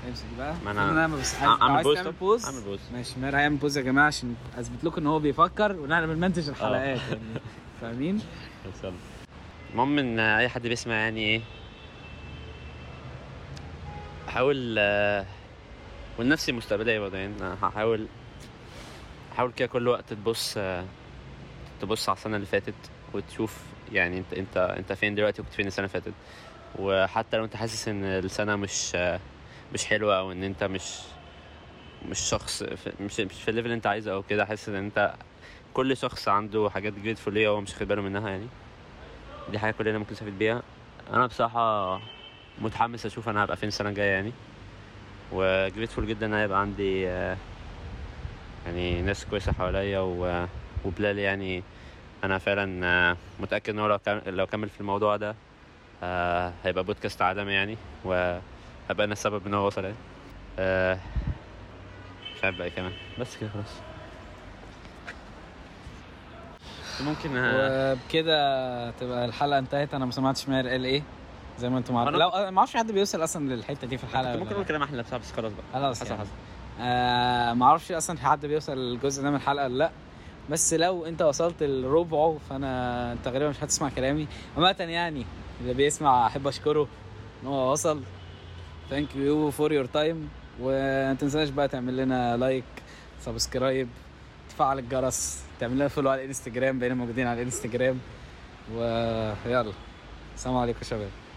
امسك بقى ما أنا- إن ما بس أعمل لو عايز بوز تعمل طب؟ بوز أعمل بوز. ماشي ماهر هيعمل بوز يا جماعه عشان اثبت لكم ان هو بيفكر ونحن آه. بنمنتج الحلقات يعني فاهمين؟ بس يلا. المهم ان اي حد بيسمع يعني ايه احاول آه، والنفس المستقبليه برضه يعني أنا هحاول حاول كده كل وقت تبص آه، تبص على السنه اللي فاتت وتشوف يعني انت انت انت فين دلوقتي وكنت فين السنه اللي فاتت وحتى لو انت حاسس ان السنه مش آه، مش حلوه او ان انت مش مش شخص في- مش مش في الليفل اللي انت عايزه او كده حاسس ان انت كل شخص عنده حاجات جريتفول ليه هو مش واخد باله منها يعني دي حاجه كلنا ممكن نستفيد بيها انا بصراحه متحمس اشوف انا هبقى فين السنه الجايه يعني وجريتفول جدا ان أنا هيبقى عندي آه، يعني ناس كويسه حواليا و- وبلال يعني انا فعلا آه، متاكد ان هو لو كان- لو كمل في الموضوع ده آه، هيبقى بودكاست عالمي يعني وهبقى انا السبب ان هو وصل يعني آه، مش عارف بقى إيه كمان بس كده خلاص ممكن آه، وبكده تبقى الحلقه انتهت انا ما سمعتش ماهر قال ايه زي ما انتم عارفين أنا- لو أنا ما اعرفش حد بيوصل اصلا للحته دي في كنت الحلقه ممكن اقول كلام احلى بصراحه بس خلاص بقى خلاص حصل يعني. حصل آه ما اعرفش اصلا في حد بيوصل للجزء ده من الحلقه ولا لا بس لو انت وصلت لربعه فانا انت غالبا مش هتسمع كلامي عامه يعني اللي بيسمع احب اشكره ان هو وصل ثانك يو فور يور تايم وما تنساش بقى تعمل لنا لايك سبسكرايب تفعل الجرس تعمل لنا فولو على الانستجرام بقينا موجودين على الانستجرام ويلا السلام عليكم يا شباب